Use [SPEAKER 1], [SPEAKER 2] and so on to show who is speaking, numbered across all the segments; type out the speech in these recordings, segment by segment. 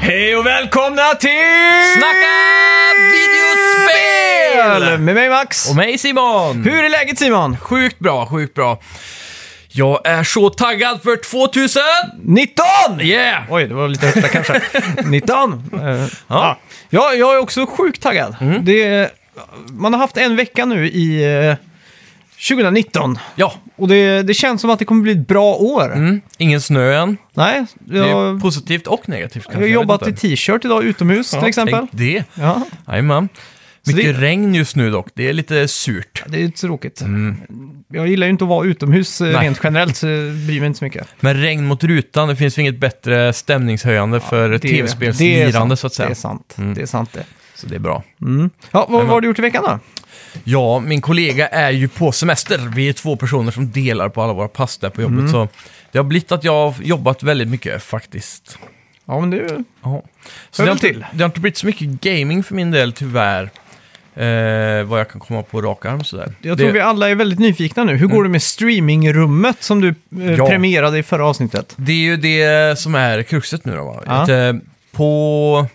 [SPEAKER 1] Hej och välkomna till...
[SPEAKER 2] Snacka videospel!
[SPEAKER 1] Med mig Max.
[SPEAKER 2] Och mig Simon!
[SPEAKER 1] Hur är läget Simon?
[SPEAKER 2] Sjukt bra, sjukt bra. Jag är så taggad för 2000!
[SPEAKER 1] 19!
[SPEAKER 2] Yeah!
[SPEAKER 1] Oj, det var lite högt där kanske. 19! Eh, ja. ja, jag är också sjukt taggad.
[SPEAKER 2] Mm.
[SPEAKER 1] Det, eh, man har haft en vecka nu i eh, 2019.
[SPEAKER 2] Ja,
[SPEAKER 1] Och det, det känns som att det kommer bli ett bra år.
[SPEAKER 2] mm. ingen snö än.
[SPEAKER 1] Nej,
[SPEAKER 2] Det är
[SPEAKER 1] jag,
[SPEAKER 2] positivt och negativt kanske.
[SPEAKER 1] jag har
[SPEAKER 2] jag
[SPEAKER 1] jobbat
[SPEAKER 2] vet
[SPEAKER 1] i
[SPEAKER 2] inte.
[SPEAKER 1] t-shirt idag utomhus till exempel.
[SPEAKER 2] Tänk det.
[SPEAKER 1] Ja,
[SPEAKER 2] Jajamän.
[SPEAKER 1] Så det-
[SPEAKER 2] Mycket regn just nu dock, det är lite surt.
[SPEAKER 1] det är ju tråkigt. Jag gillar ju inte att vara utomhus eh,
[SPEAKER 2] Mm. Nej.
[SPEAKER 1] rent generellt, så jag bryr mig inte så mycket.
[SPEAKER 2] Men regn mot rutan, det finns ju inget bättre stämningshöjande för
[SPEAKER 1] Det- det är
[SPEAKER 2] tv-spelslirande
[SPEAKER 1] sant.
[SPEAKER 2] så att säga. Mm.
[SPEAKER 1] Det är sant. Det är sant det.
[SPEAKER 2] Så det är bra.
[SPEAKER 1] Mm. Ja, vad, vad har du gjort i veckan då?
[SPEAKER 2] Ja, min kollega är ju på semester. Vi är två personer som delar på alla våra pass där på jobbet.
[SPEAKER 1] Mm.
[SPEAKER 2] Så det har blivit att jag har jobbat väldigt mycket faktiskt.
[SPEAKER 1] Ja, men du...
[SPEAKER 2] Ja. Så
[SPEAKER 1] Hör
[SPEAKER 2] det, har
[SPEAKER 1] väl
[SPEAKER 2] inte,
[SPEAKER 1] till.
[SPEAKER 2] det har inte blivit så mycket gaming för min del tyvärr. Eh, vad jag kan komma på rak arm sådär.
[SPEAKER 1] Jag
[SPEAKER 2] Det-
[SPEAKER 1] tror
[SPEAKER 2] Mm.
[SPEAKER 1] vi alla är väldigt nyfikna nu. Hur går det med streamingrummet som du eh,
[SPEAKER 2] Ja.
[SPEAKER 1] premierade i förra avsnittet?
[SPEAKER 2] Det är ju det som är kruxet nu då. Va?
[SPEAKER 1] Ja.
[SPEAKER 2] Att, eh, på...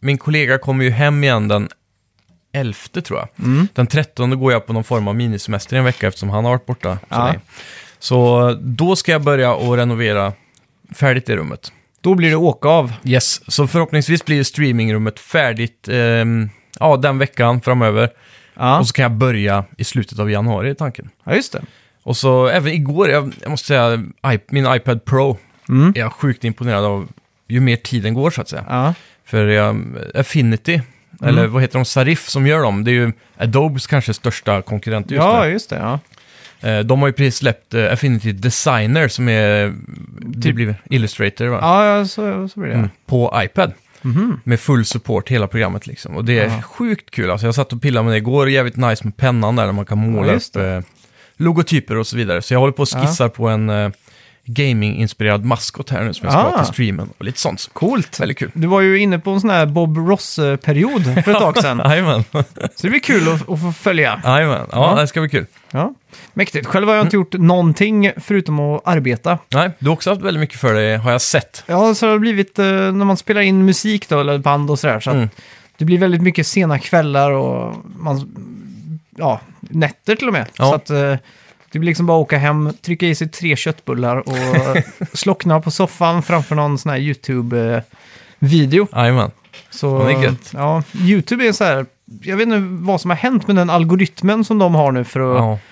[SPEAKER 2] Min kollega kommer ju hem igen den 11 tror jag.
[SPEAKER 1] Mm.
[SPEAKER 2] Den 13 går jag på någon form av minisemester i en vecka eftersom han har varit borta. Så,
[SPEAKER 1] Ja.
[SPEAKER 2] länge. så då ska jag börja och renovera färdigt det rummet.
[SPEAKER 1] Då blir det åka av.
[SPEAKER 2] Yes. Så förhoppningsvis blir streamingrummet färdigt ehm, ja, den veckan framöver.
[SPEAKER 1] Ja,
[SPEAKER 2] Och så kan jag börja i slutet av januari i tanken.
[SPEAKER 1] ja just det.
[SPEAKER 2] Och så även igår, jag, jag måste säga, I, min iPad Pro
[SPEAKER 1] Mm.
[SPEAKER 2] är jag sjukt imponerad av ju mer tiden går så att säga.
[SPEAKER 1] Ja.
[SPEAKER 2] För ehm, Affinity,
[SPEAKER 1] Mm.
[SPEAKER 2] eller vad heter de, Sarif som gör dem, det är ju Adobes kanske största konkurrent just
[SPEAKER 1] ja,
[SPEAKER 2] nu.
[SPEAKER 1] just det. Ja.
[SPEAKER 2] Eh, De har ju precis släppt eh, Affinity Designer som är, det blir Illustrator va?
[SPEAKER 1] Typ- Ja, ja så, så blir det.
[SPEAKER 2] Mm, på iPad.
[SPEAKER 1] Mhm.
[SPEAKER 2] Med full support hela programmet liksom. Och det är
[SPEAKER 1] Ja.
[SPEAKER 2] sjukt kul. Alltså, jag satt och pillade med det igår, jävligt nice med pennan där, där man kan måla
[SPEAKER 1] Ja, just
[SPEAKER 2] upp eh, logotyper och så vidare. Så jag håller på och
[SPEAKER 1] Ja.
[SPEAKER 2] skissar på en eh, gaming-inspirerad maskot här nu som jag ska ha
[SPEAKER 1] Ah.
[SPEAKER 2] till streamen och lite sånt.
[SPEAKER 1] Coolt.
[SPEAKER 2] Väldigt kul.
[SPEAKER 1] Du var ju inne på en sån här Bob Ross-period för ett tag sedan.
[SPEAKER 2] Jajamän,
[SPEAKER 1] Så det blir kul att, att få följa.
[SPEAKER 2] Jajamän. ja det ska bli kul.
[SPEAKER 1] Ja. Mäktigt. Själv har jag inte gjort någonting förutom att arbeta.
[SPEAKER 2] Nej, du har också haft väldigt mycket för dig har jag sett.
[SPEAKER 1] Ja, så har det blivit eh, när man spelar in musik då, eller band och sådär. Så att
[SPEAKER 2] Mm.
[SPEAKER 1] Det blir väldigt mycket sena kvällar och man, ja, nätter till och med.
[SPEAKER 2] Ja.
[SPEAKER 1] Så att, eh, det blir liksom bara att åka hem, trycka i sig tre köttbullar och slockna på soffan framför någon sån här YouTube-video.
[SPEAKER 2] Jajamän.
[SPEAKER 1] Så,
[SPEAKER 2] Ja, det är gött.
[SPEAKER 1] ja, YouTube är så här, jag vet inte vad som har hänt med den algoritmen som de har nu för att
[SPEAKER 2] Ja.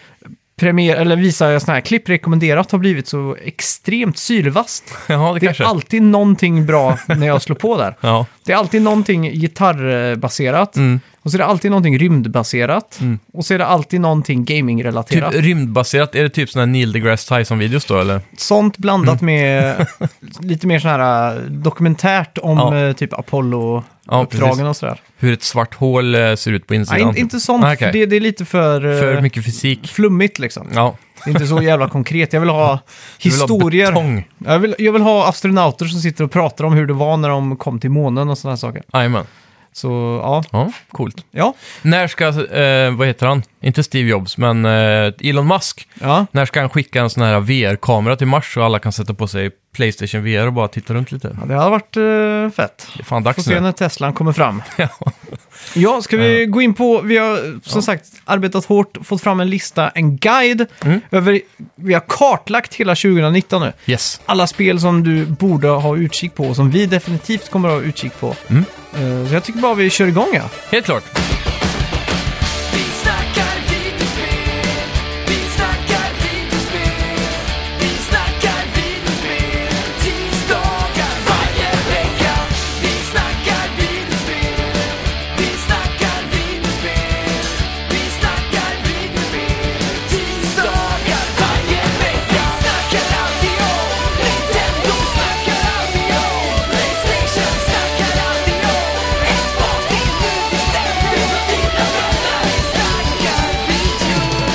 [SPEAKER 1] premiera, eller visa såna här klipp rekommenderat har blivit så extremt sylvast.
[SPEAKER 2] ja, det
[SPEAKER 1] Det
[SPEAKER 2] kanske.
[SPEAKER 1] är alltid någonting bra när jag slår på där.
[SPEAKER 2] Ja,
[SPEAKER 1] Det är alltid någonting gitarrbaserat.
[SPEAKER 2] mm.
[SPEAKER 1] Och så är det alltid någonting rymdbaserat.
[SPEAKER 2] Mm.
[SPEAKER 1] Och så är det alltid någonting
[SPEAKER 2] Typ
[SPEAKER 1] gamingrelaterat.
[SPEAKER 2] rymdbaserat, är det typ såna här Neil deGrasse Tyson-videos då eller?
[SPEAKER 1] Sånt blandat
[SPEAKER 2] mm.
[SPEAKER 1] med lite mer sån här eh, dokumentärt om
[SPEAKER 2] Ja.
[SPEAKER 1] eh, typ Apollo-uppdragen
[SPEAKER 2] precis.
[SPEAKER 1] och sådär.
[SPEAKER 2] Hur ett svart hål eh, ser ut på
[SPEAKER 1] Nej,
[SPEAKER 2] insidan.
[SPEAKER 1] in, inte sånt.
[SPEAKER 2] Ah, okej.
[SPEAKER 1] Det, det är lite för, eh,
[SPEAKER 2] För mycket fysik.
[SPEAKER 1] flummigt liksom.
[SPEAKER 2] Ja,
[SPEAKER 1] Det är inte så jävla konkret. Jag vill ha
[SPEAKER 2] du vill ha
[SPEAKER 1] historier.
[SPEAKER 2] betong.
[SPEAKER 1] jag, vill, jag vill ha astronauter som sitter och pratar om hur det var när de kom till månen och sådana saker.
[SPEAKER 2] Jajamän.
[SPEAKER 1] Så ja,
[SPEAKER 2] Ja, coolt.
[SPEAKER 1] ja,
[SPEAKER 2] När ska, eh, vad heter han? Inte Steve Jobs, men eh, Elon Musk.
[SPEAKER 1] ja.
[SPEAKER 2] När ska han skicka en sån här VR-kamera till Mars så alla kan sätta på sig Playstation VR och bara titta runt lite?
[SPEAKER 1] Ja, det hade varit eh, fett.
[SPEAKER 2] Det är fan
[SPEAKER 1] Får
[SPEAKER 2] dags
[SPEAKER 1] se
[SPEAKER 2] nu.
[SPEAKER 1] när Teslan kommer fram.
[SPEAKER 2] Ja. Eh.
[SPEAKER 1] Ja, ska vi gå in på, vi har som sagt arbetat hårt, fått fram en lista, en guide.
[SPEAKER 2] Mm.
[SPEAKER 1] Över, vi har kartlagt hela 2019 nu.
[SPEAKER 2] Yes.
[SPEAKER 1] Alla spel som du borde ha utkik på och som vi definitivt kommer att ha utkik på.
[SPEAKER 2] Mm.
[SPEAKER 1] Eh, Så jag tycker bara vi kör igång ja.
[SPEAKER 2] Helt klart.
[SPEAKER 3] Vi snackar videospel, vi snackar videospel, vi snackar videospel, tisdagar varje vecka. Vi snackar videospel, vi snackar videospel, vi snackar videospel, tisdagar varje vecka. Snackar alltid om Nintendo, snackar alltid om Playstation, snackar alltid om Xbox, din mobiltelefon och dina vänner. Vi snackar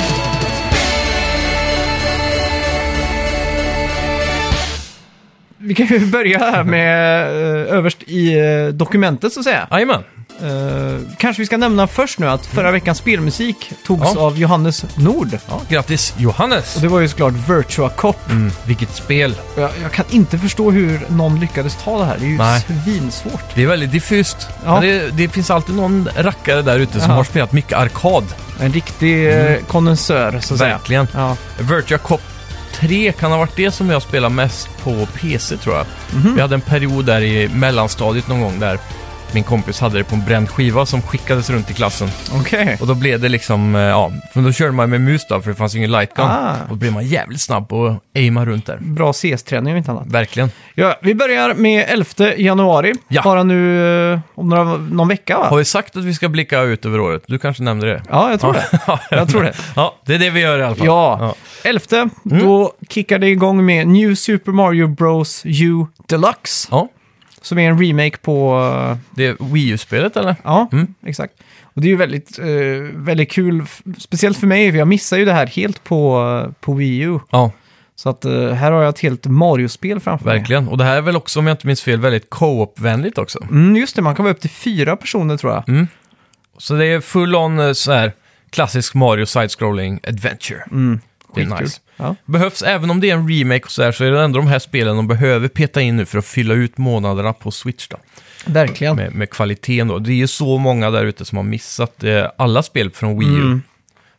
[SPEAKER 1] Vi kan ju börja här med eh, överst i eh, dokumentet så att säga.
[SPEAKER 2] Jajamän.
[SPEAKER 1] Eh, kanske vi ska nämna först nu att förra veckans spelmusik togs
[SPEAKER 2] Mm. Ja.
[SPEAKER 1] av Johannes Nord.
[SPEAKER 2] Ja, grattis Johannes!
[SPEAKER 1] Och det var ju såklart Virtua Cop.
[SPEAKER 2] Mm, vilket spel!
[SPEAKER 1] Och Jag, jag kan inte förstå hur någon lyckades ta det här. Det är ju
[SPEAKER 2] Nej.
[SPEAKER 1] svinsvårt.
[SPEAKER 2] Det är väldigt diffust.
[SPEAKER 1] Ja.
[SPEAKER 2] Men det, det finns alltid någon rackare där ute som
[SPEAKER 1] Ja.
[SPEAKER 2] har spelat mycket arkad.
[SPEAKER 1] En riktig mm. konnässör, så att säga.
[SPEAKER 2] Verkligen.
[SPEAKER 1] Ja.
[SPEAKER 2] Virtua Cop 3 kan ha varit det som jag spelade mest på PC tror jag.
[SPEAKER 1] Mhm.
[SPEAKER 2] Vi hade en period där i mellanstadiet någon gång där min kompis hade det på en bränd skiva som skickades runt i klassen.
[SPEAKER 1] Okej.
[SPEAKER 2] Och då blev det liksom, eh, ja, för då körde man med mus då för det fanns ju ingen lightgun.
[SPEAKER 1] Ah.
[SPEAKER 2] Och då blev man jävligt snabb och aima runt där.
[SPEAKER 1] Bra CS-träning om inte annat.
[SPEAKER 2] Verkligen.
[SPEAKER 1] Ja, vi börjar med 11 januari.
[SPEAKER 2] Ja.
[SPEAKER 1] Bara nu eh, om några, någon vecka va?
[SPEAKER 2] Har vi sagt att vi ska blicka ut över året? Du kanske nämnde det?
[SPEAKER 1] Ja, jag tror det. Jag tror det.
[SPEAKER 2] Ja, det är det vi gör i alla fall.
[SPEAKER 1] Ja, Mm. 11 då kickar det igång med New Super Mario Bros U Deluxe.
[SPEAKER 2] Ja,
[SPEAKER 1] Som är en remake på... eh,
[SPEAKER 2] det är Wii U-spelet eller?
[SPEAKER 1] Ja,
[SPEAKER 2] Mm.
[SPEAKER 1] exakt. Och det är ju väldigt, eh, väldigt kul, f- speciellt för mig, för jag missar ju det här helt på, eh, på Wii U.
[SPEAKER 2] Ja,
[SPEAKER 1] Så att eh, här har jag ett helt Mario-spel framför mig.
[SPEAKER 2] verkligen. Och det här är väl också, om jag inte minns fel, väldigt co-op-vänligt också.
[SPEAKER 1] Mm, just det, man kan vara upp till fyra personer tror
[SPEAKER 2] Mm,
[SPEAKER 1] jag.
[SPEAKER 2] Så det är full on eh, så här klassisk Mario side-scrolling adventure.
[SPEAKER 1] Mm.
[SPEAKER 2] Det är
[SPEAKER 1] Skitkul.
[SPEAKER 2] nice.
[SPEAKER 1] Ja.
[SPEAKER 2] Behövs, även om det är en remake och så här, så är det ändå de här spelen de behöver peta in nu för att fylla ut månaderna på Switch då.
[SPEAKER 1] Verkligen.
[SPEAKER 2] Med, med kvaliteten då. Det är ju så många där ute som har missat eh, alla spel från Wii U.
[SPEAKER 1] Mm.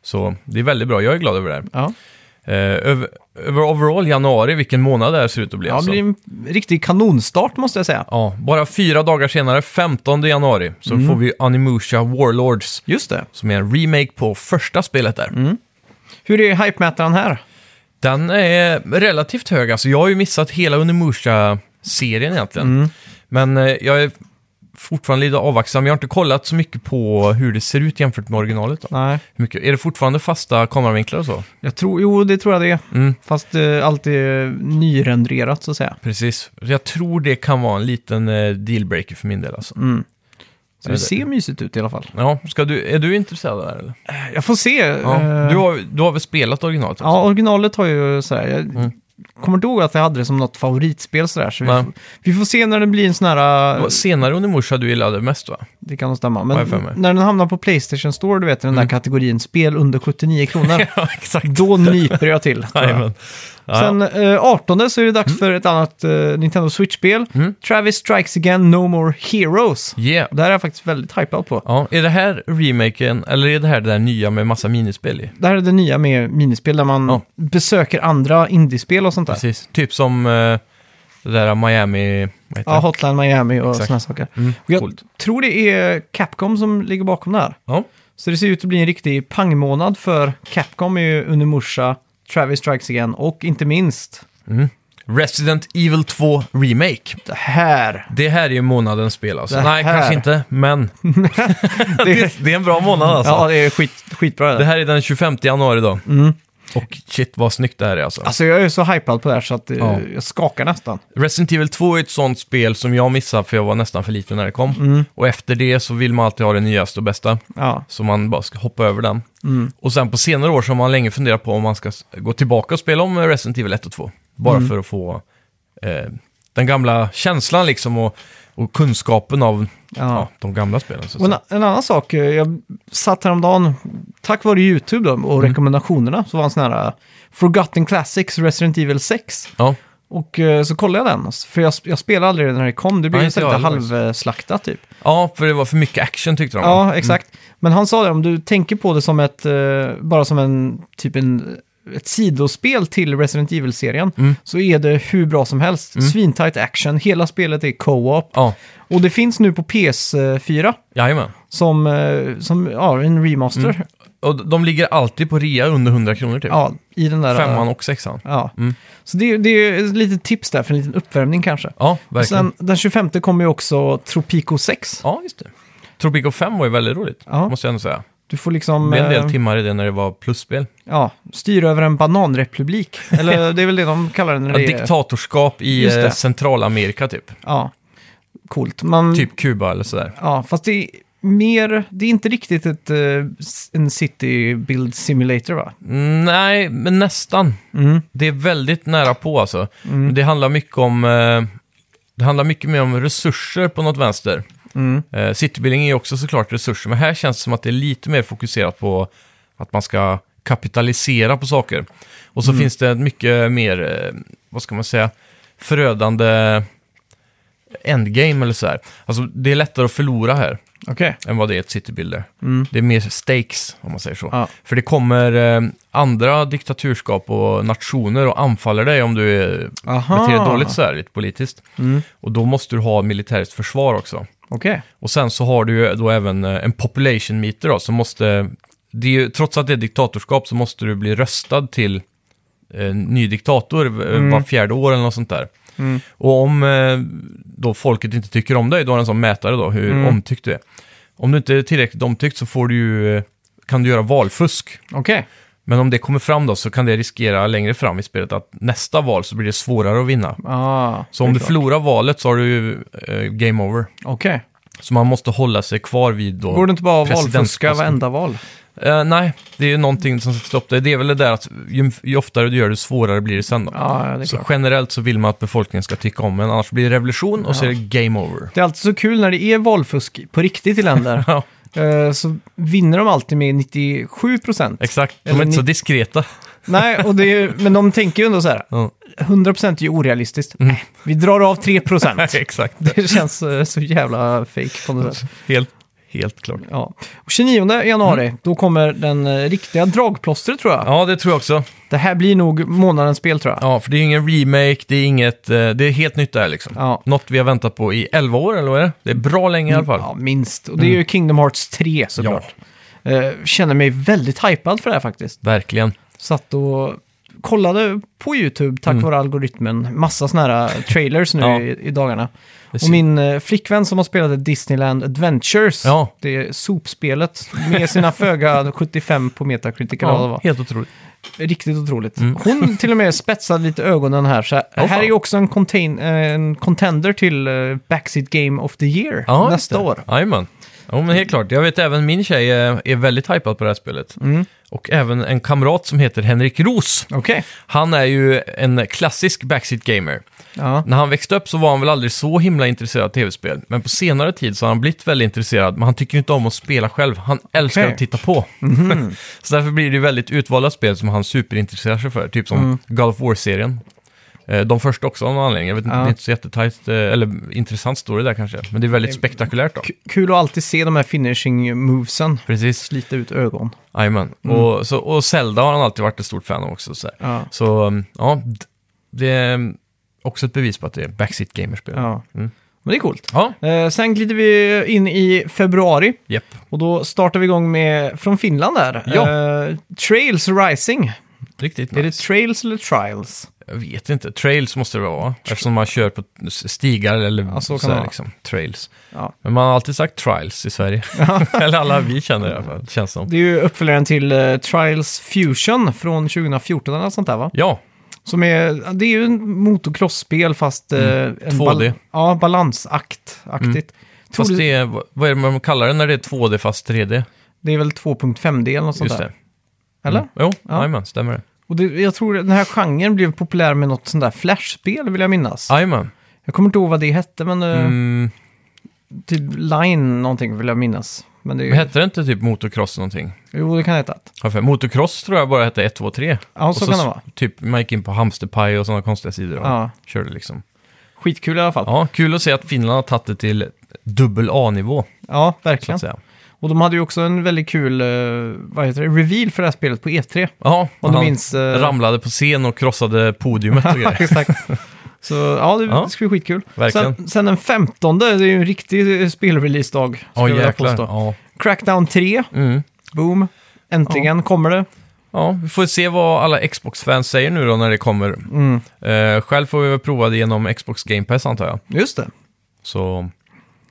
[SPEAKER 2] Så det är väldigt bra, jag är glad över det här.
[SPEAKER 1] Ja.
[SPEAKER 2] Eh, över, över overall januari, vilken månad det här ser ut att bli.
[SPEAKER 1] Ja, det
[SPEAKER 2] alltså.
[SPEAKER 1] blir en riktig kanonstart måste jag säga.
[SPEAKER 2] ja, bara fyra dagar senare, 15 januari, så
[SPEAKER 1] Mm.
[SPEAKER 2] får vi Animusha Warlords.
[SPEAKER 1] Just det.
[SPEAKER 2] Som är en remake på första spelet där.
[SPEAKER 1] Hur är hypemätaren här?
[SPEAKER 2] Den är relativt hög. Alltså, jag har ju missat hela Unimusha-serien egentligen. Men eh, jag är fortfarande lite avvaksam. Jag har inte kollat så mycket på hur det ser ut jämfört med originalet. Då.
[SPEAKER 1] Nej.
[SPEAKER 2] Hur mycket, är det fortfarande fasta kameravinklar och så?
[SPEAKER 1] Jag tror, jo, det tror jag det är.
[SPEAKER 2] Mm.
[SPEAKER 1] Fast eh, allt är nyrenderat så att säga.
[SPEAKER 2] Precis. Jag tror det kan vara en liten eh, dealbreaker för min del. Alltså.
[SPEAKER 1] Så
[SPEAKER 2] Är
[SPEAKER 1] det
[SPEAKER 2] det-
[SPEAKER 1] ser mysigt ut i alla fall.
[SPEAKER 2] Ja, ska du, är du intresserad av det här eller?
[SPEAKER 1] Jag får se.
[SPEAKER 2] Ja.
[SPEAKER 1] eh,
[SPEAKER 2] Du, har, du har väl spelat originalet? alltså? också?
[SPEAKER 1] Ja, originalet har ju sådär, jag kommer inte ihåg att jag hade det som något favoritspel sådär. Så vi,
[SPEAKER 2] Mm.
[SPEAKER 1] får,
[SPEAKER 2] Nej.
[SPEAKER 1] vi får se när det blir en sån här,
[SPEAKER 2] Det
[SPEAKER 1] eh,
[SPEAKER 2] var senare Unimusha du gillade mest va?
[SPEAKER 1] det kan nog stämma,
[SPEAKER 2] Vad är för
[SPEAKER 1] men
[SPEAKER 2] mig? Mm.
[SPEAKER 1] när den hamnar på Playstation Store, du vet den där kategorin spel under 79 kronor,
[SPEAKER 2] ja, exakt.
[SPEAKER 1] då nyper jag till. tror jag.
[SPEAKER 2] Jajamän. Ja, Mm. ja.
[SPEAKER 1] Sen eh, 18 så är det dags för ett annat eh, Nintendo Switch-spel.
[SPEAKER 2] Mm.
[SPEAKER 1] Travis Strikes Again No More Heroes.
[SPEAKER 2] Yeah.
[SPEAKER 1] Det här är jag faktiskt väldigt hypad på.
[SPEAKER 2] Ja, är det här remaken eller är det här det där nya med massa minispel i?
[SPEAKER 1] Det här är det nya med minispel där man
[SPEAKER 2] Ja.
[SPEAKER 1] besöker andra indiespel och sånt där.
[SPEAKER 2] Precis. Typ som eh, det där Miami... Vad heter
[SPEAKER 1] Ja,
[SPEAKER 2] det?
[SPEAKER 1] Hotline Miami och
[SPEAKER 2] Exakt.
[SPEAKER 1] sådana saker.
[SPEAKER 2] Mm,
[SPEAKER 1] Och jag
[SPEAKER 2] coolt.
[SPEAKER 1] tror det är Capcom som ligger bakom det här.
[SPEAKER 2] Ja.
[SPEAKER 1] Så det ser ut att bli en riktig pangmånad för Capcom är ju Unimusha, Travis Strikes Again och inte minst
[SPEAKER 2] Resident Evil 2 Remake.
[SPEAKER 1] det här.
[SPEAKER 2] Det här är ju månadens spel alltså.
[SPEAKER 1] Det
[SPEAKER 2] Nej,
[SPEAKER 1] här.
[SPEAKER 2] kanske inte, men
[SPEAKER 1] Det,
[SPEAKER 2] det är en bra månad alltså.
[SPEAKER 1] ja, Mm. det är skit, skitbra det.
[SPEAKER 2] Det
[SPEAKER 1] där.
[SPEAKER 2] här är den 25 januari då. Och shit vad snyggt det här är alltså.
[SPEAKER 1] Alltså jag är så hypad på det här så att eh,
[SPEAKER 2] Ja.
[SPEAKER 1] jag skakar nästan.
[SPEAKER 2] Resident Evil 2 är ett sånt spel som jag missade för jag var nästan för liten när det kom.
[SPEAKER 1] Mm.
[SPEAKER 2] Och efter det så vill man alltid ha det nyaste och bästa.
[SPEAKER 1] Ja,
[SPEAKER 2] Så man bara ska hoppa över den.
[SPEAKER 1] Mm.
[SPEAKER 2] Och sen på senare år så har man länge funderat på om man ska s- gå tillbaka och spela om Resident Evil 1 och 2. Bara
[SPEAKER 1] Mm.
[SPEAKER 2] för att få eh, den gamla känslan liksom och, och kunskapen av ja. de gamla spelen. Så att
[SPEAKER 1] Och en,
[SPEAKER 2] säga.
[SPEAKER 1] en annan sak, eh, jag satt häromdagen, tack vare YouTube då, och
[SPEAKER 2] Mm.
[SPEAKER 1] rekommendationerna, så var en sån här eh, Forgotten Classics Resident Evil 6.
[SPEAKER 2] Ja,
[SPEAKER 1] Och eh, så kollade jag den, för jag, jag spelade aldrig den när det kom. Det blev
[SPEAKER 2] Nej,
[SPEAKER 1] ju
[SPEAKER 2] inte
[SPEAKER 1] så lite
[SPEAKER 2] jag heller faktiskt.
[SPEAKER 1] halvslaktat typ.
[SPEAKER 2] ja, Mm. för det var för mycket action tyckte de.
[SPEAKER 1] Ja, exakt. Men han sa det, om du tänker på det som ett, eh, bara som en, typ en, ett sidospel till Resident Evil-serien,
[SPEAKER 2] Mm.
[SPEAKER 1] så är det hur bra som helst. Svintight action, hela spelet är co-op.
[SPEAKER 2] Ja,
[SPEAKER 1] Och det finns nu på PS4
[SPEAKER 2] jajamän.
[SPEAKER 1] som, eh, som ja, en remaster.
[SPEAKER 2] Mm. Och d- de ligger alltid på rea under 100 kronor typ.
[SPEAKER 1] Ja, i den där...
[SPEAKER 2] Femman Mm. och sexan.
[SPEAKER 1] Ja. Så det, är- det är ett litet tips där för en liten uppvärmning kanske.
[SPEAKER 2] Ja,
[SPEAKER 1] Och Sen,
[SPEAKER 2] verkligen.
[SPEAKER 1] den 25 kommer ju också Tropico 6.
[SPEAKER 2] Ja, just det. Tropico 5 var ju väldigt roligt,
[SPEAKER 1] Ja.
[SPEAKER 2] måste jag ändå säga.
[SPEAKER 1] Du får liksom...
[SPEAKER 2] Det blev en
[SPEAKER 1] eh,
[SPEAKER 2] del timmar i det när det var plusspel.
[SPEAKER 1] ja, styra över en bananrepublik. Eller det är väl det de kallar det när
[SPEAKER 2] Ja,
[SPEAKER 1] det är...
[SPEAKER 2] diktatorskap i
[SPEAKER 1] Just det. Mm.
[SPEAKER 2] eh, Centralamerika typ.
[SPEAKER 1] Ja, coolt. Man,
[SPEAKER 2] Typ Kuba eller sådär.
[SPEAKER 1] Ja, fast det är mer... Det är inte riktigt ett, eh, s- en city build simulator va?
[SPEAKER 2] Mm, Nej, men nästan.
[SPEAKER 1] Mm.
[SPEAKER 2] Det är väldigt nära på alltså. Det handlar mycket om... eh, Det handlar mycket mer om resurser på något vänster.
[SPEAKER 1] Mm.
[SPEAKER 2] Eh, citybuilding är ju också såklart resurser, men här känns det som att det är lite mer fokuserat på att man ska kapitalisera på saker. Och
[SPEAKER 1] Mm.
[SPEAKER 2] så finns det ett mycket mer, eh, vad ska man säga, förödande endgame eller så här. Alltså det är lättare att förlora här
[SPEAKER 1] Okej.
[SPEAKER 2] än vad det är i ett citybuilder.
[SPEAKER 1] Mm.
[SPEAKER 2] Det är mer stakes, om man säger så.
[SPEAKER 1] Ja.
[SPEAKER 2] För det kommer eh, andra diktaturskap och nationer och anfaller dig om du är,
[SPEAKER 1] Aha.
[SPEAKER 2] beter dig dåligt så här, lite politiskt.
[SPEAKER 1] Mm.
[SPEAKER 2] Och då måste du ha militärt försvar också.
[SPEAKER 1] Okej.
[SPEAKER 2] Och sen så har du ju då även eh, en population meter då, som måste... Det är ju, trots att det är diktatorskap så måste du bli röstad till eh, ny diktator eh,
[SPEAKER 1] Mm.
[SPEAKER 2] var fjärde år eller något sånt där.
[SPEAKER 1] Mm.
[SPEAKER 2] Och om eh, då folket inte tycker om dig, då har du en sån mätare då, hur
[SPEAKER 1] Mm.
[SPEAKER 2] omtyckt du är. Om du inte är tillräckligt omtyckt så får du ju, eh, kan du göra valfusk.
[SPEAKER 1] Okej.
[SPEAKER 2] Men om det kommer fram då så kan det riskera längre fram i spelet att nästa val så blir det svårare att vinna.
[SPEAKER 1] Ah,
[SPEAKER 2] Så om du
[SPEAKER 1] förstår.
[SPEAKER 2] förlorar valet så har du ju eh, game over.
[SPEAKER 1] Okej.
[SPEAKER 2] Så man måste hålla sig kvar vid då...
[SPEAKER 1] Går det inte bara att valfuska
[SPEAKER 2] presidentposten.
[SPEAKER 1] varenda val?
[SPEAKER 2] Eh, nej, det är ju någonting som sätter stopp det. Det är väl det där att ju, ju oftare du gör det, ju svårare blir det sen då.
[SPEAKER 1] Ja, ja, det är
[SPEAKER 2] så
[SPEAKER 1] klart.
[SPEAKER 2] generellt så vill man att befolkningen ska tycka om en, annars blir det revolution och så är det game over.
[SPEAKER 1] Det är alltid så kul när det är valfusk på riktigt i länder.
[SPEAKER 2] Ja,
[SPEAKER 1] Eh, så vinner de alltid med 97 procent.
[SPEAKER 2] exakt. De är
[SPEAKER 1] Eller
[SPEAKER 2] inte så
[SPEAKER 1] ni-
[SPEAKER 2] diskreta.
[SPEAKER 1] Nej, och det är, ju- men de tänker ju ändå så här.
[SPEAKER 2] Ja. Mm.
[SPEAKER 1] 100 procent är ju orealistiskt. Nej, vi drar av 3 procent.
[SPEAKER 2] exakt.
[SPEAKER 1] Det känns eh, så jävla fake på något sätt.
[SPEAKER 2] Helt, helt klart.
[SPEAKER 1] Ja. Och 29 januari, då kommer den eh, riktiga dragplåstret tror jag.
[SPEAKER 2] Mm. Ja, det tror jag också.
[SPEAKER 1] Det här blir nog månadens spel tror jag.
[SPEAKER 2] Ja, för det är ju ingen remake, det är inget... eh, Det är helt nytt där liksom.
[SPEAKER 1] Ja.
[SPEAKER 2] Något vi har väntat på i 11 år, eller vad är det? Det är bra länge i alla fall.
[SPEAKER 1] Mm,
[SPEAKER 2] Mm.
[SPEAKER 1] Ja, minst. Och det är ju Kingdom Hearts 3 såklart. Eh, känner mig väldigt hypad för det här faktiskt.
[SPEAKER 2] Verkligen.
[SPEAKER 1] Satt och kollade på YouTube tack vare algoritmen. Massa såna här trailers nu
[SPEAKER 2] Mm. Ja.
[SPEAKER 1] i, i dagarna.
[SPEAKER 2] Precis.
[SPEAKER 1] Och min eh, flickvän som har spelat Disneyland Adventures,
[SPEAKER 2] Ja.
[SPEAKER 1] det är sopspelet, med sina föga 75 på Metacritic. eller vad det var.
[SPEAKER 2] helt otroligt.
[SPEAKER 1] Riktigt otroligt. Hon till och med spetsade lite ögonen här. Så här, här
[SPEAKER 2] Åh,
[SPEAKER 1] är
[SPEAKER 2] Mm. fan.
[SPEAKER 1] ju också en, contain, eh, en contender till eh, Backseat Game of the Year
[SPEAKER 2] Ja, just
[SPEAKER 1] nästa
[SPEAKER 2] det.
[SPEAKER 1] år.
[SPEAKER 2] Jajamän. Ja, men helt klart. Jag vet även min tjej eh, är väldigt hypad på det här spelet.
[SPEAKER 1] Mm.
[SPEAKER 2] Och även en kamrat som heter Henrik Ros.
[SPEAKER 1] Okej.
[SPEAKER 2] Han är ju en klassisk backseat gamer.
[SPEAKER 1] Ja.
[SPEAKER 2] När han växte upp så var han väl aldrig så himla intresserad av tv-spel. Men på senare tid så har han blivit väldigt intresserad, men han tycker inte om att spela själv. Han älskar
[SPEAKER 1] Okej. Mhm.
[SPEAKER 2] att titta på. så därför blir det ju väldigt utvalda spel som han superintresserar sig för. Typ som
[SPEAKER 1] Mm.
[SPEAKER 2] God of War-serien. Eh, De första också av någon anledning. Jag vet inte,
[SPEAKER 1] Ja.
[SPEAKER 2] det är inte så jättetajt, eh, eller intressant story där kanske. Men det är väldigt spektakulärt då.
[SPEAKER 1] Eh, K- Kul att alltid se de här finishing movesen.
[SPEAKER 2] Precis.
[SPEAKER 1] Slita ut ögon.
[SPEAKER 2] Jajamän.
[SPEAKER 1] Mm.
[SPEAKER 2] Och, så- och Zelda har han alltid varit ett stort fan av också. Så, här.
[SPEAKER 1] Ja.
[SPEAKER 2] så um, ja, d- det är um, också ett bevis på att det är backseat gamerspel. Ja,
[SPEAKER 1] Ja.
[SPEAKER 2] Mm.
[SPEAKER 1] Men det är coolt.
[SPEAKER 2] ja
[SPEAKER 1] Eh, sen glider vi in i februari
[SPEAKER 2] japp.
[SPEAKER 1] och då startar vi igång med, från Finland där,
[SPEAKER 2] Ja.
[SPEAKER 1] eh, Trails Rising.
[SPEAKER 2] Riktigt
[SPEAKER 1] Är det
[SPEAKER 2] nice.
[SPEAKER 1] Trails eller Trials?
[SPEAKER 2] Jag vet inte. Trails måste det vara, eftersom man kör på stigar eller
[SPEAKER 1] Ja, så
[SPEAKER 2] så
[SPEAKER 1] kan
[SPEAKER 2] här,
[SPEAKER 1] det vara.
[SPEAKER 2] liksom. Trails.
[SPEAKER 1] Ja.
[SPEAKER 2] Men man har alltid sagt trials i Sverige. eller alla vi känner i alla fall, känns som.
[SPEAKER 1] Det är ju uppföljaren till eh, Trials Fusion från 2014 eller något sånt där va?
[SPEAKER 2] Ja,
[SPEAKER 1] Som är, det är ju en motocrossspel fast... eh,
[SPEAKER 2] Mm.
[SPEAKER 1] en
[SPEAKER 2] 2D.
[SPEAKER 1] ja, balansakt. Aktigt. Tror
[SPEAKER 2] Mm. fast
[SPEAKER 1] du-
[SPEAKER 2] det är, vad är det man kallar det när det är 2D fast 3D?
[SPEAKER 1] Det är väl 2.5D eller något sånt
[SPEAKER 2] Just
[SPEAKER 1] där?
[SPEAKER 2] det.
[SPEAKER 1] Eller?
[SPEAKER 2] Mm. Jo,
[SPEAKER 1] Ja.
[SPEAKER 2] jajamän, stämmer det.
[SPEAKER 1] Och det, jag tror den här genren blev populär med något sånt där flashspel vill jag minnas.
[SPEAKER 2] Jajamän.
[SPEAKER 1] Jag kommer inte ihåg vad det hette men eh,
[SPEAKER 2] Mm.
[SPEAKER 1] typ Line någonting vill jag minnas. Men det är
[SPEAKER 2] Men hette det inte typ motocross någonting?
[SPEAKER 1] Jo, det kan heta.
[SPEAKER 2] Har jag för mig. Motocross tror jag bara hette 1, 2, 3.
[SPEAKER 1] Ja, så kan det vara.
[SPEAKER 2] Typ, man gick in på hamsterpaj och sådana konstiga sidor och
[SPEAKER 1] Ja.
[SPEAKER 2] körde liksom.
[SPEAKER 1] Skitkul i alla fall. Ja,
[SPEAKER 2] Ja, kul att se att Finland har tagit det till dubbel A-nivå, så
[SPEAKER 1] verkligen.
[SPEAKER 2] att säga.
[SPEAKER 1] Och de hade ju också en väldigt kul, eh, vad heter det, reveal för det här spelet på E3.
[SPEAKER 2] Ja,
[SPEAKER 1] Om du
[SPEAKER 2] han
[SPEAKER 1] minns... eh,
[SPEAKER 2] ramlade på scen och krossade podiumet och grejer.
[SPEAKER 1] Exakt. Så ja, det,
[SPEAKER 2] Ja.
[SPEAKER 1] det ska bli skitkul.
[SPEAKER 2] Verkligen.
[SPEAKER 1] Sen, sen den 15, det är ju en riktig eh, spelrelease-dag. skulle
[SPEAKER 2] Ja,
[SPEAKER 1] jag vilja
[SPEAKER 2] jäklar.
[SPEAKER 1] påstå.
[SPEAKER 2] Ja.
[SPEAKER 1] Crackdown 3,
[SPEAKER 2] Mm.
[SPEAKER 1] boom. Äntligen kommer det.
[SPEAKER 2] ja, vi får se vad alla Xbox-fans säger nu då när det kommer.
[SPEAKER 1] Mm.
[SPEAKER 2] Eh, själv får vi väl prova det genom Xbox Game Pass antar jag.
[SPEAKER 1] Just det.
[SPEAKER 2] Så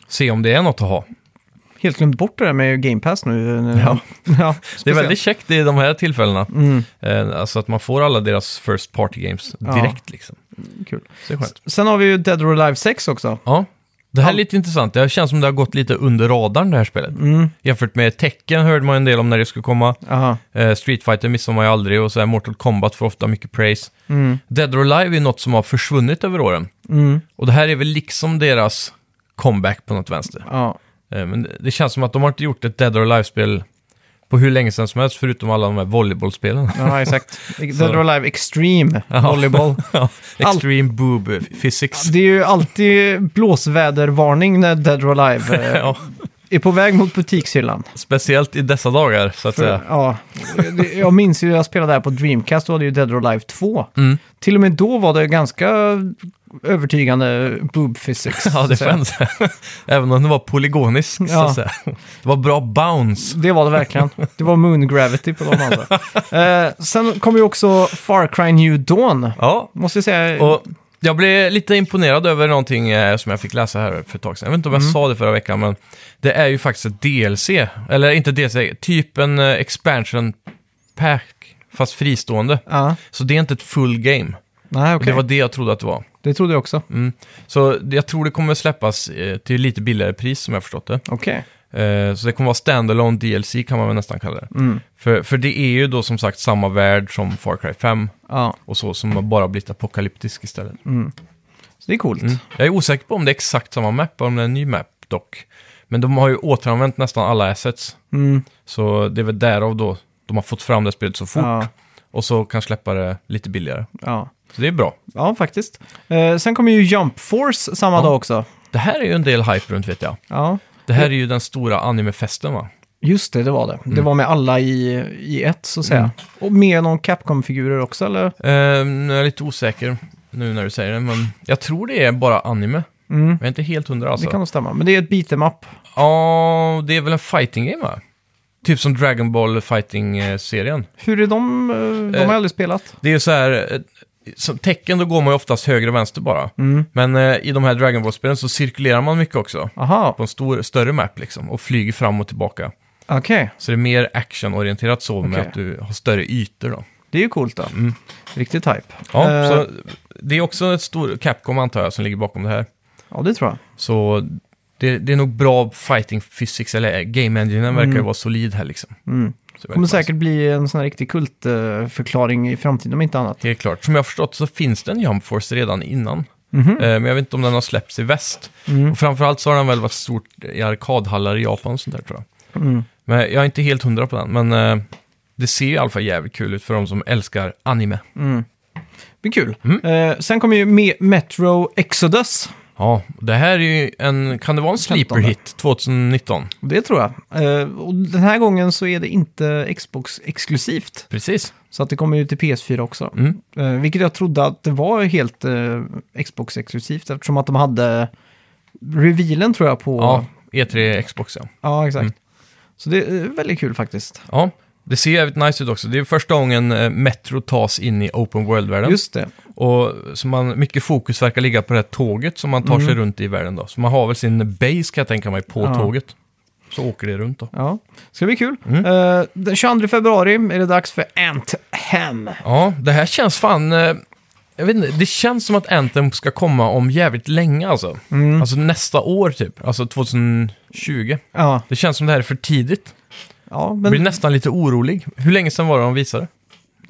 [SPEAKER 2] se om det är något att ha.
[SPEAKER 1] Helt glömt bort det där med Game Pass nu. eh,
[SPEAKER 2] Ja.
[SPEAKER 1] ja
[SPEAKER 2] Det är
[SPEAKER 1] speciellt. Mm.
[SPEAKER 2] väldigt käckt i de här tillfällena. Eh, alltså att man får alla deras first party games
[SPEAKER 1] Ja.
[SPEAKER 2] direkt liksom.
[SPEAKER 1] kul.
[SPEAKER 2] Så det är skönt.
[SPEAKER 1] Sen har vi ju Dead or Alive 6 också.
[SPEAKER 2] Ja, det här är
[SPEAKER 1] Ja.
[SPEAKER 2] lite intressant. Det här känns som det har gått lite under radarn det här spelet. Jämfört med tecken hörde man en del om när det skulle komma.
[SPEAKER 1] Mm. Aha.
[SPEAKER 2] Eh, Street Fighter missar man ju aldrig och så här Mortal Kombat får ofta mycket praise.
[SPEAKER 1] Mm.
[SPEAKER 2] Dead or Alive är något som har försvunnit över åren.
[SPEAKER 1] Mm.
[SPEAKER 2] Och det här är väl liksom deras comeback på något vänster.
[SPEAKER 1] Ja.
[SPEAKER 2] Eh, Men det- det känns som att de har inte gjort ett Dead or Alive-spel på hur länge sedan som helst, förutom alla de här volleybollspelen.
[SPEAKER 1] Ja, exakt. Dead or Alive Extreme
[SPEAKER 2] Ja.
[SPEAKER 1] Volleyball.
[SPEAKER 2] Ja, Extreme Boob Physics.
[SPEAKER 1] Det är ju alltid blåsvädervarning när Dead or Alive eh,
[SPEAKER 2] Ja,
[SPEAKER 1] är på väg mot butikshyllan.
[SPEAKER 2] speciellt i dessa dagar, så att säga.
[SPEAKER 1] För, ja, det- jag minns ju, jag spelade här på Dreamcast, då hade ju Dead or Alive 2.
[SPEAKER 2] Mm.
[SPEAKER 1] Till och med då var det ganska övertygande boob physics.
[SPEAKER 2] Ja, det
[SPEAKER 1] så att säga.
[SPEAKER 2] fanns. Även om det var polygonisk, så
[SPEAKER 1] Ja.
[SPEAKER 2] att säga. Det var bra bounce.
[SPEAKER 1] Det var det verkligen. Det var Moon Gravity på de andra. eh, sen kom ju också Far Cry New Dawn.
[SPEAKER 2] Ja,
[SPEAKER 1] Måste jag säga.
[SPEAKER 2] och jag blev lite imponerad över någonting eh, som jag fick läsa här för ett tag sedan. Jag vet inte om jag
[SPEAKER 1] Mm.
[SPEAKER 2] sa det förra veckan, men det är ju faktiskt ett DLC. Eller inte DLC, typ en eh, expansion pack, fast fristående.
[SPEAKER 1] Ja,
[SPEAKER 2] Så det är inte ett full game.
[SPEAKER 1] nej,
[SPEAKER 2] Och
[SPEAKER 1] okej.
[SPEAKER 2] Det var det jag trodde att det var.
[SPEAKER 1] Det trodde jag också.
[SPEAKER 2] Mm. Så jag tror det kommer släppas eh, till lite billigare pris som jag förstått det.
[SPEAKER 1] Okej.
[SPEAKER 2] Eh, så det kommer vara standalone DLC kan man väl nästan kalla det.
[SPEAKER 1] Mm.
[SPEAKER 2] För, för det är ju då som sagt samma värld som Far Cry 5
[SPEAKER 1] Ja,
[SPEAKER 2] och så som har bara blivit apokalyptisk istället.
[SPEAKER 1] så det är coolt.
[SPEAKER 2] Mm. Jag är osäker på om det är exakt samma map, om det är en ny map dock. Men de har ju återanvänt nästan alla assets.
[SPEAKER 1] Mm.
[SPEAKER 2] Så det är väl därav då de har fått fram det spelet så fort.
[SPEAKER 1] Ja,
[SPEAKER 2] Och så kan släppa det lite billigare.
[SPEAKER 1] ja.
[SPEAKER 2] Så det är bra.
[SPEAKER 1] ja, faktiskt. Eh, sen kommer ju Jump Force samma
[SPEAKER 2] Ja.
[SPEAKER 1] dag också.
[SPEAKER 2] Det här är ju en del hype runt vet jag.
[SPEAKER 1] Ja,
[SPEAKER 2] Det här är ju den stora animefesten va?
[SPEAKER 1] just det, det var det. Det var med alla i, i ett, så att säga.
[SPEAKER 2] Mm.
[SPEAKER 1] Och med någon Capcom-figurer också, eller?
[SPEAKER 2] Eh, nu är jag lite osäker nu när du säger det, men jag tror det är bara anime.
[SPEAKER 1] Mm.
[SPEAKER 2] Jag är inte helt hundra alltså.
[SPEAKER 1] Det kan nog stämma. Men det är ett beat em up.
[SPEAKER 2] Ja, det är väl en fighting game va? Typ som Dragon Ball eh, Fighting-serien.
[SPEAKER 1] Hur är de? eh, De har
[SPEAKER 2] Eh.
[SPEAKER 1] jag aldrig spelat.
[SPEAKER 2] Det är ju så här, eh, som tecken då går man ju oftast höger och vänster bara.
[SPEAKER 1] Mm.
[SPEAKER 2] Men eh, i de här Dragon Ball-spelen så cirkulerar man mycket också.
[SPEAKER 1] Aha,
[SPEAKER 2] På en stor, större map liksom, och flyger fram och tillbaka.
[SPEAKER 1] okej.
[SPEAKER 2] Så det är mer actionorienterat så med
[SPEAKER 1] Okej.
[SPEAKER 2] att du har större ytor då.
[SPEAKER 1] Det är ju coolt då. Riktigt hype.
[SPEAKER 2] Ja,
[SPEAKER 1] Eh.
[SPEAKER 2] så det är också ett stort Capcom antar jag som ligger bakom det här.
[SPEAKER 1] Ja, det tror jag.
[SPEAKER 2] Så det, det är nog bra fighting physics, eller eh, game enginen verkar ju vara solid här liksom.
[SPEAKER 1] Mm.
[SPEAKER 2] Så
[SPEAKER 1] Det
[SPEAKER 2] väldigt
[SPEAKER 1] kommer
[SPEAKER 2] nice.
[SPEAKER 1] säkert bli en sån här riktig kultförklaring i framtiden om inte annat.
[SPEAKER 2] Helt klart. Som jag har förstått så finns det en Jump Force redan innan.
[SPEAKER 1] Mhm.
[SPEAKER 2] Eh, Men jag vet inte om den har släppts i väst.
[SPEAKER 1] Mm.
[SPEAKER 2] Och framförallt så har den väl varit stort i arkadhallar i Japan och sånt där tror jag.
[SPEAKER 1] Mm.
[SPEAKER 2] Men jag är inte helt hundra på den, men eh, det ser i alla fall jävligt kul ut för de som älskar anime.
[SPEAKER 1] Mm. Det blir kul.
[SPEAKER 2] Mm.
[SPEAKER 1] Eh, sen kommer ju Me- Metro Exodus.
[SPEAKER 2] Ja, det här är ju en, kan det vara en sleeper hit 2019?
[SPEAKER 1] Det tror jag. Eh, och den här gången så är det inte Xbox-exklusivt.
[SPEAKER 2] Precis.
[SPEAKER 1] Så att det kommer ju till PS4 också.
[SPEAKER 2] Mm.
[SPEAKER 1] Eh, vilket jag trodde att det var helt eh, Xbox-exklusivt eftersom att de hade revealen tror jag på...
[SPEAKER 2] Ja, Mm. E3 Xbox ja.
[SPEAKER 1] Ja, exakt. Så det är eh, väldigt kul faktiskt.
[SPEAKER 2] Ja, det ser jävligt nice ut också. Det är första gången eh, Metro tas in i open world-världen.
[SPEAKER 1] Just det.
[SPEAKER 2] Och så man, mycket fokus verkar ligga på det här tåget som man tar sig runt i världen då. Så man har väl sin base kan jag tänka mig på
[SPEAKER 1] Mm. Ja.
[SPEAKER 2] tåget. Så åker det runt då.
[SPEAKER 1] Ja, ska bli kul.
[SPEAKER 2] Mm.
[SPEAKER 1] Eh, den 22 februari är det dags för Ant-Ham.
[SPEAKER 2] Ja, det här känns fan... eh, Jag vet inte, det känns som att Anthem ska komma om jävligt länge alltså.
[SPEAKER 1] Mm.
[SPEAKER 2] Alltså nästa år typ, alltså 2020.
[SPEAKER 1] Ja,
[SPEAKER 2] Det känns som det här är för tidigt.
[SPEAKER 1] ja
[SPEAKER 2] Jag blir
[SPEAKER 1] men
[SPEAKER 2] nästan lite orolig. Hur länge sedan var det de visade?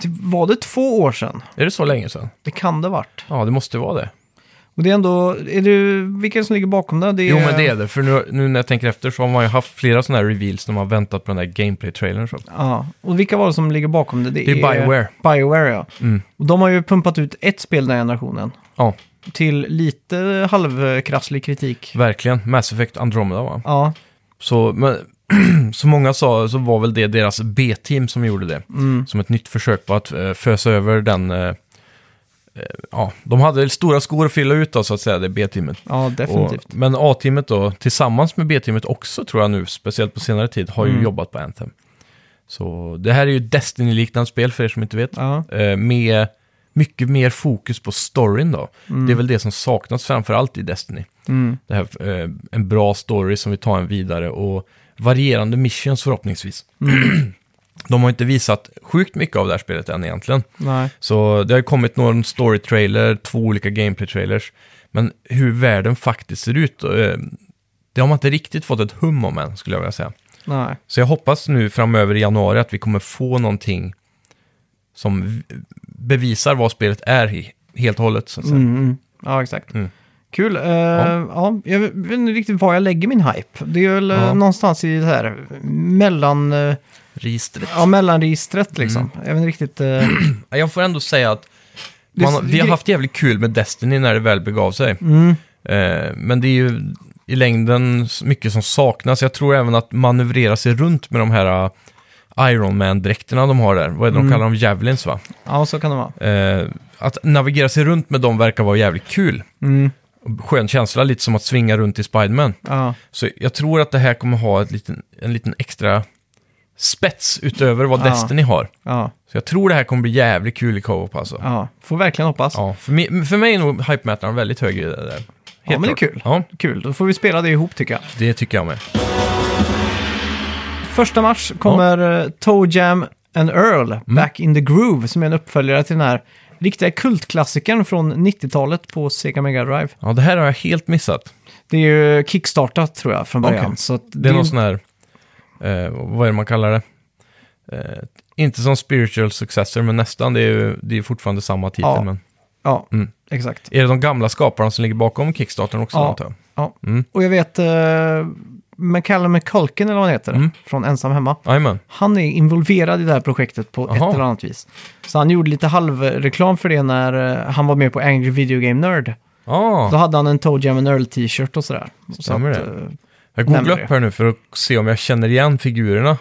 [SPEAKER 1] det var det två år sedan?
[SPEAKER 2] Är det så länge sedan?
[SPEAKER 1] Det kan det varit.
[SPEAKER 2] Ja, det måste ju vara det.
[SPEAKER 1] Och det är ändå, är det, vilka som ligger bakom det? det är,
[SPEAKER 2] Jo, men det är det. För nu, nu när jag tänker efter så har man ju haft flera sådana här reveals när man har väntat på den där gameplay-trailern. Så.
[SPEAKER 1] Ja, och vilka var det som ligger bakom det?
[SPEAKER 2] Det är Bioware.
[SPEAKER 1] Bioware, ja.
[SPEAKER 2] Mm.
[SPEAKER 1] Och de har ju pumpat ut ett spel den här generationen.
[SPEAKER 2] Ja,
[SPEAKER 1] Till lite halvkrasslig kritik.
[SPEAKER 2] verkligen. Mass Effect Andromeda va?
[SPEAKER 1] Ja,
[SPEAKER 2] Så, men, som många sa så var väl det deras B-team som gjorde det.
[SPEAKER 1] mm,
[SPEAKER 2] Som ett nytt försök på att eh, fösa över den... eh, eh, ja, de hade stora skor att fylla ut då, så att säga, det B-teamet.
[SPEAKER 1] ja
[SPEAKER 2] Och,
[SPEAKER 1] definitivt.
[SPEAKER 2] men A-teamet då, tillsammans med B-teamet också tror jag nu, speciellt på senare tid, har ju
[SPEAKER 1] Mm.
[SPEAKER 2] jobbat på Anthem. Så det här är ju Destiny-liknande spel för er som inte vet.
[SPEAKER 1] Ja,
[SPEAKER 2] Eh, med mycket mer fokus på storyn då. Det är väl det som saknas framför allt i Destiny.
[SPEAKER 1] mm,
[SPEAKER 2] Det här, eh, en bra story som vi tar en vidare och varierande missions förhoppningsvis. De har inte visat sjukt mycket av det här spelet än egentligen.
[SPEAKER 1] nej.
[SPEAKER 2] Så det har ju kommit någon story-trailer, två olika gameplay-trailers. Men hur världen faktiskt ser ut, eh, det har man inte riktigt fått ett hum om än, skulle jag vilja säga.
[SPEAKER 1] Nej.
[SPEAKER 2] Så jag hoppas nu framöver i januari att vi kommer få någonting som v- bevisar vad spelet är i- helt och hållet. Så att säga.
[SPEAKER 1] Mm, mm. Ja, exakt.
[SPEAKER 2] Mm.
[SPEAKER 1] Kul. Eh, ja. jag vet inte riktigt var jag lägger min hype. Det är väl eh,
[SPEAKER 2] Ja.
[SPEAKER 1] någonstans i det här mellan, eh,
[SPEAKER 2] Registret.
[SPEAKER 1] ja, mellanregistret liksom.
[SPEAKER 2] Mm.
[SPEAKER 1] Jag vet inte riktigt. eh,
[SPEAKER 2] Ja, Jag får ändå säga att
[SPEAKER 1] Det-
[SPEAKER 2] man, vi har
[SPEAKER 1] det-
[SPEAKER 2] haft jävligt kul med Destiny när det väl begav sig.
[SPEAKER 1] mm,
[SPEAKER 2] Eh, men det är ju i längden s- mycket som saknas. Jag tror även att manövrera sig runt med de här eh, Iron Man-dräkterna de har där. Vad är det
[SPEAKER 1] Mm.
[SPEAKER 2] de kallar dem? Javelins va?
[SPEAKER 1] ja, så kan det vara.
[SPEAKER 2] Eh, att navigera sig runt med dem verkar vara jävligt kul.
[SPEAKER 1] Mm,
[SPEAKER 2] Skön känsla, lite som att svinga runt i Spiderman.
[SPEAKER 1] ja.
[SPEAKER 2] Så jag tror att det här kommer ha ett liten, en liten extra spets utöver vad
[SPEAKER 1] Ja.
[SPEAKER 2] Destiny har.
[SPEAKER 1] Ja,
[SPEAKER 2] Så jag tror det här kommer bli jävligt kul i co-op alltså. Ja.
[SPEAKER 1] ja, får verkligen hoppas.
[SPEAKER 2] för, mig, för mig är nog hype-mätaren väldigt hög i det där. Helt
[SPEAKER 1] Ja, men det är
[SPEAKER 2] klart.
[SPEAKER 1] kul.
[SPEAKER 2] Ja,
[SPEAKER 1] Kul, då får vi spela det ihop tycker jag.
[SPEAKER 2] det tycker jag med.
[SPEAKER 1] Första mars kommer eh, Toe Jam and Earl,
[SPEAKER 2] Mm.
[SPEAKER 1] Back in the Groove, som är en uppföljare till den här riktiga kultklassikern från 90-talet på Sega Mega Drive.
[SPEAKER 2] Ja, det här har jag helt missat.
[SPEAKER 1] Det är ju kickstartat tror jag från början.
[SPEAKER 2] Okej.
[SPEAKER 1] Så att
[SPEAKER 2] Det är någon sån här, eh, vad är det man kallar det? Eh, inte som spiritual successor, men nästan. Det är ju det är fortfarande samma titel.
[SPEAKER 1] Ja.
[SPEAKER 2] Men
[SPEAKER 1] Ja,
[SPEAKER 2] Mm.
[SPEAKER 1] exakt.
[SPEAKER 2] är det de gamla skaparna som ligger bakom Kickstartern också?
[SPEAKER 1] Ja.
[SPEAKER 2] antar jag?
[SPEAKER 1] Ja.
[SPEAKER 2] Mm.
[SPEAKER 1] Och jag vet, uh, McCallum McCulkin eller vad han heter,
[SPEAKER 2] Mm.
[SPEAKER 1] från Ensam Hemma.
[SPEAKER 2] Jajamän.
[SPEAKER 1] Han är involverad i det här projektet på
[SPEAKER 2] Aha.
[SPEAKER 1] ett eller annat vis. Så han gjorde lite halvreklam för det när eh, han var med på Angry Video Game Nerd. Då
[SPEAKER 2] Ja,
[SPEAKER 1] hade han en Toe Jam and Earl t-shirt och sådär. Så
[SPEAKER 2] Stämmer
[SPEAKER 1] att,
[SPEAKER 2] det.
[SPEAKER 1] eh,
[SPEAKER 2] jag googlar
[SPEAKER 1] nämner
[SPEAKER 2] upp här nu för att se om jag känner igen figurerna.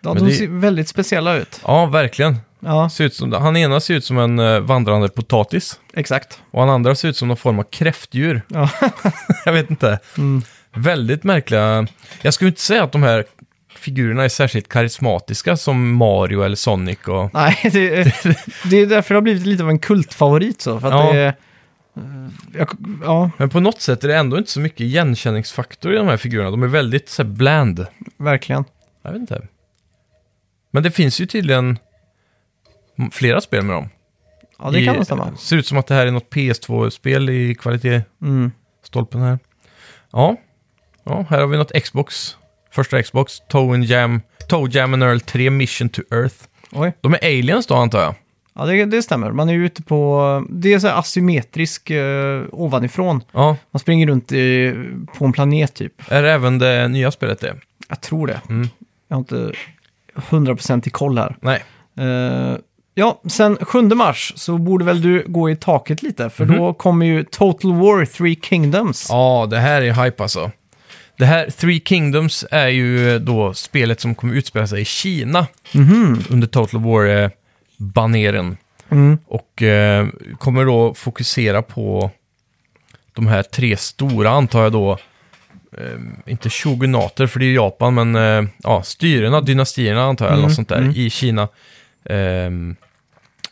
[SPEAKER 1] Ja,
[SPEAKER 2] Men
[SPEAKER 1] de
[SPEAKER 2] det-
[SPEAKER 1] ser väldigt speciella ut.
[SPEAKER 2] Ja, verkligen.
[SPEAKER 1] Ja,
[SPEAKER 2] Ser ut som, han ena ser ut som en eh, vandrande potatis.
[SPEAKER 1] exakt.
[SPEAKER 2] Och han andra ser ut som någon form av kräftdjur.
[SPEAKER 1] Ja.
[SPEAKER 2] jag vet inte.
[SPEAKER 1] Mm.
[SPEAKER 2] Väldigt märkliga. Jag skulle inte säga att de här figurerna är särskilt karismatiska som Mario eller Sonic. Och...
[SPEAKER 1] Nej, det, det är därför det har blivit lite av en kultfavorit så. För att
[SPEAKER 2] Ja.
[SPEAKER 1] det är, eh, jag, ja,
[SPEAKER 2] Men på något sätt är det ändå inte så mycket igenkänningsfaktor i de här figurerna. De är väldigt så här, bland.
[SPEAKER 1] verkligen.
[SPEAKER 2] Jag vet inte. Men det finns ju tydligen m- flera spel med dem.
[SPEAKER 1] Ja, det kan nog stämma.
[SPEAKER 2] det ser ut som att det här är något PS2-spel i kvalitetsstolpen
[SPEAKER 1] Mm.
[SPEAKER 2] här. Ja. ja, här har vi något Xbox. Första Xbox, Toe and Jam, Toe Jam and Earl 3 Mission to Earth.
[SPEAKER 1] Oj.
[SPEAKER 2] De är aliens då antar jag?
[SPEAKER 1] Ja, det, det stämmer. Man är ju ute på... Det är så här asymmetrisk eh, ovanifrån.
[SPEAKER 2] Ja,
[SPEAKER 1] Man springer runt i, på en planet typ.
[SPEAKER 2] är det även det nya spelet det?
[SPEAKER 1] Jag tror det.
[SPEAKER 2] Mm.
[SPEAKER 1] Jag har inte 100% i koll här.
[SPEAKER 2] Nej.
[SPEAKER 1] Eh, ja, sen 7 mars så borde väl du gå i taket lite. För
[SPEAKER 2] Mhm.
[SPEAKER 1] då kommer ju Total War Three Kingdoms.
[SPEAKER 2] Ja, det här är hype alltså. Det här Three Kingdoms är ju då spelet som kommer utspela sig i Kina
[SPEAKER 1] Mhm.
[SPEAKER 2] under Total eh, War-baneren.
[SPEAKER 1] Mm.
[SPEAKER 2] Och eh, kommer då fokusera på de här tre stora, antar jag då. Eh, inte shogunater, för det är ju Japan, men eh, ja, styrena, dynastierna antar jag, eller
[SPEAKER 1] Mm,
[SPEAKER 2] något sånt där, i Kina. Eh,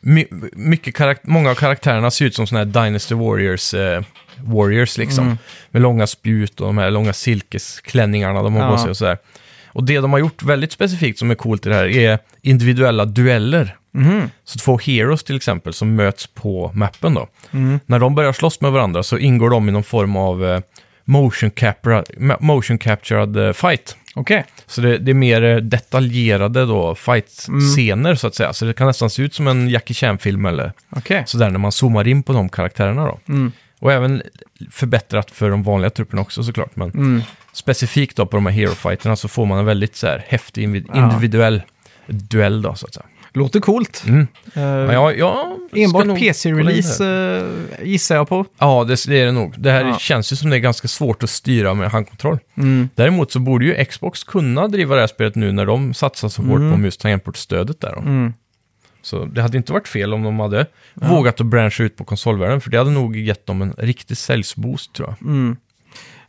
[SPEAKER 2] my, mycket karak- många av karaktärerna ser ut som sådana här Dynasty Warriors, eh, warriors liksom.
[SPEAKER 1] Mm.
[SPEAKER 2] Med långa spjut och de här långa silkesklänningarna de har på
[SPEAKER 1] Ja.
[SPEAKER 2] sig och sådär. Och det de har gjort väldigt specifikt som är coolt i det här är individuella dueller.
[SPEAKER 1] Mhm.
[SPEAKER 2] Så två heroes till exempel som möts på mappen då.
[SPEAKER 1] Mm.
[SPEAKER 2] När de börjar slåss med varandra så ingår de i någon form av eh, motion, capra- ma- motion captured eh, fight.
[SPEAKER 1] Okej.
[SPEAKER 2] Så det, det är mer eh, detaljerade då fight-scener så att säga. Så det kan nästan se ut som en Jackie Chan-film eller
[SPEAKER 1] Okej.
[SPEAKER 2] sådär när man zoomar in på de karaktärerna då.
[SPEAKER 1] Mm.
[SPEAKER 2] Och även förbättrat för de vanliga trupperna också såklart. Men
[SPEAKER 1] Mm.
[SPEAKER 2] specifikt då på de här hero-fighterna så får man en väldigt så här, häftig invi-
[SPEAKER 1] Ja.
[SPEAKER 2] individuell duell då så att säga.
[SPEAKER 1] Låter coolt.
[SPEAKER 2] Mm.
[SPEAKER 1] Eh,
[SPEAKER 2] Ja, jag, jag ska
[SPEAKER 1] Enbart
[SPEAKER 2] nog kolla in det här.
[SPEAKER 1] PC-release eh, gissar jag på.
[SPEAKER 2] Ja, det, det är det nog. Det här
[SPEAKER 1] Ja.
[SPEAKER 2] känns ju som det är ganska svårt att styra med handkontroll.
[SPEAKER 1] Mm.
[SPEAKER 2] Däremot så borde ju Xbox kunna driva det här spelet nu när de satsar så hårt
[SPEAKER 1] Mm.
[SPEAKER 2] på mus tangentbordstödet där. då.
[SPEAKER 1] Mm.
[SPEAKER 2] Så det hade inte varit fel om de hade vågat att branscha ut på konsolvärlden, för det hade nog gett dem en riktig säljsboost tror jag.
[SPEAKER 1] Mm.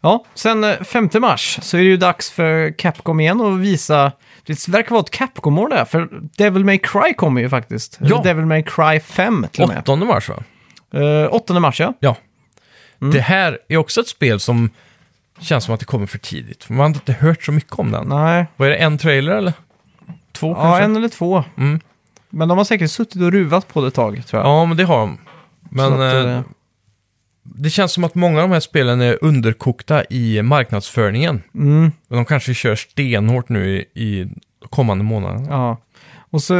[SPEAKER 1] Ja, sen eh, 5 mars så är det ju dags för Capcom igen och visa... Det verkar vara ett Capcom-år det här, för Devil May Cry kommer ju faktiskt.
[SPEAKER 2] Ja.
[SPEAKER 1] Eller Devil May Cry 5 till och med.
[SPEAKER 2] 8 mars va?
[SPEAKER 1] Eh, 8 mars, ja.
[SPEAKER 2] Ja.
[SPEAKER 1] Mm.
[SPEAKER 2] Det här är också ett spel som känns som att det kommer för tidigt. för Man har inte hört så mycket om den.
[SPEAKER 1] Nej,
[SPEAKER 2] Vad är det, en trailer eller? Två
[SPEAKER 1] ja,
[SPEAKER 2] kanske?
[SPEAKER 1] en eller två.
[SPEAKER 2] Mm.
[SPEAKER 1] Men de har säkert suttit och ruvat på det ett tag, tror jag.
[SPEAKER 2] Ja, men det har de. Men
[SPEAKER 1] Så att,
[SPEAKER 2] eh,
[SPEAKER 1] eh,
[SPEAKER 2] det känns som att många av de här spelen är underkokta i marknadsföringen.
[SPEAKER 1] Mm,
[SPEAKER 2] Men de kanske kör stenhårt nu i, i kommande månader.
[SPEAKER 1] ja. Och så...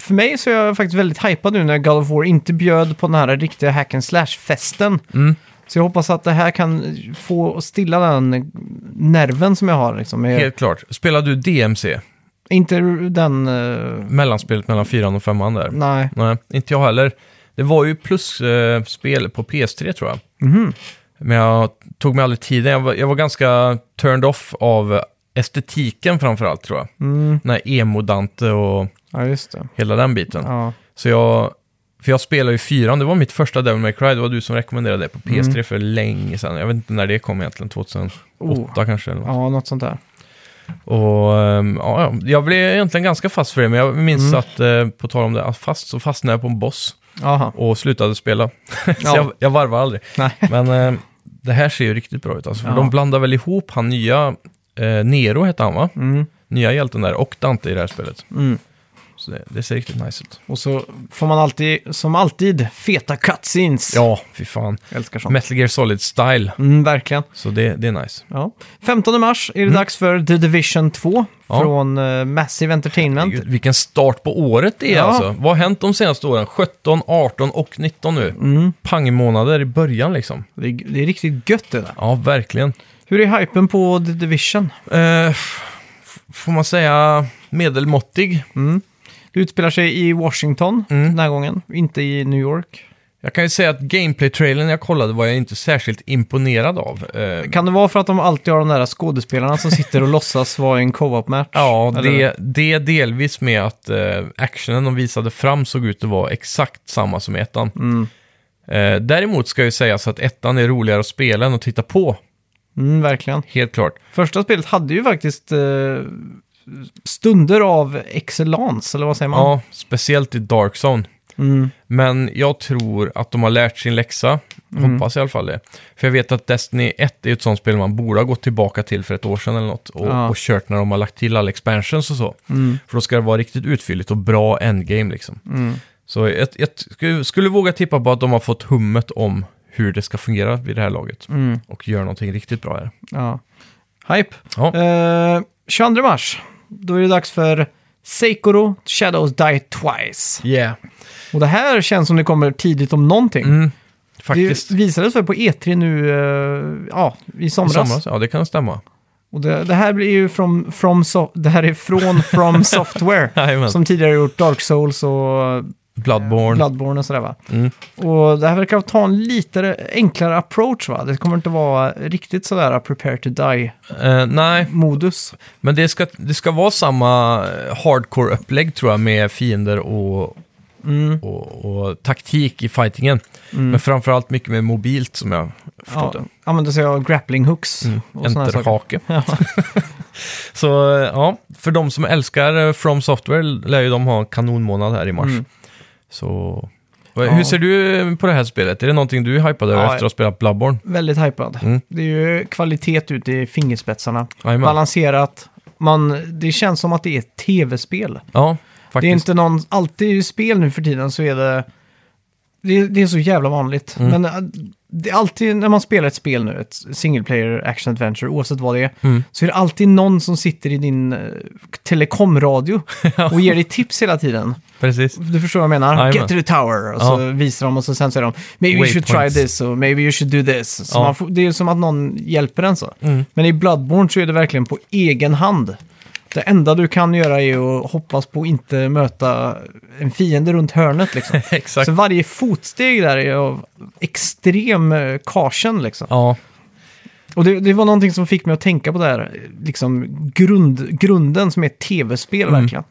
[SPEAKER 1] För mig så är jag faktiskt väldigt hypad nu när God of War inte bjöd på den här riktiga hack and slash-festen.
[SPEAKER 2] Mm.
[SPEAKER 1] Så jag hoppas att det här kan få stilla den nerven som jag har. Liksom. Jag,
[SPEAKER 2] Helt klart. Spelar du DMC?
[SPEAKER 1] Inte den... eh,
[SPEAKER 2] Mellanspelet mellan fyran och femman där?
[SPEAKER 1] nej.
[SPEAKER 2] Nej, inte jag heller. Det var ju plusspel på PS3 tror jag. Men jag tog mig aldrig tiden. Jag var, jag var ganska turned off av estetiken framförallt tror jag.
[SPEAKER 1] Mm,
[SPEAKER 2] Den här emo-Dante och
[SPEAKER 1] ja, just det.
[SPEAKER 2] hela den biten.
[SPEAKER 1] Ja.
[SPEAKER 2] Så jag, för jag spelade ju fyran, det var mitt första Devil May Cry, det var du som rekommenderade det på
[SPEAKER 1] Mm.
[SPEAKER 2] PS3 för länge sedan. Jag vet inte när det kom egentligen, 2008
[SPEAKER 1] Oh.
[SPEAKER 2] kanske. Eller något.
[SPEAKER 1] ja, något sånt där.
[SPEAKER 2] Och ehm, ja, ja, jag blev egentligen ganska fast för det, men jag minns
[SPEAKER 1] Mm.
[SPEAKER 2] att, eh, på tal om det, att fast så fastnade jag på en boss
[SPEAKER 1] Jaha.
[SPEAKER 2] och slutade spela. så
[SPEAKER 1] Ja.
[SPEAKER 2] jag, jag varvade aldrig.
[SPEAKER 1] Nej.
[SPEAKER 2] Men eh, det här ser ju riktigt bra ut alltså, för
[SPEAKER 1] Ja.
[SPEAKER 2] de blandar väl ihop han nya, eh, Nero hette han va?
[SPEAKER 1] Mm,
[SPEAKER 2] Nya hjälten där, och Dante i det här spelet.
[SPEAKER 1] mm.
[SPEAKER 2] Så det, det ser riktigt nice ut.
[SPEAKER 1] Och så får man alltid, som alltid, feta cutscenes.
[SPEAKER 2] Ja, fy fan.
[SPEAKER 1] Jag älskar sånt.
[SPEAKER 2] Metal Gear Solid-style.
[SPEAKER 1] Mm, verkligen.
[SPEAKER 2] Så det, det är nice.
[SPEAKER 1] Ja. 15 mars är det dags för The Division 2
[SPEAKER 2] Ja.
[SPEAKER 1] från eh, Massive Entertainment.
[SPEAKER 2] Gud, vilken start på året det är
[SPEAKER 1] Ja.
[SPEAKER 2] alltså. Vad har hänt de senaste åren? 17, 18 och 19 nu.
[SPEAKER 1] Mm.
[SPEAKER 2] Pangmånader i början liksom.
[SPEAKER 1] Det, är, det är riktigt gött det där.
[SPEAKER 2] Ja, verkligen.
[SPEAKER 1] Hur är hypen på The Division?
[SPEAKER 2] Eh, f- får man säga medelmåttig?
[SPEAKER 1] Det utspelar sig i Washington
[SPEAKER 2] Mm.
[SPEAKER 1] den här gången, inte i New York.
[SPEAKER 2] Jag kan ju säga att gameplay-trailern jag kollade var jag inte särskilt imponerad av. Eh,
[SPEAKER 1] Kan det vara för att de alltid har de där skådespelarna som sitter och låtsas vara i en co-op-match?
[SPEAKER 2] Ja,
[SPEAKER 1] Eller-
[SPEAKER 2] det, det delvis med att eh, actionen de visade fram såg ut att vara exakt samma som i ettan.
[SPEAKER 1] Mm.
[SPEAKER 2] Eh, däremot ska jag ju sägas att ettan är roligare att spela än att titta på.
[SPEAKER 1] Mm, verkligen.
[SPEAKER 2] Helt klart.
[SPEAKER 1] Första spelet hade ju faktiskt eh, stunder av excellens, eller vad säger man?
[SPEAKER 2] Ja, speciellt i Dark Zone.
[SPEAKER 1] Mm.
[SPEAKER 2] Men jag tror att de har lärt sin läxa.
[SPEAKER 1] Mm.
[SPEAKER 2] Hoppas i alla fall det. För jag vet att Destiny 1 är ett sånt spel man borde ha gått tillbaka till för ett år sedan eller något. Och,
[SPEAKER 1] Ja. Mm.
[SPEAKER 2] och kört när de har lagt till alla expansions och så. För då ska det vara riktigt utfylligt och bra endgame liksom. Så jag, jag skulle, skulle våga tippa på att de har fått hummet om hur det ska fungera vid det här laget.
[SPEAKER 1] Mm.
[SPEAKER 2] Och gör någonting riktigt bra här.
[SPEAKER 1] ja. Hype.
[SPEAKER 2] Ja,
[SPEAKER 1] Eh, 22 mars, då är det dags för Seikoro Shadows Die Twice.
[SPEAKER 2] yeah.
[SPEAKER 1] Och det här känns som det kommer tidigt om någonting.
[SPEAKER 2] Mm,
[SPEAKER 1] det
[SPEAKER 2] faktiskt.
[SPEAKER 1] visades väl på E3 nu eh, ja, i,
[SPEAKER 2] I
[SPEAKER 1] somras.
[SPEAKER 2] somras, ja det kan stämma.
[SPEAKER 1] Och det, det här blir ju from, from so- det här är från From Software.
[SPEAKER 2] Jajamän.
[SPEAKER 1] som tidigare gjort Dark Souls och
[SPEAKER 2] Bloodborne.
[SPEAKER 1] Bloodborne och sådär va.
[SPEAKER 2] Mm.
[SPEAKER 1] Och det här verkar ta en lite enklare approach va. Det kommer inte vara riktigt sådär prepare to die-modus.
[SPEAKER 2] Eh, nej, Men det ska, det ska vara samma eh, hardcore-upplägg tror jag med fiender och,
[SPEAKER 1] Mm.
[SPEAKER 2] och, och taktik i fightingen.
[SPEAKER 1] Mm.
[SPEAKER 2] Men framförallt mycket mer mobilt som jag förstått Mm.
[SPEAKER 1] Ja,
[SPEAKER 2] det.
[SPEAKER 1] använder sig av grappling hooks och sådana saker.
[SPEAKER 2] Enterhake. Så eh, ja, för de som älskar eh, From Software lär ju de ha en kanonmånad här i mars.
[SPEAKER 1] Mm.
[SPEAKER 2] Så Och hur
[SPEAKER 1] Ja.
[SPEAKER 2] ser du eh, på det här spelet? Är det någonting du är hypad över
[SPEAKER 1] Ja,
[SPEAKER 2] efter att ha spelat Bloodborne?
[SPEAKER 1] Väldigt hypad.
[SPEAKER 2] Mm.
[SPEAKER 1] Det är ju kvalitet ut i fingerspetsarna.
[SPEAKER 2] Jajamän.
[SPEAKER 1] Balanserat. Man, det känns som att det är ett tv-spel.
[SPEAKER 2] Ja,
[SPEAKER 1] Det är
[SPEAKER 2] faktiskt.
[SPEAKER 1] inte någon, alltid i spel nu för tiden så är det, det, det är så jävla vanligt.
[SPEAKER 2] Mm.
[SPEAKER 1] Men eh, det är alltid när man spelar ett spel nu, ett single player action adventure, oavsett vad det är,
[SPEAKER 2] Mm.
[SPEAKER 1] så är det alltid någon som sitter i din eh, telekomradio och ger dig tips hela tiden.
[SPEAKER 2] Precis.
[SPEAKER 1] Du förstår vad jag menar?
[SPEAKER 2] Jajamän.
[SPEAKER 1] Get to the tower. Och så visar de och så sen säger de Maybe you should
[SPEAKER 2] Waypoints.
[SPEAKER 1] try this och maybe you should do this. Så
[SPEAKER 2] Ja.
[SPEAKER 1] man får, det är ju som att någon hjälper en så.
[SPEAKER 2] Mm.
[SPEAKER 1] Men i Bloodborne så är det verkligen på egen hand. Det enda du kan göra är att hoppas på att inte möta en fiende runt hörnet liksom.
[SPEAKER 2] Exakt.
[SPEAKER 1] så varje fotsteg där är av extrem eh, caution liksom.
[SPEAKER 2] Ja,
[SPEAKER 1] Och det, det var någonting som fick mig att tänka på det här, eh, liksom grund, grunden som är ett tv-spel
[SPEAKER 2] Mm.
[SPEAKER 1] verkligen.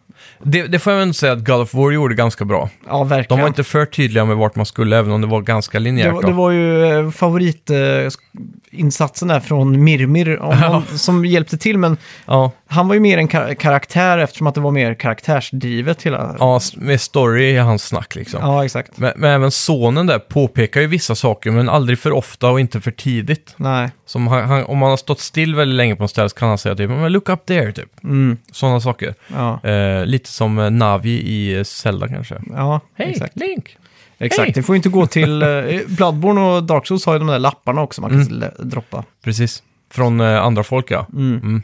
[SPEAKER 2] det, det får jag ändå säga att God of War gjorde ganska bra.
[SPEAKER 1] Ja,
[SPEAKER 2] De
[SPEAKER 1] verkligen.
[SPEAKER 2] var inte för tydliga med vart man skulle, även om det var ganska
[SPEAKER 1] Det
[SPEAKER 2] linjärt.
[SPEAKER 1] var,
[SPEAKER 2] då.
[SPEAKER 1] det var ju eh, favoritinsatsen där från Mirmir om någon, som hjälpte till, men
[SPEAKER 2] Ja,
[SPEAKER 1] han var ju mer en kar- karaktär eftersom att det var mer karaktärsdrivet hela...
[SPEAKER 2] ja, s- med story i hans snack liksom.
[SPEAKER 1] Ja, exakt.
[SPEAKER 2] Men, men även sonen där påpekar ju vissa saker, men aldrig för ofta och inte för tidigt.
[SPEAKER 1] Nej.
[SPEAKER 2] Som han, han, om man har stått still väldigt länge på en ställe så kan han säga typ men “look up there” typ.
[SPEAKER 1] Mm,
[SPEAKER 2] Sådana saker.
[SPEAKER 1] ja.
[SPEAKER 2] Eh, lite som eh, Navi i eh, Zelda kanske.
[SPEAKER 1] Ja,
[SPEAKER 2] Hej,
[SPEAKER 1] exakt.
[SPEAKER 2] Link!
[SPEAKER 1] exakt.
[SPEAKER 2] hej.
[SPEAKER 1] Det får ju inte gå till... eh, Bloodborne och Dark Souls har ju de där lapparna också man kan mm. droppa.
[SPEAKER 2] Precis. Från eh, andra folk ja.
[SPEAKER 1] Mm.
[SPEAKER 2] Mm.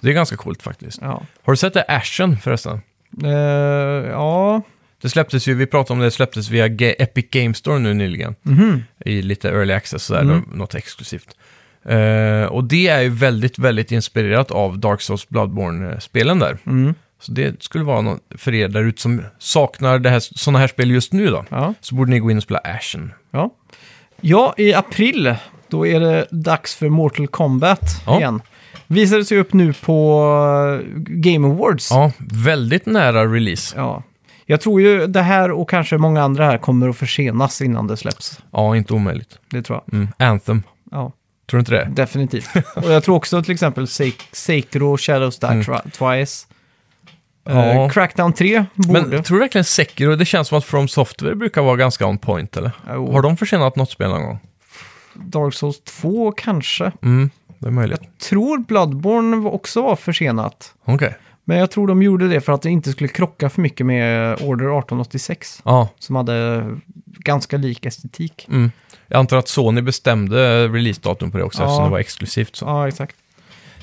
[SPEAKER 2] Det är ganska coolt faktiskt.
[SPEAKER 1] Ja.
[SPEAKER 2] Har du sett det Ashen förresten?
[SPEAKER 1] Eh, ja,
[SPEAKER 2] Det släpptes ju, vi pratade om det, det släpptes via Ge- Epic Game Store nu nyligen.
[SPEAKER 1] Mhm.
[SPEAKER 2] I lite early access, sådär,
[SPEAKER 1] Mm.
[SPEAKER 2] då- något exklusivt. Eh, och det är ju väldigt, väldigt inspirerat av Dark Souls Bloodborne-spelen där.
[SPEAKER 1] Mm.
[SPEAKER 2] Så det skulle vara något för er där ute som saknar det här, sådana här spel just nu då.
[SPEAKER 1] Ja.
[SPEAKER 2] Så borde ni gå in och spela Ashen.
[SPEAKER 1] Ja. ja, i april då är det dags för Mortal Kombat
[SPEAKER 2] Ja.
[SPEAKER 1] igen. Visades ju upp nu på eh, Game Awards.
[SPEAKER 2] Ja, väldigt nära release.
[SPEAKER 1] Ja. Jag tror ju det här och kanske många andra här kommer att försenas innan det släpps.
[SPEAKER 2] Ja, inte omöjligt.
[SPEAKER 1] Det tror jag.
[SPEAKER 2] Mm. Anthem,
[SPEAKER 1] Ja,
[SPEAKER 2] tror du inte det?
[SPEAKER 1] definitivt. och jag tror också till exempel Sek- Sekiro, Shadows Die
[SPEAKER 2] Mm.
[SPEAKER 1] Tri- Twice.
[SPEAKER 2] Ja.
[SPEAKER 1] Eh, Crackdown 3 borde.
[SPEAKER 2] Men tror du verkligen Sekiro, det känns som att From Software brukar vara ganska on point eller?
[SPEAKER 1] Jo.
[SPEAKER 2] Har de försenat något spel någon gång?
[SPEAKER 1] Dark Souls 2 kanske.
[SPEAKER 2] Mm, det är möjligt.
[SPEAKER 1] Tror Bloodborne var- också var försenat.
[SPEAKER 2] Okej.
[SPEAKER 1] Men jag tror de gjorde det för att det inte skulle krocka för mycket med Order 1886.
[SPEAKER 2] Ja,
[SPEAKER 1] Som hade ganska lik estetik.
[SPEAKER 2] mm. Jag antar att Sony bestämde releasedatum på det också
[SPEAKER 1] Ja.
[SPEAKER 2] eftersom det var exklusivt. Så.
[SPEAKER 1] Ja, exakt.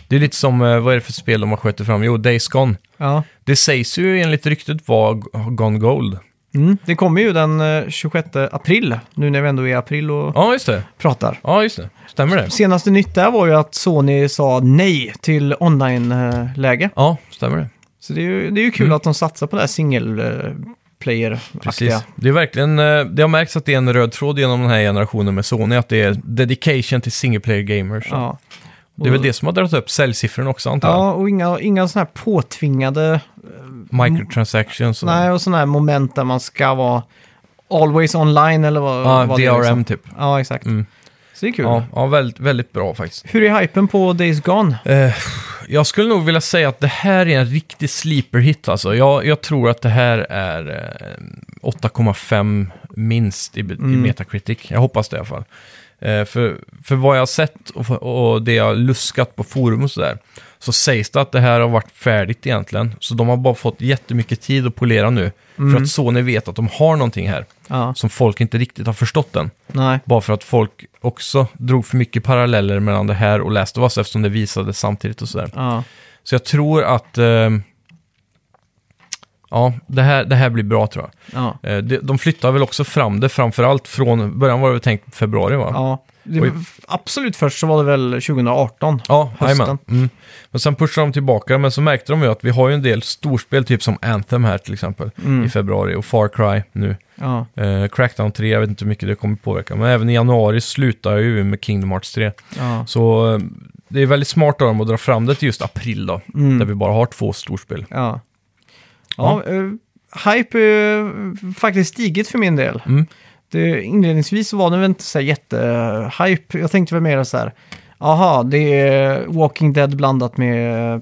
[SPEAKER 2] Det är lite som, eh, vad är det för spel de har skjutit fram? Jo, Days Gone.
[SPEAKER 1] Ja.
[SPEAKER 2] Det sägs ju enligt ryktet vara g- Gone Gold.
[SPEAKER 1] Mm. Det kommer ju den eh, 26 april, nu när vi ändå är i april och
[SPEAKER 2] Ja, just det.
[SPEAKER 1] pratar.
[SPEAKER 2] Ja, just det. Stämmer det?
[SPEAKER 1] Senaste nytt där var ju att Sony sa nej till online-läge.
[SPEAKER 2] Ja, stämmer det.
[SPEAKER 1] Så det är ju, det är ju kul
[SPEAKER 2] Mm.
[SPEAKER 1] att de satsar på det här single
[SPEAKER 2] Precis.
[SPEAKER 1] player-aktiga.
[SPEAKER 2] Det är verkligen, eh, det har märkts att det är en röd tråd genom den här generationen med Sony, att det är dedication till single player gamers.
[SPEAKER 1] Ja.
[SPEAKER 2] Det är väl det som har dragit upp säljsiffrorna också antar jag.
[SPEAKER 1] Ja, och inga, inga sådana här påtvingade,
[SPEAKER 2] Microtransactions och
[SPEAKER 1] nej, och sådana här moment där man ska vara always online eller vad,
[SPEAKER 2] ja,
[SPEAKER 1] vad
[SPEAKER 2] DRM
[SPEAKER 1] det är. Liksom.
[SPEAKER 2] typ.
[SPEAKER 1] Ja, exakt.
[SPEAKER 2] Mm.
[SPEAKER 1] Så det är kul.
[SPEAKER 2] Ja, ja väldigt, väldigt bra faktiskt.
[SPEAKER 1] Hur är hypen på Days Gone?
[SPEAKER 2] Eh, jag skulle nog vilja säga att det här är en riktig sleeper hit alltså. Jag, jag tror att det här är eh, 8,5 minst i, be- i
[SPEAKER 1] Mm.
[SPEAKER 2] Metacritic. Jag hoppas det i alla fall. Eh, för, för vad jag har sett och, för- och det jag har luskat på forum och sådär, så sägs det att det här har varit färdigt egentligen. Så de har bara fått jättemycket tid att polera nu. För att Sony vet att de har någonting här
[SPEAKER 1] Ja,
[SPEAKER 2] som folk inte riktigt har förstått än.
[SPEAKER 1] nej.
[SPEAKER 2] Bara för att folk också drog för mycket paralleller mellan det här och Last of Us eftersom det visades samtidigt och sådär.
[SPEAKER 1] Ja.
[SPEAKER 2] Så jag tror att... Eh, ja, det här, det här blir bra tror jag.
[SPEAKER 1] Ja.
[SPEAKER 2] Eh, de, de flyttar väl också fram det framförallt från... Början var det väl tänkt februari va?
[SPEAKER 1] ja. Det,
[SPEAKER 2] Oj.
[SPEAKER 1] absolut först så var det väl 2018.
[SPEAKER 2] Ja, jajamän.
[SPEAKER 1] hösten.
[SPEAKER 2] Mm. Men sen pushade de tillbaka, men så märkte de ju att vi har ju en del storspel, typ som Anthem här till exempel,
[SPEAKER 1] Mm.
[SPEAKER 2] i februari och Far Cry nu.
[SPEAKER 1] Ja.
[SPEAKER 2] Eh, Crackdown 3, jag vet inte hur mycket det kommer påverka, men även i januari slutar jag ju med Kingdom Hearts 3.
[SPEAKER 1] Ja.
[SPEAKER 2] Så eh, det är väldigt smart av dem att dra fram det till just april då,
[SPEAKER 1] Mm.
[SPEAKER 2] där vi bara har två storspel.
[SPEAKER 1] Ja. Ja, eh, hype har faktiskt stigit för min del.
[SPEAKER 2] Mm.
[SPEAKER 1] Det, inledningsvis så var det väl inte så här jättehype. Jag tänkte väl mer så här, aha, det är Walking Dead blandat med, eh,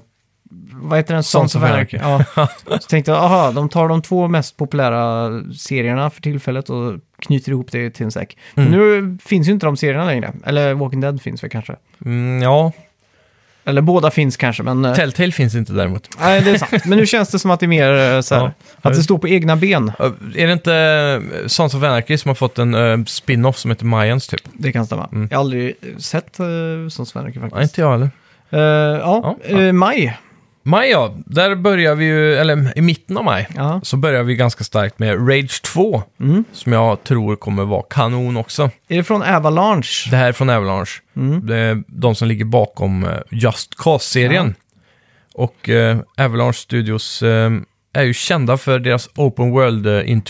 [SPEAKER 1] vad heter den?
[SPEAKER 2] Sons of
[SPEAKER 1] Ja. Så tänkte jag, aha, de tar de två mest populära serierna för tillfället och knyter ihop det till en säck.
[SPEAKER 2] Mm.
[SPEAKER 1] Men nu finns ju inte de serierna längre. Eller Walking Dead finns väl kanske.
[SPEAKER 2] Mm, ja,
[SPEAKER 1] Eller båda finns kanske, men... eh,
[SPEAKER 2] Telltale finns inte däremot.
[SPEAKER 1] Nej, det är sant. Men nu känns det som att det är mer eh, så här,
[SPEAKER 2] Ja.
[SPEAKER 1] att det står på egna ben.
[SPEAKER 2] Eh, Är det inte eh, Sons of Anarchy som har fått en eh, spin-off som heter Mayans typ?
[SPEAKER 1] Det kan stämma.
[SPEAKER 2] Mm.
[SPEAKER 1] Jag har aldrig eh, sett uh, som Sven-Åke
[SPEAKER 2] Nej,
[SPEAKER 1] faktiskt.
[SPEAKER 2] inte jag heller.
[SPEAKER 1] Eh, ja,
[SPEAKER 2] Ja.
[SPEAKER 1] eh, maj.
[SPEAKER 2] Maj ja, där börjar vi ju, eller i mitten av maj,
[SPEAKER 1] Ja.
[SPEAKER 2] så börjar vi ganska starkt med Rage 2,
[SPEAKER 1] Mm.
[SPEAKER 2] som jag tror kommer vara kanon också.
[SPEAKER 1] Är det från Avalanche?
[SPEAKER 2] Det här är från Avalanche,
[SPEAKER 1] Mm.
[SPEAKER 2] det är de som ligger bakom eh, Just Cause-serien. Och eh, Avalanche Studios eh, är ju kända för deras open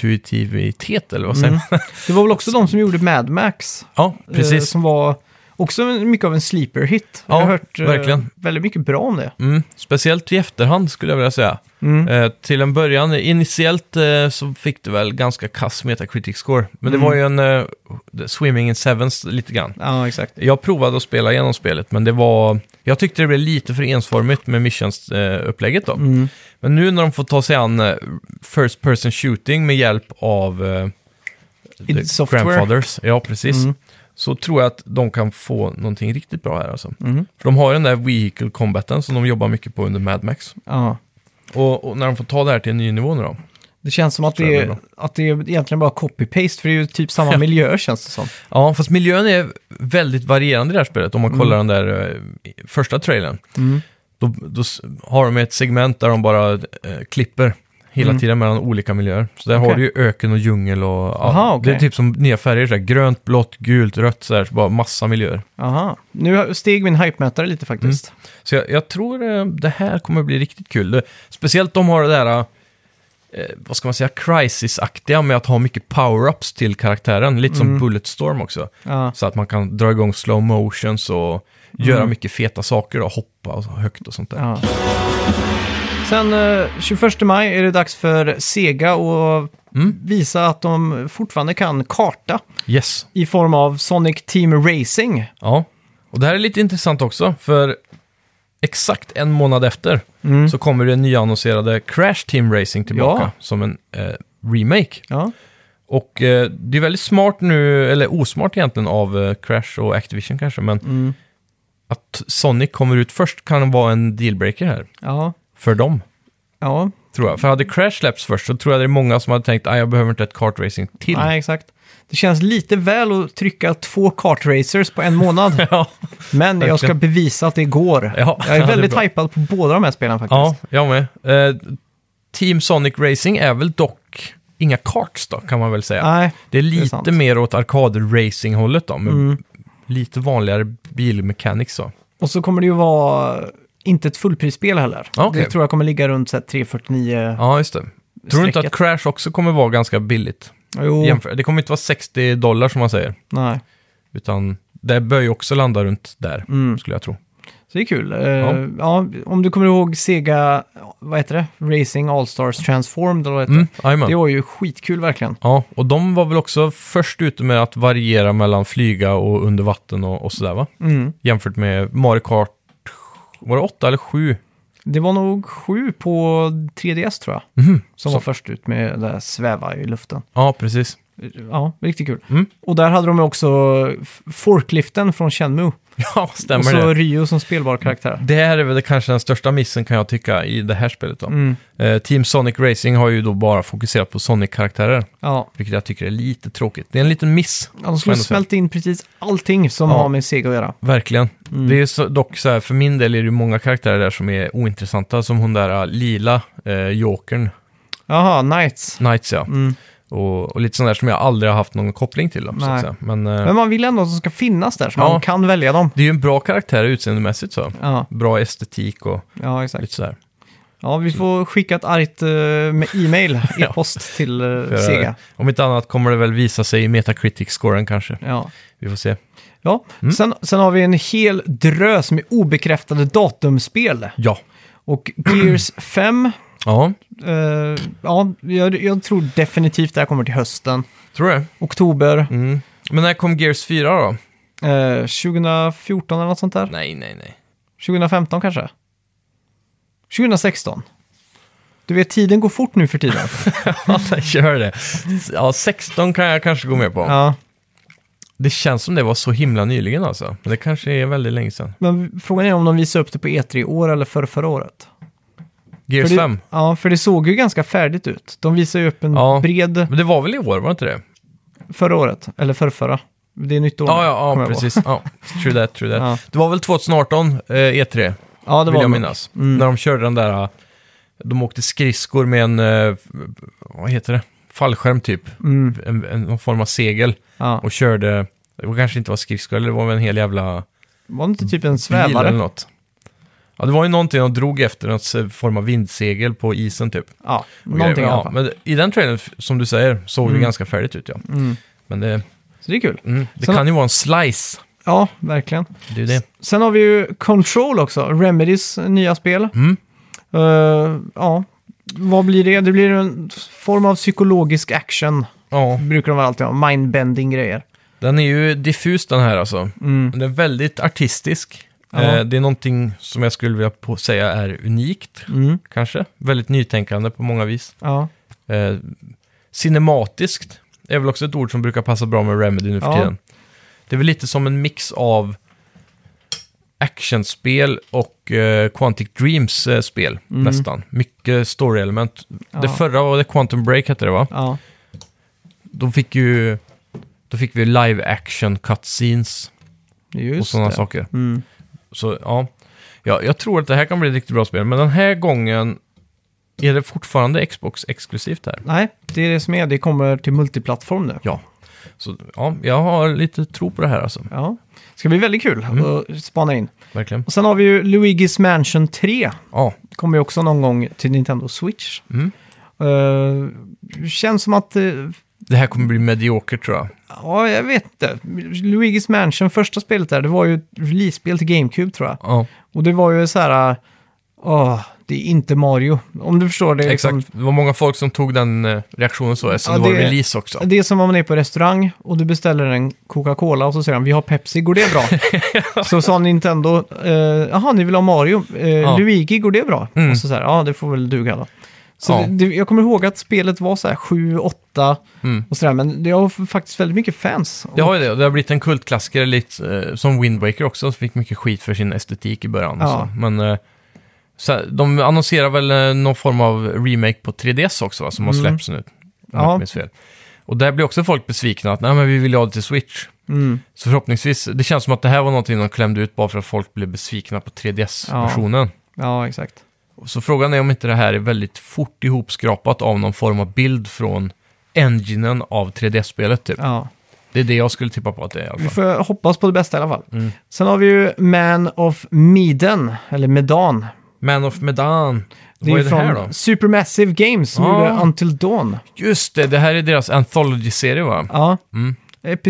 [SPEAKER 2] world-intuitivitet, eller vad säger
[SPEAKER 1] Mm.
[SPEAKER 2] man?
[SPEAKER 1] Det var väl också de som gjorde Mad Max?
[SPEAKER 2] Ja,
[SPEAKER 1] eh,
[SPEAKER 2] precis.
[SPEAKER 1] som var också en- mycket av en sleeper hit.
[SPEAKER 2] Ja,
[SPEAKER 1] jag har hört eh,
[SPEAKER 2] verkligen.
[SPEAKER 1] väldigt mycket bra om det.
[SPEAKER 2] Mm. Speciellt i efterhand skulle jag vilja säga.
[SPEAKER 1] Mm.
[SPEAKER 2] Eh, till en början, initiellt eh, så fick det väl ganska kass Metacritic score. Men det
[SPEAKER 1] Mm.
[SPEAKER 2] var ju en eh, Swimming in Sevens lite grann.
[SPEAKER 1] Ja, exakt.
[SPEAKER 2] Jag provade att spela igenom spelet, men det var... Jag tyckte det blev lite för ensformigt med missions-upplägget då.
[SPEAKER 1] Mm.
[SPEAKER 2] Men nu när de får ta sig an eh, First Person Shooting med hjälp av eh, The
[SPEAKER 1] Id Software.
[SPEAKER 2] Grandfathers, ja precis,
[SPEAKER 1] Mm.
[SPEAKER 2] så tror jag att de kan få någonting riktigt bra här alltså.
[SPEAKER 1] Mm.
[SPEAKER 2] För de har ju den där Vehicle Combaten som de jobbar mycket på under Mad Max.
[SPEAKER 1] Ja.
[SPEAKER 2] Och, och när de får ta det här till en ny nivå nu då?
[SPEAKER 1] Det känns som att
[SPEAKER 2] Tror
[SPEAKER 1] det,
[SPEAKER 2] jag
[SPEAKER 1] är,
[SPEAKER 2] det är
[SPEAKER 1] att det är egentligen bara copy-paste, för det är ju typ samma miljö känns det som.
[SPEAKER 2] Ja, fast miljön är väldigt varierande i det här spelet. Om man kollar den där eh, första trailern,
[SPEAKER 1] Mm.
[SPEAKER 2] då, då s- har de ett segment där de bara eh, klipper. hela
[SPEAKER 1] Mm.
[SPEAKER 2] tiden mellan olika miljöer. Så där
[SPEAKER 1] Okej.
[SPEAKER 2] har du ju öken och djungel och... Ja,
[SPEAKER 1] Aha, okej.
[SPEAKER 2] Det är typ som nya färger, så här, grönt, blått, gult, rött, så här, så bara massa miljöer.
[SPEAKER 1] Aha. Nu steg min hype-mätare lite faktiskt.
[SPEAKER 2] Så jag, jag tror eh, det här kommer bli riktigt kul. Det- Speciellt de har det där, eh, vad ska man säga, crisis-aktiga med att ha mycket power-ups till karaktären. Lite som
[SPEAKER 1] Mm.
[SPEAKER 2] Bulletstorm också.
[SPEAKER 1] Ja. Mm.
[SPEAKER 2] Så att man kan dra igång slow motions och göra mycket feta saker och hoppa och så högt och sånt där.
[SPEAKER 1] Ja. Sen eh, 21 maj är det dags för Sega att
[SPEAKER 2] Mm.
[SPEAKER 1] visa att de fortfarande kan karta
[SPEAKER 2] Yes.
[SPEAKER 1] i form av Sonic Team Racing.
[SPEAKER 2] Ja. Och det här är lite intressant också, för exakt en månad efter
[SPEAKER 1] Mm.
[SPEAKER 2] så kommer det nyannonserade Crash Team Racing tillbaka
[SPEAKER 1] Ja.
[SPEAKER 2] som en eh, remake.
[SPEAKER 1] Ja.
[SPEAKER 2] Och eh, det är väldigt smart nu, eller osmart egentligen av eh, Crash och Activision kanske, men
[SPEAKER 1] Mm.
[SPEAKER 2] att Sonic kommer ut först kan vara en dealbreaker här
[SPEAKER 1] Ja.
[SPEAKER 2] för dem.
[SPEAKER 1] Ja.
[SPEAKER 2] Tror jag. För hade Crash släppts först så tror jag det är många som hade tänkt att jag behöver inte ett kartracing till.
[SPEAKER 1] Nej, exakt. Det känns lite väl att trycka två kartracers på en månad,
[SPEAKER 2] ja,
[SPEAKER 1] men jag ska
[SPEAKER 2] Verkligen.
[SPEAKER 1] bevisa att det går.
[SPEAKER 2] Ja,
[SPEAKER 1] jag
[SPEAKER 2] det
[SPEAKER 1] är
[SPEAKER 2] är
[SPEAKER 1] väldigt
[SPEAKER 2] bra.
[SPEAKER 1] hypad på båda de här spelen faktiskt.
[SPEAKER 2] ja, jag med. Eh, Team Sonic Racing är väl dock inga karts då, kan man väl säga.
[SPEAKER 1] Nej,
[SPEAKER 2] Det är
[SPEAKER 1] är
[SPEAKER 2] lite
[SPEAKER 1] sant.
[SPEAKER 2] mer åt arkad-racing-hållet då, med
[SPEAKER 1] Mm.
[SPEAKER 2] lite vanligare bilmechanics så.
[SPEAKER 1] Och så kommer det ju vara inte ett fullprisspel heller.
[SPEAKER 2] Ja, okej.
[SPEAKER 1] Det tror jag kommer ligga runt så här 349.
[SPEAKER 2] Ja, just det. Tror du inte att
[SPEAKER 1] Strecket.
[SPEAKER 2] Crash också kommer vara ganska billigt?
[SPEAKER 1] Jo,
[SPEAKER 2] Jämför- Det kommer inte vara 60 dollar som man säger,
[SPEAKER 1] nej.
[SPEAKER 2] utan det bör ju också landa runt där,
[SPEAKER 1] Mm.
[SPEAKER 2] skulle jag tro.
[SPEAKER 1] Så det är kul. Eh, ja, om du kommer ihåg Sega, vad heter det? Racing All-Stars Transformed eller vad heter
[SPEAKER 2] Mm,
[SPEAKER 1] det?
[SPEAKER 2] jajamän.
[SPEAKER 1] Det var ju skitkul verkligen.
[SPEAKER 2] Ja, och de var väl också först ute med att variera mellan flyga och under vatten och, och sådär va?
[SPEAKER 1] Mm.
[SPEAKER 2] Jämfört med Mario Kart, var det 8 eller 7?
[SPEAKER 1] Det var nog sju på 3DS tror jag.
[SPEAKER 2] Mhm.
[SPEAKER 1] Som
[SPEAKER 2] Så-
[SPEAKER 1] var först ut med det där sväva i luften.
[SPEAKER 2] Ja, precis.
[SPEAKER 1] Ja, riktigt kul.
[SPEAKER 2] Mm.
[SPEAKER 1] Och där hade de ju också f- forkliften från Shenmue.
[SPEAKER 2] Ja, stämmer
[SPEAKER 1] och så
[SPEAKER 2] det.
[SPEAKER 1] Ryo som spelbar karaktär.
[SPEAKER 2] Det här är väl det kanske den största missen kan jag tycka i det här spelet då.
[SPEAKER 1] Mm.
[SPEAKER 2] Eh, Team Sonic Racing har ju då bara fokuserat på Sonic-karaktärer,
[SPEAKER 1] Ja.
[SPEAKER 2] vilket jag tycker är lite tråkigt. Det är en liten miss,
[SPEAKER 1] ja, de
[SPEAKER 2] Får jag
[SPEAKER 1] skulle
[SPEAKER 2] ändå säga.
[SPEAKER 1] smälta in precis allting som
[SPEAKER 2] Ja.
[SPEAKER 1] har med Sega att göra. Mm.
[SPEAKER 2] verkligen. Det är så, dock så här, för min del är det ju många karaktärer där som är ointressanta, som hon där eh, lila eh, jokern,
[SPEAKER 1] Jaha, Knights.
[SPEAKER 2] Knights ja.
[SPEAKER 1] Mm.
[SPEAKER 2] Och, och lite sådana där som jag aldrig har haft någon koppling till. Då, så att
[SPEAKER 1] Nej.
[SPEAKER 2] säga. Men, eh,
[SPEAKER 1] Men man vill ändå att de ska finnas där, så
[SPEAKER 2] Ja.
[SPEAKER 1] man kan välja dem.
[SPEAKER 2] det är ju en bra karaktär utseendemässigt så.
[SPEAKER 1] Ja,
[SPEAKER 2] Bra estetik och
[SPEAKER 1] ja exakt.
[SPEAKER 2] lite sådär.
[SPEAKER 1] Ja, vi får skicka ett argt eh, med e-mail,
[SPEAKER 2] Ja.
[SPEAKER 1] e-post till eh,
[SPEAKER 2] För, eh,
[SPEAKER 1] Sega.
[SPEAKER 2] Om inte annat kommer det väl visa sig i Metacritic-scoren kanske.
[SPEAKER 1] Ja.
[SPEAKER 2] Vi får se.
[SPEAKER 1] Ja.
[SPEAKER 2] Mm.
[SPEAKER 1] Sen, sen har vi en hel drös med obekräftade datumspel.
[SPEAKER 2] Ja.
[SPEAKER 1] Och Gears 5,
[SPEAKER 2] Ja,
[SPEAKER 1] eh, ja, jag, jag tror definitivt det här kommer till hösten.
[SPEAKER 2] tror du det?
[SPEAKER 1] Oktober
[SPEAKER 2] Mm. Men när kom Gears 4 då?
[SPEAKER 1] eh, 2014 eller något sånt där.
[SPEAKER 2] Nej, nej, nej.
[SPEAKER 1] 2015 kanske? 2016. Du vet, tiden går fort nu för tiden.
[SPEAKER 2] Ja, nej, gör det. Ja, 16 kan jag kanske gå med på.
[SPEAKER 1] ja.
[SPEAKER 2] Det känns som det var så himla nyligen alltså. Men det kanske är väldigt länge sedan.
[SPEAKER 1] Men frågan är om de visar upp det på E3 i år eller för förra året.
[SPEAKER 2] Gears
[SPEAKER 1] för det,
[SPEAKER 2] 5.
[SPEAKER 1] Ja, för det såg ju ganska färdigt ut. De visade ju upp en
[SPEAKER 2] Ja.
[SPEAKER 1] bred
[SPEAKER 2] Men det var väl i år, var det inte det?
[SPEAKER 1] förra året, eller förrförra. Det är nytt år.
[SPEAKER 2] Ja,
[SPEAKER 1] nu,
[SPEAKER 2] ja,
[SPEAKER 1] kommer
[SPEAKER 2] ja
[SPEAKER 1] jag ihåg.
[SPEAKER 2] precis. Ja, true that, true that.
[SPEAKER 1] Ja.
[SPEAKER 2] Det var väl 2018, eh, E3,
[SPEAKER 1] Ja, det
[SPEAKER 2] vill
[SPEAKER 1] var nog.
[SPEAKER 2] jag minnas. När de körde den där, eh, de åkte skridskor med en, eh, vad heter det, fallskärm typ.
[SPEAKER 1] Mm,
[SPEAKER 2] En, en, någon form av segel.
[SPEAKER 1] ja.
[SPEAKER 2] Och körde, det var kanske inte var skridskor, eller det var väl en hel jävla
[SPEAKER 1] Var det inte typ en
[SPEAKER 2] bil eller
[SPEAKER 1] svävare?
[SPEAKER 2] något. Ja, det var ju någonting de drog efter, någon se- form av vindsegel på isen typ.
[SPEAKER 1] Ja,
[SPEAKER 2] Och
[SPEAKER 1] någonting
[SPEAKER 2] grejer.
[SPEAKER 1] i alla
[SPEAKER 2] ja,
[SPEAKER 1] fall.
[SPEAKER 2] men I den trailern, f- som du säger, såg det
[SPEAKER 1] Mm.
[SPEAKER 2] ganska färdigt ut ja.
[SPEAKER 1] Mm.
[SPEAKER 2] Men det,
[SPEAKER 1] Så det är kul.
[SPEAKER 2] mm, det
[SPEAKER 1] Sen-
[SPEAKER 2] kan ju vara en slice.
[SPEAKER 1] Ja, verkligen.
[SPEAKER 2] Det är ju det.
[SPEAKER 1] Sen har vi ju Control också, Remedys nya spel.
[SPEAKER 2] Mm.
[SPEAKER 1] Eh, ja, vad blir det? Det blir en form av psykologisk action.
[SPEAKER 2] Ja,
[SPEAKER 1] Brukar de väl alltid ha, mindbending grejer.
[SPEAKER 2] den är ju diffus den här alltså.
[SPEAKER 1] Mm.
[SPEAKER 2] Den är väldigt artistisk.
[SPEAKER 1] Ja.
[SPEAKER 2] Eh, det är någonting som jag skulle vilja på- säga är unikt,
[SPEAKER 1] Mm.
[SPEAKER 2] kanske. Väldigt nytänkande på många vis.
[SPEAKER 1] Ja.
[SPEAKER 2] Eh, cinematiskt är väl också ett ord som brukar passa bra med Remedy nu för
[SPEAKER 1] Ja.
[SPEAKER 2] tiden. Det är väl lite som en mix av actionspel och eh, Quantic Dreams eh, spel
[SPEAKER 1] Mm.
[SPEAKER 2] nästan. Mycket story-element.
[SPEAKER 1] Ja.
[SPEAKER 2] Det förra var det Quantum Break hette det va?
[SPEAKER 1] ja.
[SPEAKER 2] Då fick ju då fick vi live action cutscenes
[SPEAKER 1] Just
[SPEAKER 2] och sådana
[SPEAKER 1] det.
[SPEAKER 2] saker.
[SPEAKER 1] Mm.
[SPEAKER 2] Så ja. ja, jag tror att det här kan bli ett riktigt bra spel. Men den här gången Är det fortfarande Xbox exklusivt här?
[SPEAKER 1] Nej, det är det som är. Det kommer till multiplattform nu.
[SPEAKER 2] Ja. Så ja, jag har lite tro på det här alltså.
[SPEAKER 1] Ja. Det ska bli väldigt kul
[SPEAKER 2] Mm.
[SPEAKER 1] att spana in.
[SPEAKER 2] Verkligen.
[SPEAKER 1] Och sen har vi ju Luigi's Mansion 3.
[SPEAKER 2] Ja,
[SPEAKER 1] Det kommer ju också någon gång till Nintendo Switch.
[SPEAKER 2] Mm.
[SPEAKER 1] Eh, det känns som att... eh,
[SPEAKER 2] det här kommer bli medioker tror jag.
[SPEAKER 1] ja, jag vet inte. Luigi's Mansion, första spelet där, det var ju ett release-spel till GameCube tror jag.
[SPEAKER 2] Ja,
[SPEAKER 1] Och det var ju så här... eh, Åh, det är inte Mario. Om du förstår det. är liksom-
[SPEAKER 2] exakt. Det var många folk som tog den eh, reaktionen så, eftersom
[SPEAKER 1] Ja,
[SPEAKER 2] det var
[SPEAKER 1] det-
[SPEAKER 2] release också.
[SPEAKER 1] Det är som om man är på restaurang och du beställer en Coca-Cola och så säger de vi har Pepsi, går det bra? så sa Nintendo, eh, jaha ni vill ha Mario, eh, Luigi, går det bra?
[SPEAKER 2] Mm.
[SPEAKER 1] Och så säger ja det får väl duga då. Så
[SPEAKER 2] Ja.
[SPEAKER 1] det, jag kommer ihåg att spelet var så här 7, 8
[SPEAKER 2] Mm.
[SPEAKER 1] och sådär, men det har f- faktiskt väldigt mycket fans.
[SPEAKER 2] Det har ju det, och det har blivit en kultklassiker lite eh, som Wind Waker också, som fick mycket skit för sin estetik i början. och
[SPEAKER 1] Ja.
[SPEAKER 2] Så. Men eh, så, här, de annonserar väl eh, någon form av remake på 3DS också, va, som har
[SPEAKER 1] Mm.
[SPEAKER 2] släppts nu. Om jag
[SPEAKER 1] Ja.
[SPEAKER 2] inte minns fel. Och där blir också folk besvikna, att nej men vi vill ju ha det till Switch.
[SPEAKER 1] Mm.
[SPEAKER 2] Så förhoppningsvis, det känns som att det här var någonting de klämde ut bara för att folk blev besvikna på 3DS-versionen.
[SPEAKER 1] Ja, exakt.
[SPEAKER 2] Så frågan är om inte det här är väldigt fort ihopskrapat av någon form av bild från enginen av 3DS-spelet typ.
[SPEAKER 1] Ja.
[SPEAKER 2] Det är det jag skulle tippa på att det är i alla
[SPEAKER 1] Vi
[SPEAKER 2] fall.
[SPEAKER 1] får hoppas på det bästa i alla fall.
[SPEAKER 2] Mm.
[SPEAKER 1] Sen har vi ju Man of Medan, eller Medan.
[SPEAKER 2] Man of Medan.
[SPEAKER 1] Det är,
[SPEAKER 2] Vad är
[SPEAKER 1] ju
[SPEAKER 2] det
[SPEAKER 1] från
[SPEAKER 2] här då?
[SPEAKER 1] Supermassive Games som
[SPEAKER 2] Ah.
[SPEAKER 1] gjorde Until Dawn.
[SPEAKER 2] Just det, det här är deras Anthology-serie va?
[SPEAKER 1] Ja.
[SPEAKER 2] Mm.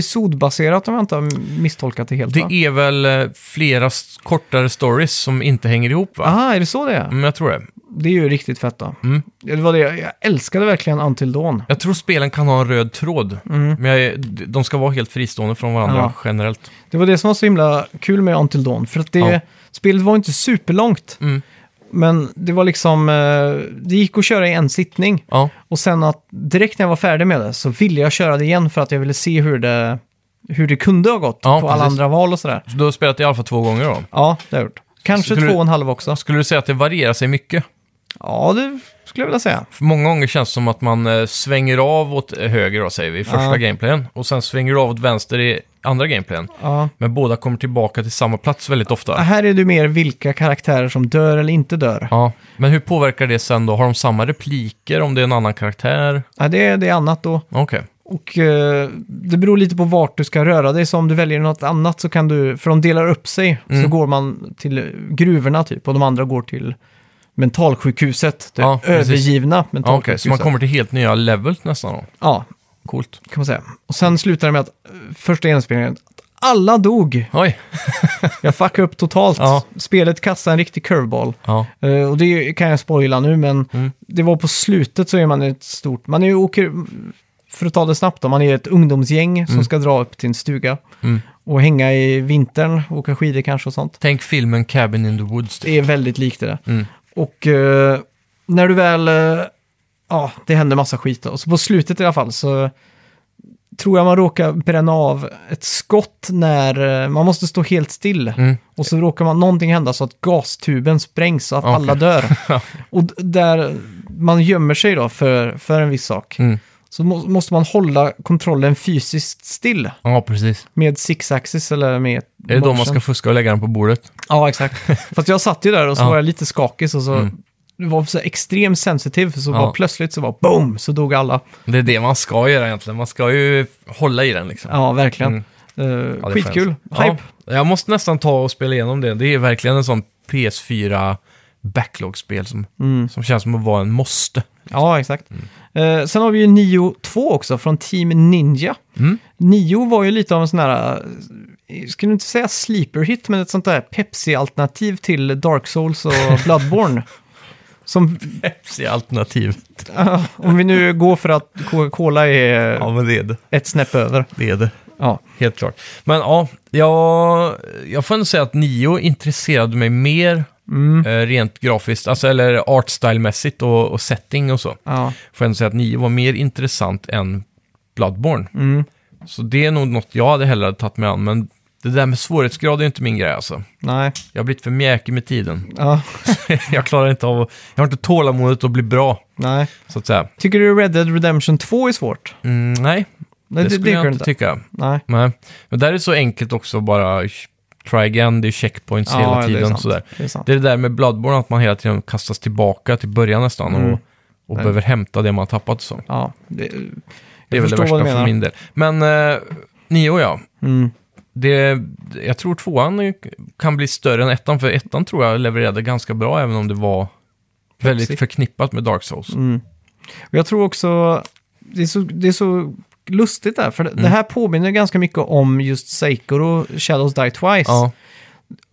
[SPEAKER 1] Episodbaserat om jag inte har misstolkat det helt.
[SPEAKER 2] Det
[SPEAKER 1] va?
[SPEAKER 2] är väl eh, flera s- kortare stories som inte hänger ihop va?
[SPEAKER 1] Aha, Ah, är det så det är?
[SPEAKER 2] Mm, jag tror det.
[SPEAKER 1] Det är ju riktigt fett då.
[SPEAKER 2] Mm.
[SPEAKER 1] Ja, Det var det, jag jag älskade verkligen Until Dawn.
[SPEAKER 2] Jag tror spelen kan ha en röd tråd.
[SPEAKER 1] Mm.
[SPEAKER 2] Men jag, är- de ska vara helt fristående från varandra
[SPEAKER 1] Ja.
[SPEAKER 2] generellt.
[SPEAKER 1] Det var det som var så himla kul med Until Dawn, för att det,
[SPEAKER 2] Ja.
[SPEAKER 1] spelet var inte superlångt,
[SPEAKER 2] Mm.
[SPEAKER 1] men det var liksom, eh, det gick att köra i en sittning.
[SPEAKER 2] Ja.
[SPEAKER 1] Och sen att direkt när jag var färdig med det så ville jag köra det igen för att jag ville se hur det, hur det kunde ha gått
[SPEAKER 2] Ja,
[SPEAKER 1] på alla
[SPEAKER 2] precis.
[SPEAKER 1] andra val och sådär.
[SPEAKER 2] Så du har spelat det i alla fall två gånger då?
[SPEAKER 1] Ja, det har jag gjort. Kanske
[SPEAKER 2] Skulle
[SPEAKER 1] två
[SPEAKER 2] du-
[SPEAKER 1] och en halv också.
[SPEAKER 2] Skulle du säga att det varierar sig mycket?
[SPEAKER 1] Ja, det skulle jag vilja säga.
[SPEAKER 2] För många gånger känns det som att man eh, svänger av åt eh, höger, då, säger vi, i första
[SPEAKER 1] Ja.
[SPEAKER 2] gameplayen. Och sen svänger du av åt vänster i andra gameplayen.
[SPEAKER 1] Ja.
[SPEAKER 2] Men båda kommer tillbaka till samma plats väldigt ofta.
[SPEAKER 1] Här är det mer vilka karaktärer som dör eller inte dör.
[SPEAKER 2] Ja, men hur påverkar det sen då? Har de samma repliker om det är en annan karaktär?
[SPEAKER 1] Ja, det, är, det är annat då.
[SPEAKER 2] Okej.
[SPEAKER 1] Och eh, det beror lite på vart du ska röra dig. Så om du väljer något annat så kan du, för de delar upp sig, så
[SPEAKER 2] Mm.
[SPEAKER 1] går man till gruvorna typ och de andra går till mentalsjukhuset. Det
[SPEAKER 2] Ja, precis.
[SPEAKER 1] övergivna
[SPEAKER 2] Ja, Okej,
[SPEAKER 1] mentalsjukhuset.
[SPEAKER 2] så man kommer till helt nya level nästan då?
[SPEAKER 1] Ja,
[SPEAKER 2] Coolt.
[SPEAKER 1] kan man säga. Och sen slutar det med att eh, första inspelningen, att alla dog.
[SPEAKER 2] Oj!
[SPEAKER 1] Jag fuckade upp totalt.
[SPEAKER 2] Ja.
[SPEAKER 1] Spelet kastade en riktig curveball.
[SPEAKER 2] Ja,
[SPEAKER 1] Eh, och det kan jag spoila nu, men
[SPEAKER 2] Mm.
[SPEAKER 1] det var på slutet så är man ett stort... Man är ju åker, för att ta det snabbt då, man är ett ungdomsgäng som ska dra upp till en stuga
[SPEAKER 2] Mm.
[SPEAKER 1] och hänga i vintern, åka skidor kanske och sånt.
[SPEAKER 2] tänk filmen Cabin in the Woods. typ.
[SPEAKER 1] Det är väldigt likt det där.
[SPEAKER 2] Mm.
[SPEAKER 1] Och eh, när du väl... eh, ja, det händer massa skit då. Så på slutet i alla fall så tror jag man råkar bränna av ett skott när eh, man måste stå helt still.
[SPEAKER 2] Mm.
[SPEAKER 1] Och så råkar man någonting hända så att gastuben sprängs så att
[SPEAKER 2] Okej.
[SPEAKER 1] alla dör. Och d- där man gömmer sig då för, för en viss sak.
[SPEAKER 2] Mm.
[SPEAKER 1] Så må, måste man hålla kontrollen fysiskt still
[SPEAKER 2] Ja, precis.
[SPEAKER 1] med six axis eller med...
[SPEAKER 2] Är det då man
[SPEAKER 1] motion.
[SPEAKER 2] ska fuska och lägga den på bordet?
[SPEAKER 1] Ja, exakt. Fast jag satt ju där och så
[SPEAKER 2] Ja.
[SPEAKER 1] var jag lite skakig och så...
[SPEAKER 2] Mm.
[SPEAKER 1] Det var så här extremt sensitiv, så
[SPEAKER 2] Ja.
[SPEAKER 1] bara plötsligt så var boom, så dog alla.
[SPEAKER 2] Det är det man ska göra egentligen. Man ska ju hålla i den liksom.
[SPEAKER 1] Ja, verkligen.
[SPEAKER 2] Mm.
[SPEAKER 1] Eh,
[SPEAKER 2] Ja, det är
[SPEAKER 1] skitkul.
[SPEAKER 2] skönt.
[SPEAKER 1] Hype.
[SPEAKER 2] Ja, jag måste nästan ta och spela igenom det. Det är verkligen en sån PS4 backlog-spel som,
[SPEAKER 1] Mm.
[SPEAKER 2] som känns som att vara en måste.
[SPEAKER 1] Ja, exakt.
[SPEAKER 2] Mm.
[SPEAKER 1] Eh, sen har vi ju Nio 2 också från Team Ninja.
[SPEAKER 2] Mm.
[SPEAKER 1] Nio var ju lite av en sån här, eh, skulle inte säga sleeper hit, men ett sånt där Pepsi-alternativ till Dark Souls och Bloodborne. Som,
[SPEAKER 2] Pepsi-alternativ.
[SPEAKER 1] eh, om vi nu går för att Coca-Cola är
[SPEAKER 2] Ja, men det är det.
[SPEAKER 1] ett snäpp över.
[SPEAKER 2] Det är det.
[SPEAKER 1] Ja.
[SPEAKER 2] Helt klart. Men ja, jag, jag får ändå säga att Nio intresserade mig mer
[SPEAKER 1] Mm.
[SPEAKER 2] eh, rent grafiskt, alltså eller artstyle-mässigt och, och setting och så.
[SPEAKER 1] Ja.
[SPEAKER 2] Får jag ändå säga att Nio var mer intressant än Bloodborne.
[SPEAKER 1] Mm.
[SPEAKER 2] Så det är nog något jag hade hellre tagit mig an, men det där med svårighetsgrad är inte min grej alltså.
[SPEAKER 1] Nej.
[SPEAKER 2] Jag har blivit för mjäkig med tiden.
[SPEAKER 1] Ja.
[SPEAKER 2] jag klarar inte av att, jag har inte tålamodet att bli bra,
[SPEAKER 1] Nej.
[SPEAKER 2] så att säga.
[SPEAKER 1] Tycker du Red Dead Redemption 2 är svårt?
[SPEAKER 2] Mm, nej,
[SPEAKER 1] Nej,
[SPEAKER 2] det, skulle
[SPEAKER 1] tycker
[SPEAKER 2] jag inte tycka.
[SPEAKER 1] Nej.
[SPEAKER 2] Nej. Men där är det så enkelt också att bara try again, det är checkpoints hela
[SPEAKER 1] det är
[SPEAKER 2] tiden.
[SPEAKER 1] sant.
[SPEAKER 2] sådär.
[SPEAKER 1] Det är sant.
[SPEAKER 2] Det är det där med Bloodborne, att man hela tiden kastas tillbaka till början nästan
[SPEAKER 1] Mm.
[SPEAKER 2] och,
[SPEAKER 1] Nej.
[SPEAKER 2] och behöver hämta det man har tappat. Så.
[SPEAKER 1] Ja, det,
[SPEAKER 2] Det är väl det
[SPEAKER 1] förstår vad
[SPEAKER 2] värsta
[SPEAKER 1] du
[SPEAKER 2] för
[SPEAKER 1] menar.
[SPEAKER 2] min del. Men eh, Nio, ja.
[SPEAKER 1] mm,
[SPEAKER 2] Det, jag tror tvåan kan bli större än ettan, för ettan tror jag levererade ganska bra, även om det var väldigt
[SPEAKER 1] Pepsi.
[SPEAKER 2] förknippat med Dark Souls.
[SPEAKER 1] mm. Och jag tror också, det är så, det är så lustigt där, för det-
[SPEAKER 2] Mm.
[SPEAKER 1] det här påminner ganska mycket om just Seikoro, Shadows Die Twice.
[SPEAKER 2] Ja,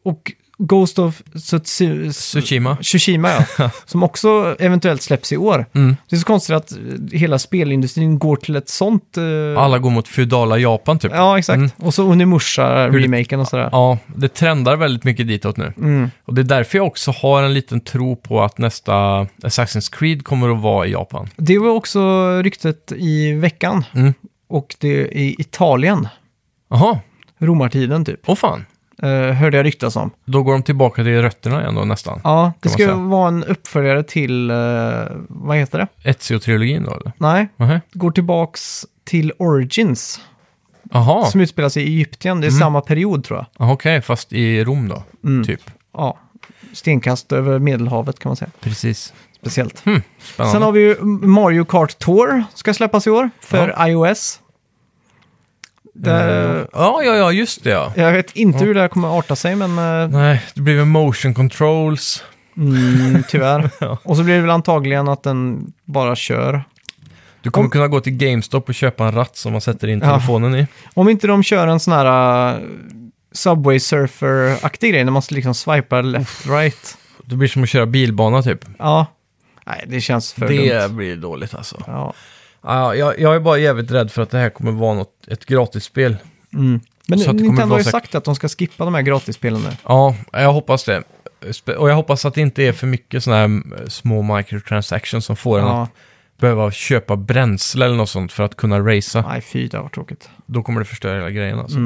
[SPEAKER 1] Och Ghost of Tsutsu-
[SPEAKER 2] Tsushima.
[SPEAKER 1] Tsushima, ja. som också eventuellt släpps i år.
[SPEAKER 2] Mm.
[SPEAKER 1] Det är så konstigt att eh, hela spelindustrin går till ett sånt... eh,
[SPEAKER 2] Alla går mot feudala Japan typ.
[SPEAKER 1] Ja, exakt.
[SPEAKER 2] Mm.
[SPEAKER 1] Och så Unimusha-remaken och sådär.
[SPEAKER 2] Ja, det trendar väldigt mycket ditåt nu.
[SPEAKER 1] Mm.
[SPEAKER 2] Och det är därför jag också har en liten tro på att nästa Assassin's Creed kommer att vara i Japan.
[SPEAKER 1] Det var också ryktet i veckan.
[SPEAKER 2] Mm.
[SPEAKER 1] Och det är i Italien,
[SPEAKER 2] Jaha,
[SPEAKER 1] romartiden typ,
[SPEAKER 2] åh fan.
[SPEAKER 1] eh, hörde jag ryktas om.
[SPEAKER 2] Då går de tillbaka till rötterna igen då nästan.
[SPEAKER 1] Ja, det
[SPEAKER 2] man
[SPEAKER 1] ska
[SPEAKER 2] säga.
[SPEAKER 1] vara en uppföljare till, eh, vad heter det?
[SPEAKER 2] Ezio-trilogin då eller?
[SPEAKER 1] Nej,
[SPEAKER 2] Nähä.
[SPEAKER 1] går tillbaks till Origins,
[SPEAKER 2] Jaha,
[SPEAKER 1] som utspelar sig i Egypten.
[SPEAKER 2] Mm.
[SPEAKER 1] Det är samma period tror jag.
[SPEAKER 2] Jaha, okej, fast i Rom då,
[SPEAKER 1] Mm.
[SPEAKER 2] typ.
[SPEAKER 1] Ja, stenkast över Medelhavet kan man säga.
[SPEAKER 2] Precis.
[SPEAKER 1] Speciellt.
[SPEAKER 2] Spännande.
[SPEAKER 1] Sen har vi ju Mario Kart Tour, ska släppas i år, för iOS.
[SPEAKER 2] Eh,
[SPEAKER 1] Där,
[SPEAKER 2] Ja, ja, ja, just det ja.
[SPEAKER 1] Jag vet inte hur det här kommer arta sig, men eh,
[SPEAKER 2] Nej, det blir väl motion controls.
[SPEAKER 1] mm, tyvärr. Och så blir det väl antagligen att den bara kör.
[SPEAKER 2] Du kommer
[SPEAKER 1] Om-
[SPEAKER 2] kunna gå till GameStop och köpa en ratt som man sätter in
[SPEAKER 1] Ja.
[SPEAKER 2] telefonen i.
[SPEAKER 1] Om inte de kör en sån här eh, Subway Surfer-aktig grej, när man liksom swipar left, right.
[SPEAKER 2] Det blir som att köra bilbana typ.
[SPEAKER 1] Ja. Nej, det känns för dumt.
[SPEAKER 2] blir dåligt alltså.
[SPEAKER 1] Ja.
[SPEAKER 2] Ja, jag, jag är bara jävligt rädd för att det här kommer vara något, ett gratisspel.
[SPEAKER 1] Mm. Men
[SPEAKER 2] Så att det kommer
[SPEAKER 1] Nintendo har ju
[SPEAKER 2] vara så-
[SPEAKER 1] sagt att de ska skippa de här gratisspelen nu.
[SPEAKER 2] Ja, jag hoppas det. Spe- Och jag hoppas att det inte är för mycket sådana här mm, små microtransactions som får en
[SPEAKER 1] Ja.
[SPEAKER 2] att behöva köpa bränsle eller något sånt för att kunna racea.
[SPEAKER 1] Nej, fy, det var tråkigt.
[SPEAKER 2] Då kommer det förstöra hela grejen
[SPEAKER 1] Mm.
[SPEAKER 2] alltså.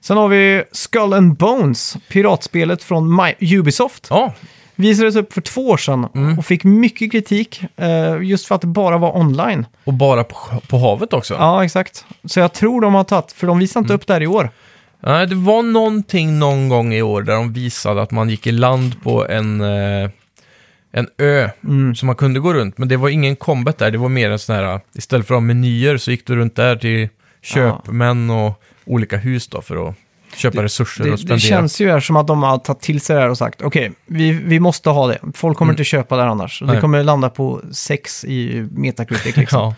[SPEAKER 1] Sen har vi Skull and Bones, piratspelet från Mi- Ubisoft.
[SPEAKER 2] Ja,
[SPEAKER 1] Visades upp för två år sedan
[SPEAKER 2] Mm.
[SPEAKER 1] och fick mycket kritik eh, just för att det bara var online.
[SPEAKER 2] och bara på, på havet också.
[SPEAKER 1] Ja, exakt. Så jag tror de har tagit, för de visar
[SPEAKER 2] Mm.
[SPEAKER 1] inte upp det här i år.
[SPEAKER 2] Nej, det var någonting någon gång i år där de visade att man gick i land på en, eh, en ö
[SPEAKER 1] Mm.
[SPEAKER 2] som man kunde gå runt. Men det var ingen combat där, det var mer en sån här, istället för att ha menyer så gick du runt där till köpmän och olika hus då för att köpa resurser och
[SPEAKER 1] Det,
[SPEAKER 2] spendera.
[SPEAKER 1] det känns ju här som att de har tagit till sig det här och sagt okej, vi, vi måste ha det. Folk kommer inte köpa det här annars. Och Det
[SPEAKER 2] Mm. Nej.
[SPEAKER 1] kommer landa på sex i Metacritic liksom.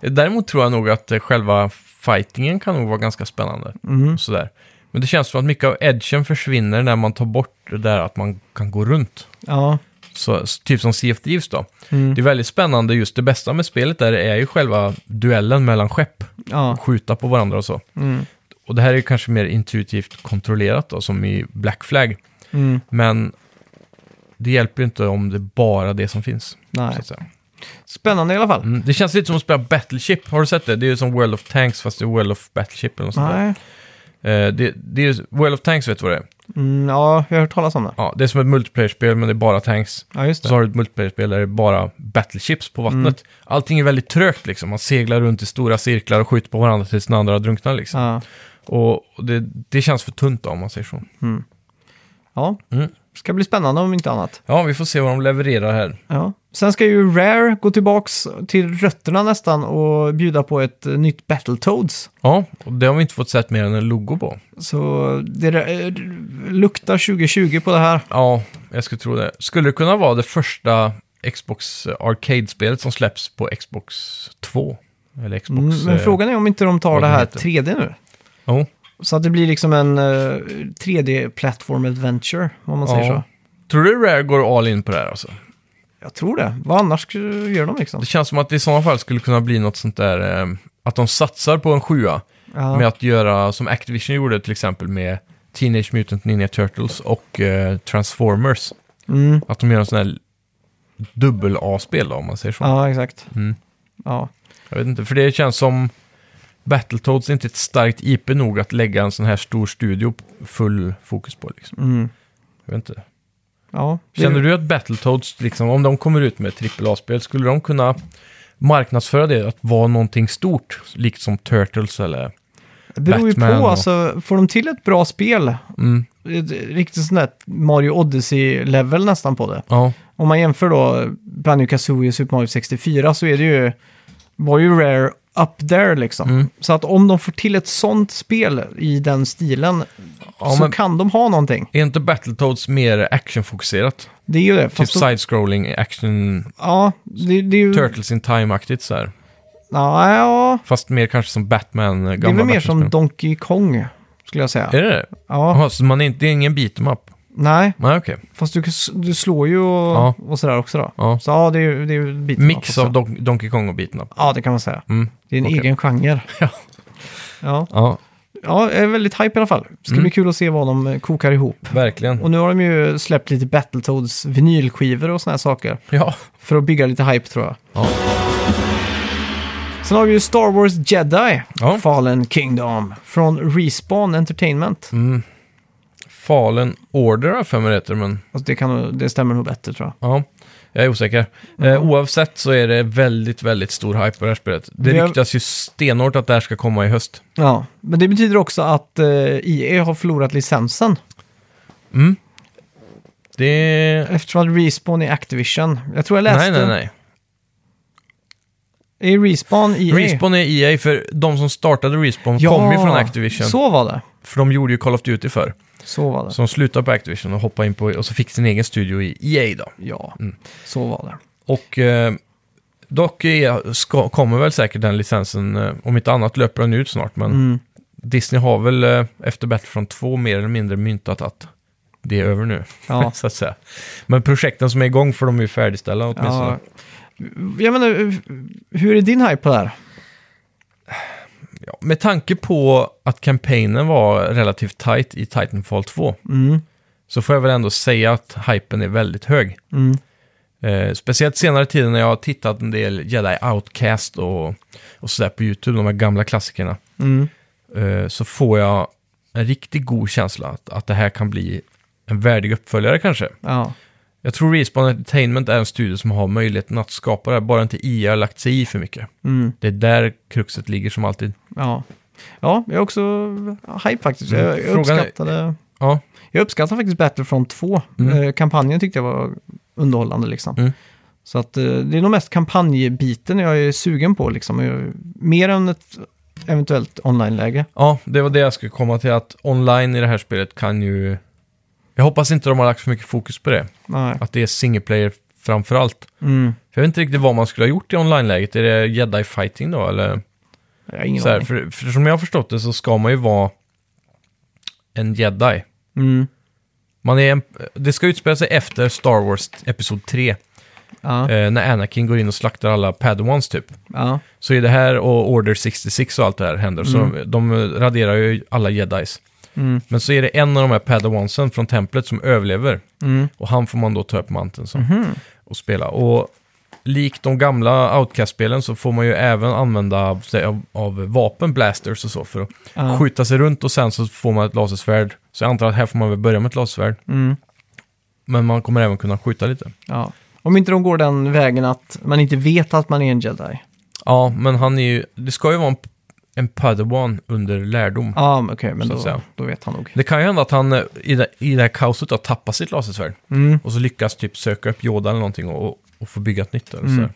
[SPEAKER 2] ja. Däremot tror jag nog att eh, själva fightingen kan nog vara ganska spännande.
[SPEAKER 1] Mm.
[SPEAKER 2] Och sådär. Men det känns som att mycket av edgen försvinner när man tar bort det där att man kan gå runt.
[SPEAKER 1] ja.
[SPEAKER 2] Så, så typ som Sea of Thieves då.
[SPEAKER 1] Mm.
[SPEAKER 2] Det är väldigt spännande, just det bästa med spelet där är ju själva duellen mellan skepp.
[SPEAKER 1] ja.
[SPEAKER 2] Skjuta på varandra och så.
[SPEAKER 1] Mm.
[SPEAKER 2] Och det här är ju kanske mer intuitivt kontrollerat då, som i Black Flag.
[SPEAKER 1] Mm.
[SPEAKER 2] Men det hjälper ju inte om det är bara det som finns.
[SPEAKER 1] Nej.
[SPEAKER 2] Så att säga.
[SPEAKER 1] Spännande i alla fall.
[SPEAKER 2] Mm. Det känns lite som att spela Battleship, har du sett det? Det är ju som World of Tanks fast det är World of Battleship eller något sånt där.
[SPEAKER 1] Nej.
[SPEAKER 2] Eh, det, det är ju, World of Tanks vet du vad det är?
[SPEAKER 1] Mm, ja, jag har hört talas om det.
[SPEAKER 2] Ja, det är som ett multiplayer-spel men det är bara tanks.
[SPEAKER 1] Ja, just
[SPEAKER 2] Så
[SPEAKER 1] det.
[SPEAKER 2] har du ett multiplayer-spel där det är bara battleships på vattnet.
[SPEAKER 1] Mm.
[SPEAKER 2] Allting är väldigt trögt liksom. Man seglar runt i stora cirklar och skjuter på varandra tills den andra drunknar liksom.
[SPEAKER 1] Ja.
[SPEAKER 2] Och och det, det känns för tunt då, om man säger så.
[SPEAKER 1] Mm. ja.
[SPEAKER 2] Mm.
[SPEAKER 1] Ska bli spännande om inte annat.
[SPEAKER 2] Ja, vi får se vad de levererar här.
[SPEAKER 1] Ja. Sen ska ju Rare gå tillbaks till rötterna nästan och bjuda på ett eh, nytt Battletoads.
[SPEAKER 2] Ja, och det har vi inte fått sett mer än en logo på.
[SPEAKER 1] Så det eh, luktar 2020 på det här.
[SPEAKER 2] Ja, jag skulle tro det. Skulle det kunna vara det första Xbox eh, Arcade-spelet som släpps på Xbox 2? Eller Xbox...
[SPEAKER 1] Mm, Men
[SPEAKER 2] eh,
[SPEAKER 1] frågan är om inte de tar
[SPEAKER 2] vad
[SPEAKER 1] det
[SPEAKER 2] den
[SPEAKER 1] här
[SPEAKER 2] heter.
[SPEAKER 1] 3D nu.
[SPEAKER 2] Jo,
[SPEAKER 1] Så att det blir liksom en 3D-plattform adventure, om man säger så.
[SPEAKER 2] ja. Tror du Rare går all in på det här alltså?
[SPEAKER 1] Jag tror det. Vad annars skulle- gör de liksom?
[SPEAKER 2] Det känns som att det i sådana fall skulle kunna bli något sånt där... Eh, att de satsar på en sjua.
[SPEAKER 1] Ja.
[SPEAKER 2] med att göra som Activision gjorde till exempel med Teenage Mutant Ninja Turtles och eh, Transformers.
[SPEAKER 1] Mm.
[SPEAKER 2] Att de gör en sån här dubbel-A-spel då, om man säger så.
[SPEAKER 1] ja, exakt.
[SPEAKER 2] Mm.
[SPEAKER 1] Ja.
[SPEAKER 2] Jag vet inte, för det känns som Battletoads är inte ett starkt IP nog att lägga en sån här stor studio full fokus på. Liksom.
[SPEAKER 1] Mm.
[SPEAKER 2] Jag vet inte.
[SPEAKER 1] ja.
[SPEAKER 2] Känner du att Battletoads, liksom, om de kommer ut med ett AAA-spel, skulle de kunna marknadsföra det att vara någonting stort, likt som Turtles eller
[SPEAKER 1] Det beror ju
[SPEAKER 2] Batman
[SPEAKER 1] på,
[SPEAKER 2] och-
[SPEAKER 1] alltså, får de till ett bra spel,
[SPEAKER 2] Mm.
[SPEAKER 1] ett riktigt sånt där Mario Odyssey-level nästan på det.
[SPEAKER 2] Ja.
[SPEAKER 1] Om man jämför då Banjo Kazooie och Super Mario 64 så är det ju, var ju Rare up there liksom.
[SPEAKER 2] Mm.
[SPEAKER 1] Så att om de får till ett sånt spel i den stilen
[SPEAKER 2] Ja,
[SPEAKER 1] så
[SPEAKER 2] men-
[SPEAKER 1] kan de ha någonting.
[SPEAKER 2] Är inte Battletoads mer actionfokuserat?
[SPEAKER 1] Det är ju det.
[SPEAKER 2] Typ
[SPEAKER 1] Fast då, Mm.
[SPEAKER 2] side-scrolling, action,
[SPEAKER 1] ja, det, det är ju...
[SPEAKER 2] Turtles in Time-aktigt så här.
[SPEAKER 1] Ja, ja,
[SPEAKER 2] Fast mer kanske som Batman, eh,
[SPEAKER 1] det är
[SPEAKER 2] gamla
[SPEAKER 1] väl mer som
[SPEAKER 2] Batman-spel.
[SPEAKER 1] Donkey Kong, skulle jag säga.
[SPEAKER 2] Är det det?
[SPEAKER 1] Ja,
[SPEAKER 2] Jaha, så man är, inte- det är ingen beat'em up?
[SPEAKER 1] nej,
[SPEAKER 2] Nej, okej.
[SPEAKER 1] fast du, du slår ju och,
[SPEAKER 2] Ja.
[SPEAKER 1] och sådär också då.
[SPEAKER 2] Ja.
[SPEAKER 1] Så ja, det är ju det är ju en bit
[SPEAKER 2] Mix
[SPEAKER 1] också.
[SPEAKER 2] av Don- Donkey Kong och beat'em up.
[SPEAKER 1] Ja, det kan man säga.
[SPEAKER 2] Mm.
[SPEAKER 1] Det är en
[SPEAKER 2] Okej.
[SPEAKER 1] egen genre.
[SPEAKER 2] Ja.
[SPEAKER 1] Ja.
[SPEAKER 2] Ja,
[SPEAKER 1] ja, jag är väldigt hype i alla fall. Det ska
[SPEAKER 2] Mm.
[SPEAKER 1] bli kul att se vad de eh, kokar ihop.
[SPEAKER 2] verkligen.
[SPEAKER 1] Och nu har de ju släppt lite Battletoads vinylskivor och såna här saker.
[SPEAKER 2] Ja.
[SPEAKER 1] För att bygga lite hype tror jag.
[SPEAKER 2] Ja.
[SPEAKER 1] Sen har vi ju Star Wars Jedi,
[SPEAKER 2] Ja.
[SPEAKER 1] Fallen Kingdom, från Respawn Entertainment.
[SPEAKER 2] Mm. Fallen Order har jag för mig det heter, men
[SPEAKER 1] Alltså det, kan, nog- det stämmer nog bättre tror jag.
[SPEAKER 2] ja. Jag är osäker.
[SPEAKER 1] Mm.
[SPEAKER 2] Eh, oavsett så är det väldigt, väldigt stor hype på det här spelet. Det
[SPEAKER 1] Vi har-
[SPEAKER 2] ryktas ju stenhårt att det här ska komma i höst.
[SPEAKER 1] Ja, men det betyder också att eh, EA har förlorat licensen.
[SPEAKER 2] Mm. Det...
[SPEAKER 1] Eftersom att Respawn är Activision. Jag tror jag läste...
[SPEAKER 2] Nej, nej, nej.
[SPEAKER 1] Är Respawn EA?
[SPEAKER 2] Respawn är EA, för de som startade Respawn kom ju från Activision.
[SPEAKER 1] Så var det.
[SPEAKER 2] För de gjorde ju Call of Duty förr.
[SPEAKER 1] Så var det.
[SPEAKER 2] Så de slutade på Activision och hoppade in på, och så fick sin egen studio i EA då.
[SPEAKER 1] Ja,
[SPEAKER 2] Mm.
[SPEAKER 1] så var det.
[SPEAKER 2] Och eh, dock är, ska, kommer väl säkert den licensen, eh, om inte annat löper den ut snart, men
[SPEAKER 1] Mm.
[SPEAKER 2] Disney har väl eh, efter Battlefront 2 mer eller mindre myntat att det är över nu,
[SPEAKER 1] Ja.
[SPEAKER 2] så att säga. Men projekten som är igång får de ju färdigställa åtminstone.
[SPEAKER 1] ja. Jag menar, hur är din hype på det här?
[SPEAKER 2] Ja, med tanke på att kampanjen var relativt tight i Titanfall 2
[SPEAKER 1] Mm.
[SPEAKER 2] så får jag väl ändå säga att hypen är väldigt hög.
[SPEAKER 1] Mm.
[SPEAKER 2] Eh, speciellt senare tiden när jag har tittat en del Jedi Outcast och, och sådär på YouTube, de här gamla klassikerna,
[SPEAKER 1] Mm.
[SPEAKER 2] eh, så får jag en riktigt god känsla att, att det här kan bli en värdig uppföljare kanske.
[SPEAKER 1] Ja.
[SPEAKER 2] Jag tror Respawn Entertainment är en studio som har möjligheten att skapa det här, bara inte IA har lagt sig i för mycket.
[SPEAKER 1] Mm.
[SPEAKER 2] Det är där kruxet ligger som alltid.
[SPEAKER 1] ja. Ja, jag är också hype faktiskt.
[SPEAKER 2] Mm.
[SPEAKER 1] Jag, jag,
[SPEAKER 2] Frågan är-
[SPEAKER 1] uppskattade,
[SPEAKER 2] Ja,
[SPEAKER 1] jag uppskattar faktiskt Battlefront 2.
[SPEAKER 2] Mm.
[SPEAKER 1] Eh, kampanjen tyckte jag var underhållande liksom.
[SPEAKER 2] Mm.
[SPEAKER 1] Så att eh, det är nog mest kampanjbiten jag är sugen på liksom. Jag- Mer än ett eventuellt online-läge.
[SPEAKER 2] ja, det var det jag skulle komma till, att online i det här spelet kan ju... Jag hoppas inte de har lagt för mycket fokus på det,
[SPEAKER 1] Nej.
[SPEAKER 2] att det är single player framför allt.
[SPEAKER 1] Mm.
[SPEAKER 2] För jag vet inte riktigt vad man skulle ha gjort i online-läget. Är det jedi fighting då, eller?
[SPEAKER 1] Jag har ingen
[SPEAKER 2] Så här,
[SPEAKER 1] aning.
[SPEAKER 2] för, för som jag har förstått det så ska man ju vara en jedi.
[SPEAKER 1] Mm.
[SPEAKER 2] Man är en, det ska utspela sig efter Star Wars Episod 3,
[SPEAKER 1] Ja.
[SPEAKER 2] eh, när Anakin går in och slaktar alla padawans typ.
[SPEAKER 1] Ja.
[SPEAKER 2] Så är det här och Order 66 och allt det här händer, så de, de raderar ju alla jedis.
[SPEAKER 1] Mm.
[SPEAKER 2] Men så är det en av de här padawansen från templet som överlever.
[SPEAKER 1] Mm. Mhm.
[SPEAKER 2] Och han får man då ta upp manteln som och spela. Och likt de gamla Outcast-spelen så får man ju även använda sig av, av vapen, blasters och så, för att
[SPEAKER 1] Ja.
[SPEAKER 2] skjuta sig runt och sen så får man ett lasersvärd. Så jag antar att här får man väl börja med ett lasersvärd.
[SPEAKER 1] Mm.
[SPEAKER 2] Men man kommer även kunna skjuta lite.
[SPEAKER 1] Ja. Om inte de går den vägen att man inte vet att man är en jedi.
[SPEAKER 2] Ja, men han är ju, det ska ju vara en, en padawan under lärdom.
[SPEAKER 1] Ja, men okej, men
[SPEAKER 2] Så att
[SPEAKER 1] då,
[SPEAKER 2] säga.
[SPEAKER 1] då vet han nog.
[SPEAKER 2] Det kan ju hända att han eh, i det, i det här kaoset har tappat sitt lasersvärd.
[SPEAKER 1] Mm.
[SPEAKER 2] Och så lyckas typ söka upp Yoda eller någonting och, och få bygga ett nytt. Eller så.
[SPEAKER 1] Mm.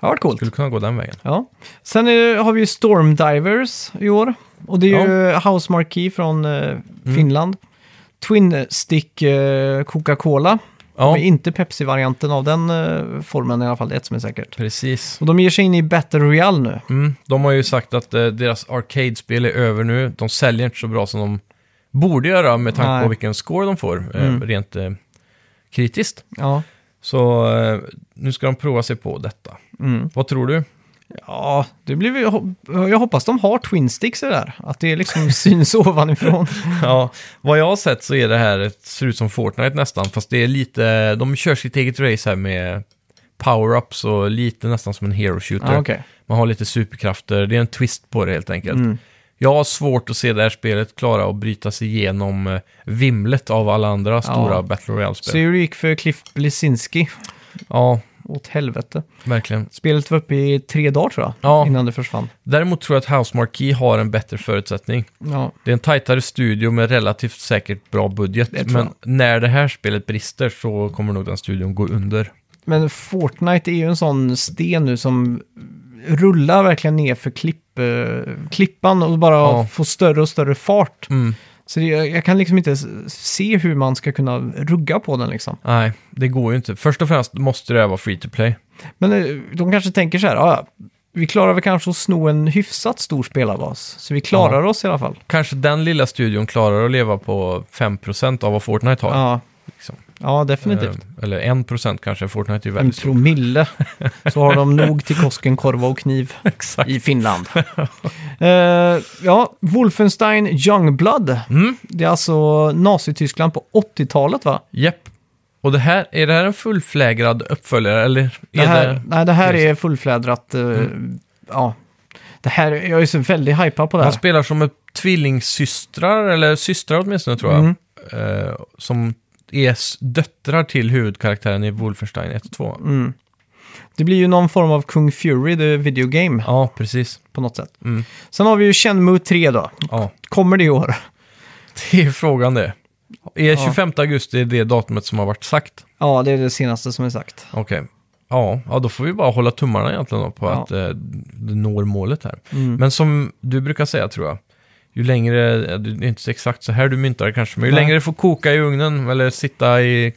[SPEAKER 1] Ja, vad coolt.
[SPEAKER 2] Skulle kunna gå den vägen.
[SPEAKER 1] Ja. Sen är, har vi ju Storm Divers i år. Och det är ju House Marquee från eh,
[SPEAKER 2] Mm.
[SPEAKER 1] Finland. Twin Stick eh, Coca-Cola.
[SPEAKER 2] Ja,
[SPEAKER 1] Men inte Pepsi-varianten av den eh, formen i alla fall, det är ett som är säkert.
[SPEAKER 2] precis.
[SPEAKER 1] Och de ger sig in i Battle Royale nu.
[SPEAKER 2] Mm. De har ju sagt att eh, deras arcade-spel är över nu. De säljer inte så bra som de borde göra med tanke
[SPEAKER 1] Nej.
[SPEAKER 2] på vilken score de får, eh,
[SPEAKER 1] Mm.
[SPEAKER 2] rent eh, kritiskt.
[SPEAKER 1] Ja.
[SPEAKER 2] Så eh, nu ska de prova sig på detta.
[SPEAKER 1] Mm.
[SPEAKER 2] Vad tror du?
[SPEAKER 1] Ja, det blir, väl- jag hop- jag hoppas de har Twin Sticks i det där. Att det liksom syns ovanifrån.
[SPEAKER 2] ja, vad jag har sett så är det här, ett, ser ut som Fortnite nästan, fast det är lite, de kör sitt eget race här med power-ups och lite nästan som en hero shooter.
[SPEAKER 1] Ja, Ah, okej.
[SPEAKER 2] Man har lite superkrafter, det är en twist på det helt enkelt.
[SPEAKER 1] Mm.
[SPEAKER 2] Jag har svårt att se det här spelet klara att bryta sig igenom eh, vimlet av alla andra stora Battle
[SPEAKER 1] Så
[SPEAKER 2] Royale-spel.
[SPEAKER 1] du gick för Cliff Blesinski.
[SPEAKER 2] Ja,
[SPEAKER 1] åt helvete.
[SPEAKER 2] Verkligen.
[SPEAKER 1] Spelet var uppe i tre dagar tror jag,
[SPEAKER 2] Ja.
[SPEAKER 1] innan det försvann.
[SPEAKER 2] Däremot tror jag att House Marquee har en bättre förutsättning.
[SPEAKER 1] Ja,
[SPEAKER 2] Det är en tajtare studio med relativt säkert bra budget.
[SPEAKER 1] Det tror jag.
[SPEAKER 2] Men när det här spelet brister så kommer nog den studion gå under.
[SPEAKER 1] men Fortnite är ju en sån sten nu som rullar verkligen ner för klipp, eh, klippan och bara
[SPEAKER 2] Ja.
[SPEAKER 1] får större och större fart.
[SPEAKER 2] Mm.
[SPEAKER 1] Så det, jag jag kan liksom inte s- se hur man ska kunna rugga på den liksom.
[SPEAKER 2] Nej, det går ju inte. Först och främst måste det här vara free to play.
[SPEAKER 1] Men eh, de kanske tänker så här, "Ah, ja, vi klarar väl kanske att sno en hyfsat stor spelarbas. Så vi klarar oss i alla fall.
[SPEAKER 2] Kanske den lilla studion klarar att leva på 5% av vad Fortnite har.
[SPEAKER 1] Ja, typ.
[SPEAKER 2] Liksom.
[SPEAKER 1] ja definitivt.
[SPEAKER 2] Eh, Eller 1% kanske, Fortnite är ju
[SPEAKER 1] en
[SPEAKER 2] väldigt stort.
[SPEAKER 1] promille. Så har de nog till Kosken, korva och kniv
[SPEAKER 2] Exakt.
[SPEAKER 1] i Finland. Eh, ja, Wolfenstein Youngblood.
[SPEAKER 2] Mm.
[SPEAKER 1] Det är alltså Nazityskland på 80-talet va?
[SPEAKER 2] Japp. Och det här, är det här en fullflägrad uppföljare eller? Är
[SPEAKER 1] Det här, nej, det här
[SPEAKER 2] det Mm. är
[SPEAKER 1] är fullflädrat. eh, Ja, det här, jag är så väldigt hypad på det
[SPEAKER 2] Han
[SPEAKER 1] här.
[SPEAKER 2] spelar som ett tvillingsystrar, eller systrar åtminstone tror jag.
[SPEAKER 1] Mm.
[SPEAKER 2] Eh, som är s- döttrar till huvudkaraktären i Wolfenstein 1 och 2.
[SPEAKER 1] Mm. Det blir ju någon form av Kung Fury, the video game,
[SPEAKER 2] Ja, precis.
[SPEAKER 1] på något sätt.
[SPEAKER 2] Mm.
[SPEAKER 1] Sen har vi ju Shenmue 3 då.
[SPEAKER 2] Ja.
[SPEAKER 1] Kommer det i år?
[SPEAKER 2] Det är frågan det. Är
[SPEAKER 1] Ja.
[SPEAKER 2] 25 augusti det datumet som har varit sagt?
[SPEAKER 1] Ja, det är det senaste som är sagt.
[SPEAKER 2] Okej. Ja, ja, då får vi bara hålla tummarna egentligen då på
[SPEAKER 1] Ja.
[SPEAKER 2] att eh, det når målet här.
[SPEAKER 1] Mm.
[SPEAKER 2] Men som du brukar säga tror jag, ju längre, eh, det är inte exakt så här du myntar det kanske, men ju
[SPEAKER 1] Nej.
[SPEAKER 2] längre det får koka i ugnen eller sitta i,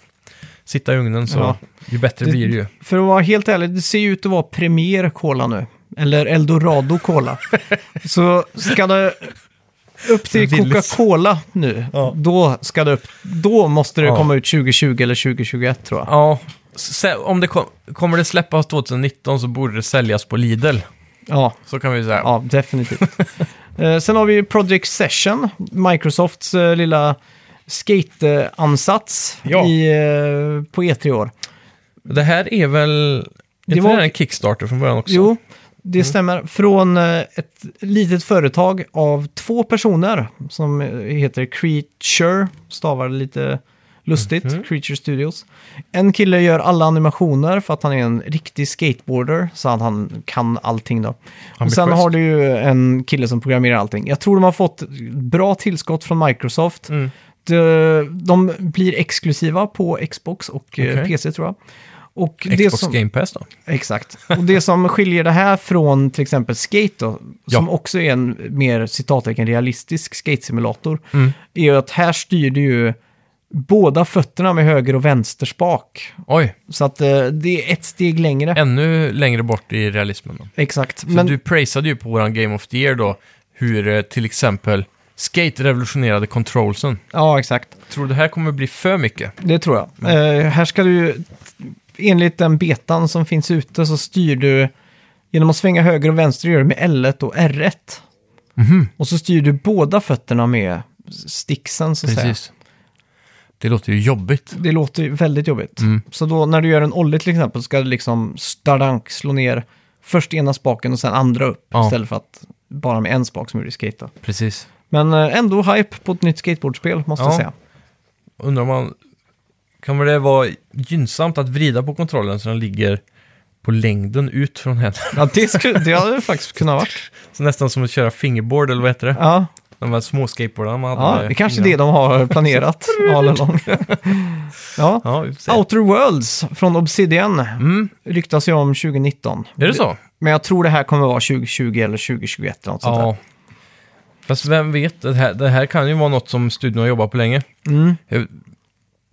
[SPEAKER 2] sitta i ugnen så
[SPEAKER 1] Ja.
[SPEAKER 2] ju bättre
[SPEAKER 1] Det-
[SPEAKER 2] blir det ju.
[SPEAKER 1] För att vara helt ärlig, det ser ju ut att vara Premier Cola nu. Eller Eldorado Cola. så ska det upp till
[SPEAKER 2] Willys.
[SPEAKER 1] Coca-Cola nu.
[SPEAKER 2] Ja.
[SPEAKER 1] Då, ska det upp, då måste det
[SPEAKER 2] Ja.
[SPEAKER 1] komma ut 2020 eller 2021 tror jag.
[SPEAKER 2] Ja, sä- om det kom, kommer det släppas 2019 så borde det säljas på Lidl.
[SPEAKER 1] Ja,
[SPEAKER 2] Så kan vi säga.
[SPEAKER 1] ja definitivt. Eh, Sen har vi ju Project Session, Microsofts eh, lilla skate-ansats
[SPEAKER 2] Ja.
[SPEAKER 1] i, eh, på E3 i år.
[SPEAKER 2] Det här är väl...
[SPEAKER 1] Det
[SPEAKER 2] Det
[SPEAKER 1] var-
[SPEAKER 2] var en Kickstarter från början också. Mm.
[SPEAKER 1] Jo, det stämmer. Från eh, ett litet företag av två personer som eh, heter Creature, stavar lite lustigt,
[SPEAKER 2] Mhm.
[SPEAKER 1] Creature Studios. En kille gör alla animationer för att han är en riktig skateboarder, så att han kan allting då. Och sen
[SPEAKER 2] Ambitiöst.
[SPEAKER 1] har du ju en kille som programmerar allting. Jag tror de har fått bra tillskott från Microsoft.
[SPEAKER 2] Mm.
[SPEAKER 1] De, de blir exklusiva på Xbox och eh,
[SPEAKER 2] Okej.
[SPEAKER 1] PC tror jag. Och det
[SPEAKER 2] Xbox
[SPEAKER 1] som...
[SPEAKER 2] Game Pass då?
[SPEAKER 1] Exakt. Och det som skiljer det här från till exempel Skate då,
[SPEAKER 2] Ja.
[SPEAKER 1] som också är en mer citattecken realistisk skate-simulator,
[SPEAKER 2] Mm.
[SPEAKER 1] är ju att här styr du ju båda fötterna med höger och vänster spak.
[SPEAKER 2] Oj,
[SPEAKER 1] Så att eh, det är ett steg längre.
[SPEAKER 2] ännu längre bort i realismen. Då.
[SPEAKER 1] Exakt.
[SPEAKER 2] För
[SPEAKER 1] Men
[SPEAKER 2] du praisade ju på våran Game of the Year då hur eh, till exempel Skate revolutionerade controlsen.
[SPEAKER 1] Ja, exakt.
[SPEAKER 2] Tror du det här kommer bli för mycket?
[SPEAKER 1] Det tror jag. Eh, här ska du ju, enligt den betan som finns ute så styr du, genom att svänga höger och vänster gör du med L1 och R1. Och så styr du båda fötterna med sticksen så att säga.
[SPEAKER 2] Det låter ju jobbigt.
[SPEAKER 1] Det låter ju väldigt jobbigt.
[SPEAKER 2] Mm.
[SPEAKER 1] Så då när du gör en ollie till exempel så ska du liksom stadank slå ner först ena spaken och sen andra upp.
[SPEAKER 2] Ja.
[SPEAKER 1] Istället för att bara med en spak som du skate.
[SPEAKER 2] Precis.
[SPEAKER 1] Men eh, ändå hype på ett nytt skateboardspel måste jag
[SPEAKER 2] Ja.
[SPEAKER 1] säga.
[SPEAKER 2] Undrar om man... Kommer det vara gynnsamt att vrida på kontrollen så den ligger på längden ut från händerna?
[SPEAKER 1] Ja, det, skulle, det hade det faktiskt kunnat varit.
[SPEAKER 2] Så nästan som att köra fingerboard eller vad heter det?
[SPEAKER 1] Ja.
[SPEAKER 2] De här små skateboardarna man hade.
[SPEAKER 1] Ja,
[SPEAKER 2] med
[SPEAKER 1] det är kanske det
[SPEAKER 2] fingrarna.
[SPEAKER 1] de har planerat all along. ja.
[SPEAKER 2] Ja, vi får se.
[SPEAKER 1] Outer Worlds från Obsidian
[SPEAKER 2] Mm,
[SPEAKER 1] ryktas ju om 2019.
[SPEAKER 2] är det så?
[SPEAKER 1] Men jag tror det här kommer vara 2020 eller 2021 eller något sånt där.
[SPEAKER 2] Ja. Fast vem vet, det här, det här kan ju vara något som studion har jobbat på länge.
[SPEAKER 1] Mm.
[SPEAKER 2] Jag,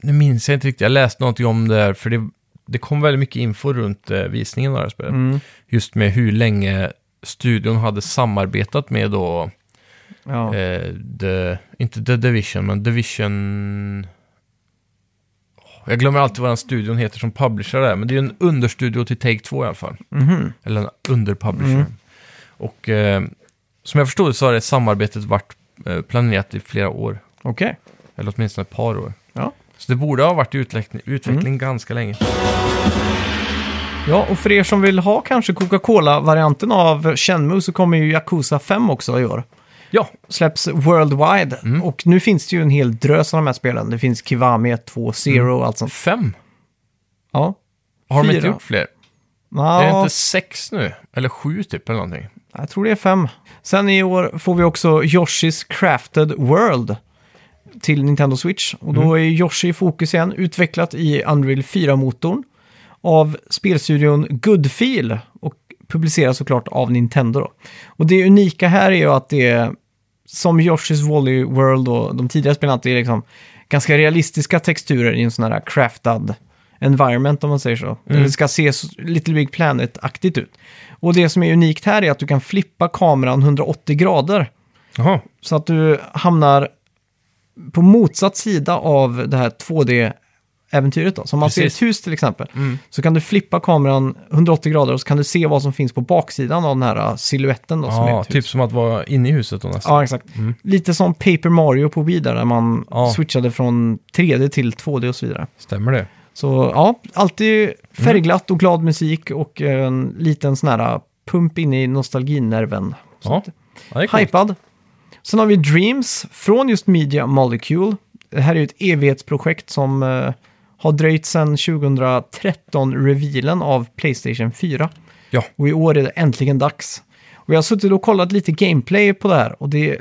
[SPEAKER 2] nu minns jag inte riktigt, jag läste någonting om det här, för det, det kom väldigt mycket info runt eh, visningen av det här spelet.
[SPEAKER 1] Mm.
[SPEAKER 2] Just med hur länge studion hade samarbetat med då,
[SPEAKER 1] Ja.
[SPEAKER 2] eh, the, inte The Division, men Division... Åh, Jag glömmer alltid vad den studion heter som publisher där, men det är ju en understudio till Take-Two i alla fall.
[SPEAKER 1] Mhm.
[SPEAKER 2] Eller en underpublisher. Och eh, som jag förstod det så har det samarbetet varit eh, planerat i flera år.
[SPEAKER 1] Okej.
[SPEAKER 2] Eller åtminstone ett par år.
[SPEAKER 1] Ja.
[SPEAKER 2] Så det borde ha varit i utveckling, utveckling ganska länge.
[SPEAKER 1] ja, och för er som vill ha kanske Coca-Cola-varianten av Shenmue så kommer ju Yakuza 5 också i år.
[SPEAKER 2] Ja,
[SPEAKER 1] Släpps worldwide.
[SPEAKER 2] Mm.
[SPEAKER 1] Och nu finns det ju en hel
[SPEAKER 2] Mm.
[SPEAKER 1] drös av de här spelen. Det finns Kiwami 1, 2, Zero och allt sånt.
[SPEAKER 2] fem.
[SPEAKER 1] Ja.
[SPEAKER 2] Har de inte
[SPEAKER 1] Fyra.
[SPEAKER 2] gjort fler?
[SPEAKER 1] Ja,
[SPEAKER 2] Är det inte sex nu? Eller sju typ eller någonting?
[SPEAKER 1] Jag tror det är fem. Sen i år får vi också Yoshi's Crafted World till Nintendo Switch. Och då är Yoshi i fokus igen, utvecklat i Unreal 4-motorn av spelstudion Goodfeel och publiceras såklart av Nintendo. Då. Och det unika här är ju att det är som Yoshi's Volley World och de tidigare spelen, att det är liksom ganska realistiska texturer i en sån här craftad environment om man säger så. Det ska se så- Little Big Planet-aktigt ut. Och det som är unikt här är att du kan flippa kameran 180 grader.
[SPEAKER 2] Jaha.
[SPEAKER 1] Så att du hamnar på motsatt sida av det här 2D-äventyret. Då. Så om man ser
[SPEAKER 2] Precis.
[SPEAKER 1] ett hus till exempel,
[SPEAKER 2] Mm.
[SPEAKER 1] så kan du flippa kameran 180 grader och så kan du se vad som finns på baksidan av den här äh, siluetten. Då, som är
[SPEAKER 2] Ja,
[SPEAKER 1] ett hus.
[SPEAKER 2] typ som att vara inne i huset då nästan.
[SPEAKER 1] Ja, exakt. Lite som Paper Mario på Wii där, där man
[SPEAKER 2] Ja.
[SPEAKER 1] switchade från 3D till 2D och så vidare.
[SPEAKER 2] Stämmer det?
[SPEAKER 1] Så ja,
[SPEAKER 2] Mm.
[SPEAKER 1] alltid färgglatt och glad musik och en liten sån här äh, pump in i nostalginerven. Så
[SPEAKER 2] Ja.
[SPEAKER 1] att-
[SPEAKER 2] ja det är coolt.
[SPEAKER 1] Hypad. Sen har vi Dreams från just Media Molecule. Det här är ju ett evighetsprojekt som eh, har dröjt sedan 2013-revealen av Playstation 4.
[SPEAKER 2] Ja.
[SPEAKER 1] Och i år är det äntligen dags. Och jag har suttit och kollat lite gameplay på det här och det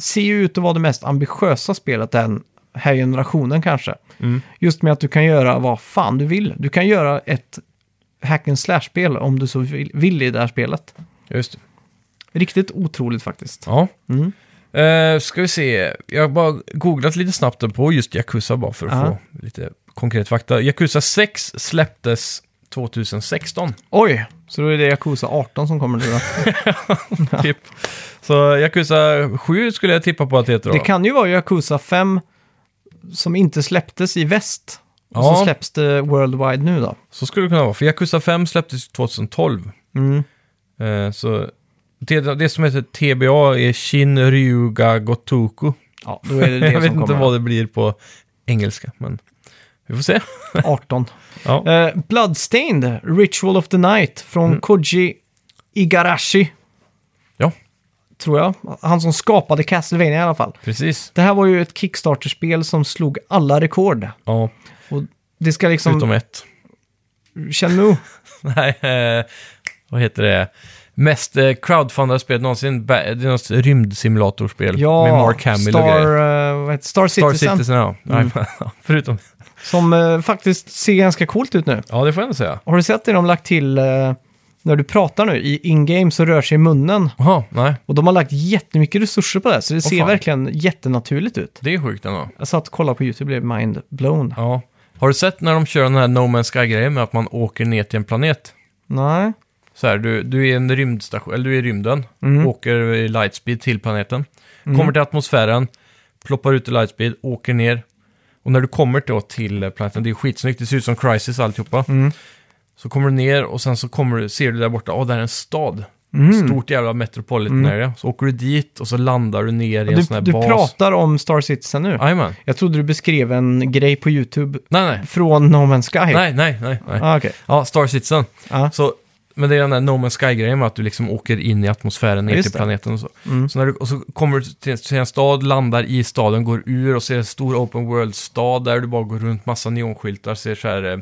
[SPEAKER 1] ser ju ut att vara det mest ambitiösa spelet den här generationen kanske. Just med att du kan göra vad fan du vill. Du kan göra ett hack and slash-spel om du så vill, vill i det här spelet.
[SPEAKER 2] Just det.
[SPEAKER 1] Riktigt otroligt faktiskt.
[SPEAKER 2] Ja.
[SPEAKER 1] Mm.
[SPEAKER 2] Eh, ska vi se, jag har bara googlat lite snabbt där på just Yakuza bara för att
[SPEAKER 1] Ja.
[SPEAKER 2] få lite konkret fakta. Yakuza 6 släpptes 2016.
[SPEAKER 1] Oj, så då är det Yakuza 18 som kommer nu då.
[SPEAKER 2] Typ. Så Yakuza 7 skulle jag tippa på att det heter då.
[SPEAKER 1] Det kan ju vara Yakuza 5 som inte släpptes i väst. Och
[SPEAKER 2] Ja.
[SPEAKER 1] så släpps det worldwide nu då.
[SPEAKER 2] Så skulle det kunna vara, för Yakuza 5 släpptes 2012.
[SPEAKER 1] Mm.
[SPEAKER 2] Eh, så det, det som heter TBA är Shin Ryuga Gotoku.
[SPEAKER 1] Ja, då är det det
[SPEAKER 2] jag vet
[SPEAKER 1] som
[SPEAKER 2] inte
[SPEAKER 1] kommer.
[SPEAKER 2] vad det blir på engelska, men vi får se.
[SPEAKER 1] 18.
[SPEAKER 2] Ja.
[SPEAKER 1] Eh, Bloodstained, Ritual of the Night från Koji Igarashi.
[SPEAKER 2] Ja.
[SPEAKER 1] Tror jag. Han som skapade Castlevania i alla fall.
[SPEAKER 2] Precis.
[SPEAKER 1] Det här var ju ett Kickstarter-spel som slog alla rekord.
[SPEAKER 2] Ja,
[SPEAKER 1] Och det ska liksom...
[SPEAKER 2] utom ett.
[SPEAKER 1] Shenmue.
[SPEAKER 2] Nej, eh, vad heter det? Mest eh, crowdfundade spelet någonsin. Ba- Det är något rymdsimulatorspel
[SPEAKER 1] Ja,
[SPEAKER 2] med Mark Hamill och
[SPEAKER 1] Star,
[SPEAKER 2] grejer.
[SPEAKER 1] eh, vad heter, det? Star
[SPEAKER 2] Star
[SPEAKER 1] Citizen. Mm.
[SPEAKER 2] Citizen, ja. Nej, Förutom...
[SPEAKER 1] Som eh, faktiskt ser ganska coolt ut nu.
[SPEAKER 2] Ja, det får jag ändå säga.
[SPEAKER 1] Har du sett det de lagt till eh, när du pratar nu? I in-game så rör sig munnen.
[SPEAKER 2] Jaha, nej.
[SPEAKER 1] Och de har lagt jättemycket resurser på det här, så det ser
[SPEAKER 2] fan.
[SPEAKER 1] verkligen jättenaturligt ut.
[SPEAKER 2] Det är sjukt ändå.
[SPEAKER 1] Jag satt och kollade på YouTube och blev mind blown.
[SPEAKER 2] Ja. Har du sett när de kör den här No Man's Sky-grejen med att man åker ner till en planet?
[SPEAKER 1] Nej.
[SPEAKER 2] Så här, du, du är i en rymdstation, eller du är i rymden,
[SPEAKER 1] Mm.
[SPEAKER 2] åker i lightspeed till planeten, kommer till atmosfären, ploppar ut i lightspeed, åker ner. Och när du kommer då till planeten, det är skitsnyggt, det ser ut som Crisis alltihopa.
[SPEAKER 1] Mm.
[SPEAKER 2] Så kommer du ner och sen så kommer du, ser du där borta, åh, där är en stad.
[SPEAKER 1] Mm.
[SPEAKER 2] Stort jävla metropolitan area. Så åker du dit och så landar du ner i en sån
[SPEAKER 1] Du,
[SPEAKER 2] här
[SPEAKER 1] du
[SPEAKER 2] bas.
[SPEAKER 1] pratar om Star Citizen nu.
[SPEAKER 2] Jajamän.
[SPEAKER 1] Jag trodde du beskrev en grej på YouTube
[SPEAKER 2] Nej, nej.
[SPEAKER 1] från No Man's Sky.
[SPEAKER 2] Nej, nej, nej. nej.
[SPEAKER 1] Ah, okej.
[SPEAKER 2] Ja, Star Citizen.
[SPEAKER 1] Ja.
[SPEAKER 2] Så, men det är den där No Man's Sky-grejen med att du liksom åker in i atmosfären, ner
[SPEAKER 1] Just
[SPEAKER 2] till
[SPEAKER 1] det. Mm.
[SPEAKER 2] planeten och så. Så när du, och så kommer du till, till en stad, landar i staden, går ur och ser en stor open world-stad där du bara går runt, massa neonskyltar, ser så här eh,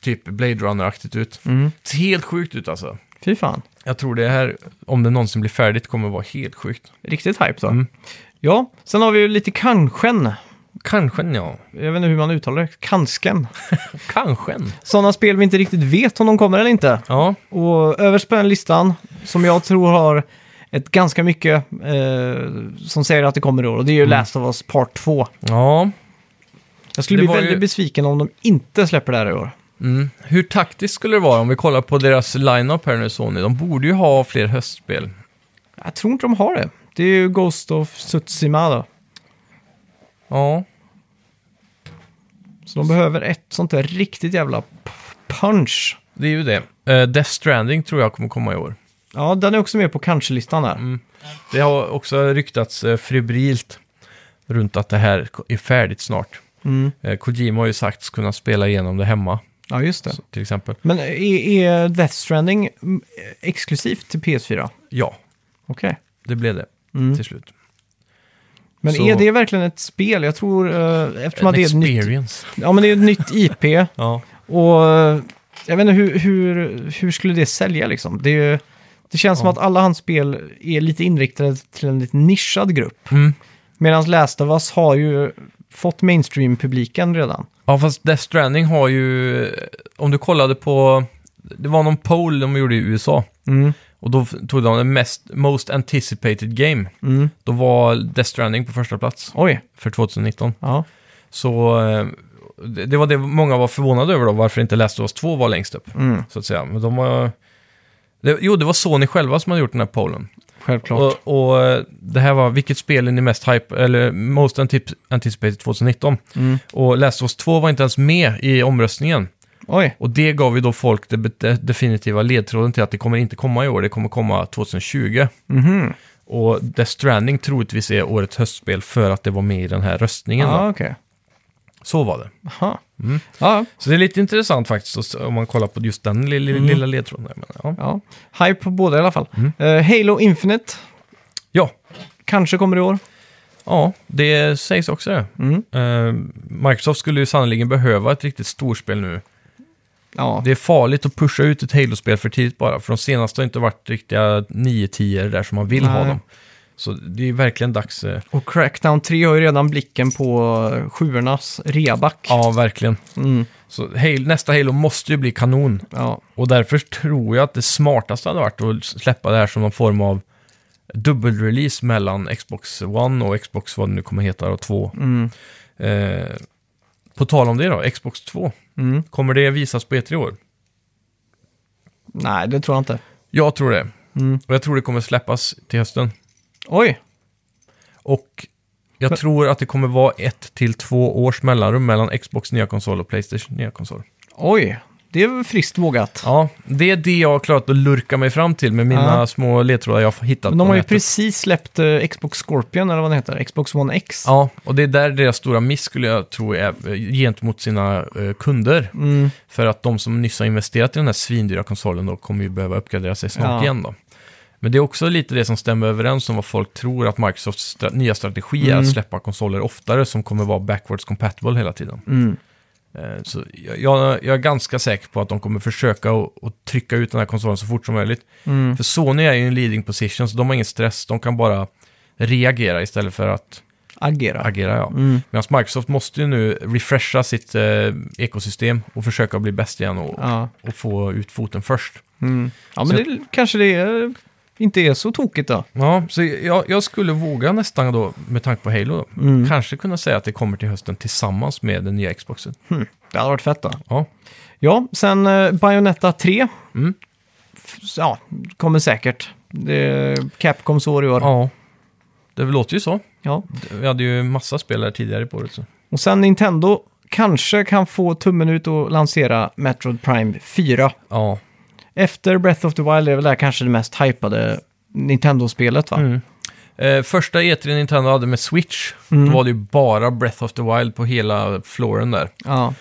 [SPEAKER 2] typ Blade Runner-aktigt ut.
[SPEAKER 1] Mm.
[SPEAKER 2] Ser Helt sjukt ut alltså.
[SPEAKER 1] Fy fan.
[SPEAKER 2] Jag tror det här, om det någonsin blir färdigt, kommer vara helt sjukt.
[SPEAKER 1] Riktigt hype då.
[SPEAKER 2] Mm.
[SPEAKER 1] Ja, sen har vi ju lite kanschen.
[SPEAKER 2] Kanske, ja.
[SPEAKER 1] Jag vet inte hur man uttalar det. Kansken.
[SPEAKER 2] Kanske.
[SPEAKER 1] Sådana spel vi inte riktigt vet om de kommer eller inte.
[SPEAKER 2] Ja,
[SPEAKER 1] Och överst på den listan, som jag tror har ett ganska mycket eh, som säger att det kommer i år, och det är
[SPEAKER 2] Mm.
[SPEAKER 1] ju Last of Us Part 2.
[SPEAKER 2] ja.
[SPEAKER 1] Jag skulle
[SPEAKER 2] Det
[SPEAKER 1] bli
[SPEAKER 2] var ju-
[SPEAKER 1] väldigt besviken om de inte släpper det här i år.
[SPEAKER 2] Mm. Hur taktiskt skulle det vara om vi kollar på deras line-up här nu, Sony? De borde ju ha fler höstspel.
[SPEAKER 1] Jag tror inte de har det. Det är ju Ghost of Tsushima då.
[SPEAKER 2] Ja.
[SPEAKER 1] Så de behöver ett sånt där riktigt jävla p- punch.
[SPEAKER 2] Det är ju det. Eh, Death Stranding tror jag kommer komma i år.
[SPEAKER 1] Ja, den är också med på kanske-listan där.
[SPEAKER 2] Mm. Det har också ryktats eh, febrilt runt att det här är färdigt snart.
[SPEAKER 1] Mm.
[SPEAKER 2] Eh, Kojima har ju sagts kunna spela igenom det hemma,
[SPEAKER 1] Ja, just det.
[SPEAKER 2] så, till exempel.
[SPEAKER 1] Men är, är Death Stranding mm, exklusivt till PS4?
[SPEAKER 2] Ja,
[SPEAKER 1] Okej.
[SPEAKER 2] det blev det
[SPEAKER 1] Mm.
[SPEAKER 2] till slut.
[SPEAKER 1] Men
[SPEAKER 2] Så-
[SPEAKER 1] är det verkligen ett spel? Jag tror, eh, eftersom
[SPEAKER 2] En
[SPEAKER 1] att det är ett nytt,
[SPEAKER 2] experience.
[SPEAKER 1] ja, men det är ett nytt IP
[SPEAKER 2] Ja.
[SPEAKER 1] och eh, Jag vet inte, hur, hur, hur skulle det sälja liksom? Det, är ju, det känns som att alla hans spel är lite inriktade till en lite nischad grupp.
[SPEAKER 2] Mm.
[SPEAKER 1] Medan Last of Us har ju fått mainstream-publiken redan.
[SPEAKER 2] Ja, fast Death Stranding har ju... eh, Om du kollade på... Det var någon poll de gjorde i USA. Och då f- tog de den mest, Most Anticipated Game.
[SPEAKER 1] Mm.
[SPEAKER 2] Då var Death Stranding på första plats
[SPEAKER 1] Oj,
[SPEAKER 2] för 2019.
[SPEAKER 1] ja.
[SPEAKER 2] Så eh, det det var det många var förvånade över då, varför inte Last of Us 2 var längst upp.
[SPEAKER 1] Mm.
[SPEAKER 2] Så att säga. Men de var... Det, jo, det var Sony själva som hade gjort den här pollen.
[SPEAKER 1] Självklart.
[SPEAKER 2] Och, och eh, det här var, vilket spel är ni mest hype, eller Most Antip- Anticipated 2019?
[SPEAKER 1] Mm.
[SPEAKER 2] Och Last of Us 2 var inte ens med i omröstningen.
[SPEAKER 1] Oj,
[SPEAKER 2] Och det gav ju då folk den be- definitiva ledtråden till att det kommer inte komma i år, det kommer komma 2020.
[SPEAKER 1] mhm.
[SPEAKER 2] Och Death Stranding troligtvis är årets höstspel för att det var med i den här röstningen.
[SPEAKER 1] Ja,
[SPEAKER 2] Då.
[SPEAKER 1] okej.
[SPEAKER 2] Så var det.
[SPEAKER 1] Aha.
[SPEAKER 2] Mm.
[SPEAKER 1] Ja,
[SPEAKER 2] Så det är lite intressant faktiskt att- om man kollar på just den lilla,
[SPEAKER 1] Mm.
[SPEAKER 2] lilla ledtråden. Där. Men, ja.
[SPEAKER 1] ja. Hype på båda i alla fall.
[SPEAKER 2] Mm.
[SPEAKER 1] Eh, Halo Infinite
[SPEAKER 2] Ja.
[SPEAKER 1] kanske kommer i år.
[SPEAKER 2] ja, det sägs också det.
[SPEAKER 1] Mm.
[SPEAKER 2] Eh, Microsoft skulle ju sannoliken behöva ett riktigt storspel nu.
[SPEAKER 1] Ja,
[SPEAKER 2] Det är farligt att pusha ut ett Halo-spel för tidigt bara, för de senaste har inte varit riktiga 9 10 där som man vill ha
[SPEAKER 1] Nej.
[SPEAKER 2] dem. Så det är verkligen dags. eh,
[SPEAKER 1] och Crackdown 3 har ju redan blicken på eh, sjuornas reaback.
[SPEAKER 2] Ja, verkligen.
[SPEAKER 1] Mm.
[SPEAKER 2] Så Halo, nästa Halo måste ju bli kanon.
[SPEAKER 1] ja.
[SPEAKER 2] Och därför tror jag att det smartaste hade varit att släppa det här som någon form av dubbelrelease mellan Xbox One och Xbox, vad det nu kommer heta, och 2.
[SPEAKER 1] Mm.
[SPEAKER 2] Eh, på tal om det då, Xbox 2.
[SPEAKER 1] Mm.
[SPEAKER 2] Kommer det visas på E3 i år?
[SPEAKER 1] Nej, det tror jag inte.
[SPEAKER 2] Jag tror det.
[SPEAKER 1] Mm.
[SPEAKER 2] Och jag tror det kommer släppas till hösten.
[SPEAKER 1] Oj,
[SPEAKER 2] Och jag
[SPEAKER 1] Men-
[SPEAKER 2] tror att det kommer vara ett till två års mellanrum mellan Xbox nya konsol och Playstation nya konsol.
[SPEAKER 1] oj. Det är väl friskt vågat.
[SPEAKER 2] Ja, det är det jag har klarat att lurka mig fram till med mina
[SPEAKER 1] Ja.
[SPEAKER 2] små ledtrådar jag har hittat
[SPEAKER 1] Men de
[SPEAKER 2] på
[SPEAKER 1] har ju
[SPEAKER 2] nätet.
[SPEAKER 1] precis släppt eh, Xbox Scorpion, eller vad den heter, Xbox One X.
[SPEAKER 2] Ja, och det är där deras stora miss skulle jag tro är eh, gentemot sina eh, kunder.
[SPEAKER 1] Mm.
[SPEAKER 2] För att de som nyss har investerat i den här svindyra konsolen då kommer ju behöva uppgradera sig snart
[SPEAKER 1] Ja.
[SPEAKER 2] igen då. Men det är också lite det som stämmer överens om vad folk tror att Microsofts stra- nya strategi är att
[SPEAKER 1] Mm.
[SPEAKER 2] släppa konsoler oftare som kommer vara backwards compatible hela tiden.
[SPEAKER 1] Mm.
[SPEAKER 2] Eh, Så jag, jag, jag är ganska säker på att de kommer försöka att- att trycka ut den här konsolen så fort som möjligt.
[SPEAKER 1] Mm.
[SPEAKER 2] För Sony är ju i en leading position, så de har ingen stress. De kan bara reagera istället för att
[SPEAKER 1] Agera.
[SPEAKER 2] agera. Ja.
[SPEAKER 1] Mm.
[SPEAKER 2] Medan Microsoft måste ju nu refresha sitt eh, ekosystem och försöka bli bäst igen och,
[SPEAKER 1] Ja.
[SPEAKER 2] och få ut foten först.
[SPEAKER 1] Mm. ja, men
[SPEAKER 2] Så-
[SPEAKER 1] det, kanske det är, inte är så tokigt då.
[SPEAKER 2] Ja, så jag, jag skulle våga nästan då, med tanke på Halo, då,
[SPEAKER 1] Mm.
[SPEAKER 2] kanske kunna säga att det kommer till hösten tillsammans med den nya Xboxen.
[SPEAKER 1] Det hade varit fett då.
[SPEAKER 2] Ja,
[SPEAKER 1] Ja, sen eh, Bayonetta 3.
[SPEAKER 2] Mm.
[SPEAKER 1] F- Ja, kommer säkert. Det är Capcoms år i år.
[SPEAKER 2] ja. det låter ju så.
[SPEAKER 1] Ja.
[SPEAKER 2] Vi hade ju massa spelare tidigare på året. Så.
[SPEAKER 1] Och sen Nintendo kanske kan få tummen ut och lansera Metroid Prime 4.
[SPEAKER 2] Ja,
[SPEAKER 1] Efter Breath of the Wild är väl det här kanske det mest hypade Nintendo-spelet va?
[SPEAKER 2] Mm. Eh, första E3 Nintendo hade med Switch,
[SPEAKER 1] Mm.
[SPEAKER 2] då var det ju bara Breath of the Wild på hela floren där.
[SPEAKER 1] Ja.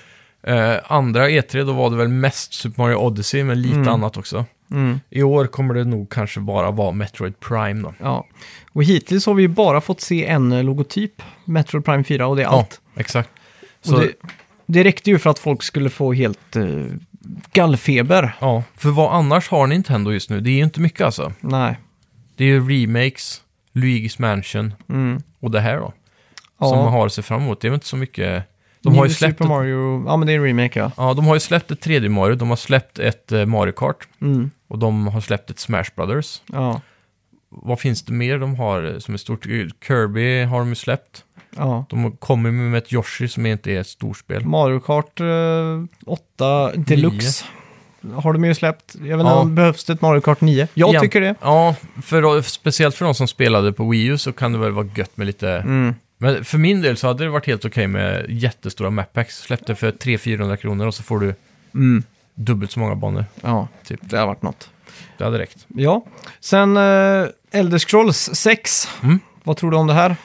[SPEAKER 2] Eh, andra E3, då var det väl mest Super Mario Odyssey, men lite
[SPEAKER 1] Mm.
[SPEAKER 2] annat också.
[SPEAKER 1] Mm.
[SPEAKER 2] I år kommer det nog kanske bara vara Metroid Prime då.
[SPEAKER 1] ja. Och hittills har vi ju bara fått se en eh, logotyp, Metroid Prime 4, och det är allt.
[SPEAKER 2] Ja, exakt.
[SPEAKER 1] Och
[SPEAKER 2] Så,
[SPEAKER 1] det, det räckte ju för att folk skulle få helt eh, gallfeber.
[SPEAKER 2] ja, för vad annars har Nintendo just nu? Det är ju inte mycket alltså.
[SPEAKER 1] Nej.
[SPEAKER 2] Det är ju remakes, Luigi's Mansion
[SPEAKER 1] Mm.
[SPEAKER 2] och det här då.
[SPEAKER 1] Ja.
[SPEAKER 2] Som man har sig fram emot. Det är väl inte så mycket... De har, ju
[SPEAKER 1] New
[SPEAKER 2] släppt
[SPEAKER 1] Super
[SPEAKER 2] ett,
[SPEAKER 1] Mario, ja men det är en remake ja.
[SPEAKER 2] ja, de har ju släppt ett 3D Mario, de har släppt ett eh, Mario Kart
[SPEAKER 1] Mm.
[SPEAKER 2] och de har släppt ett Smash Brothers.
[SPEAKER 1] Ja.
[SPEAKER 2] Vad finns det mer de har eh, som är stort? Kirby har de ju släppt.
[SPEAKER 1] ja.
[SPEAKER 2] De kommer ju med ett Yoshi som inte är ett storspel.
[SPEAKER 1] Mario Kart eh, 8 Deluxe har de ju släppt. Jag vet inte
[SPEAKER 2] Ja.
[SPEAKER 1] om behövs det ett Mario Kart 9? Jag
[SPEAKER 2] Igen.
[SPEAKER 1] tycker det.
[SPEAKER 2] Ja, för, speciellt för de som spelade på Wii U så kan det väl vara gött med lite...
[SPEAKER 1] Mm.
[SPEAKER 2] Men för min del så hade det varit helt okej med jättestora mappacks. Släppte för 300-400 kronor och så får du
[SPEAKER 1] Mm.
[SPEAKER 2] dubbelt så många banor.
[SPEAKER 1] Ja,
[SPEAKER 2] Typ.
[SPEAKER 1] det har varit något.
[SPEAKER 2] Det hade räckt.
[SPEAKER 1] Ja, sen eh, Elder Scrolls 6.
[SPEAKER 2] Mm.
[SPEAKER 1] Vad tror du om det här?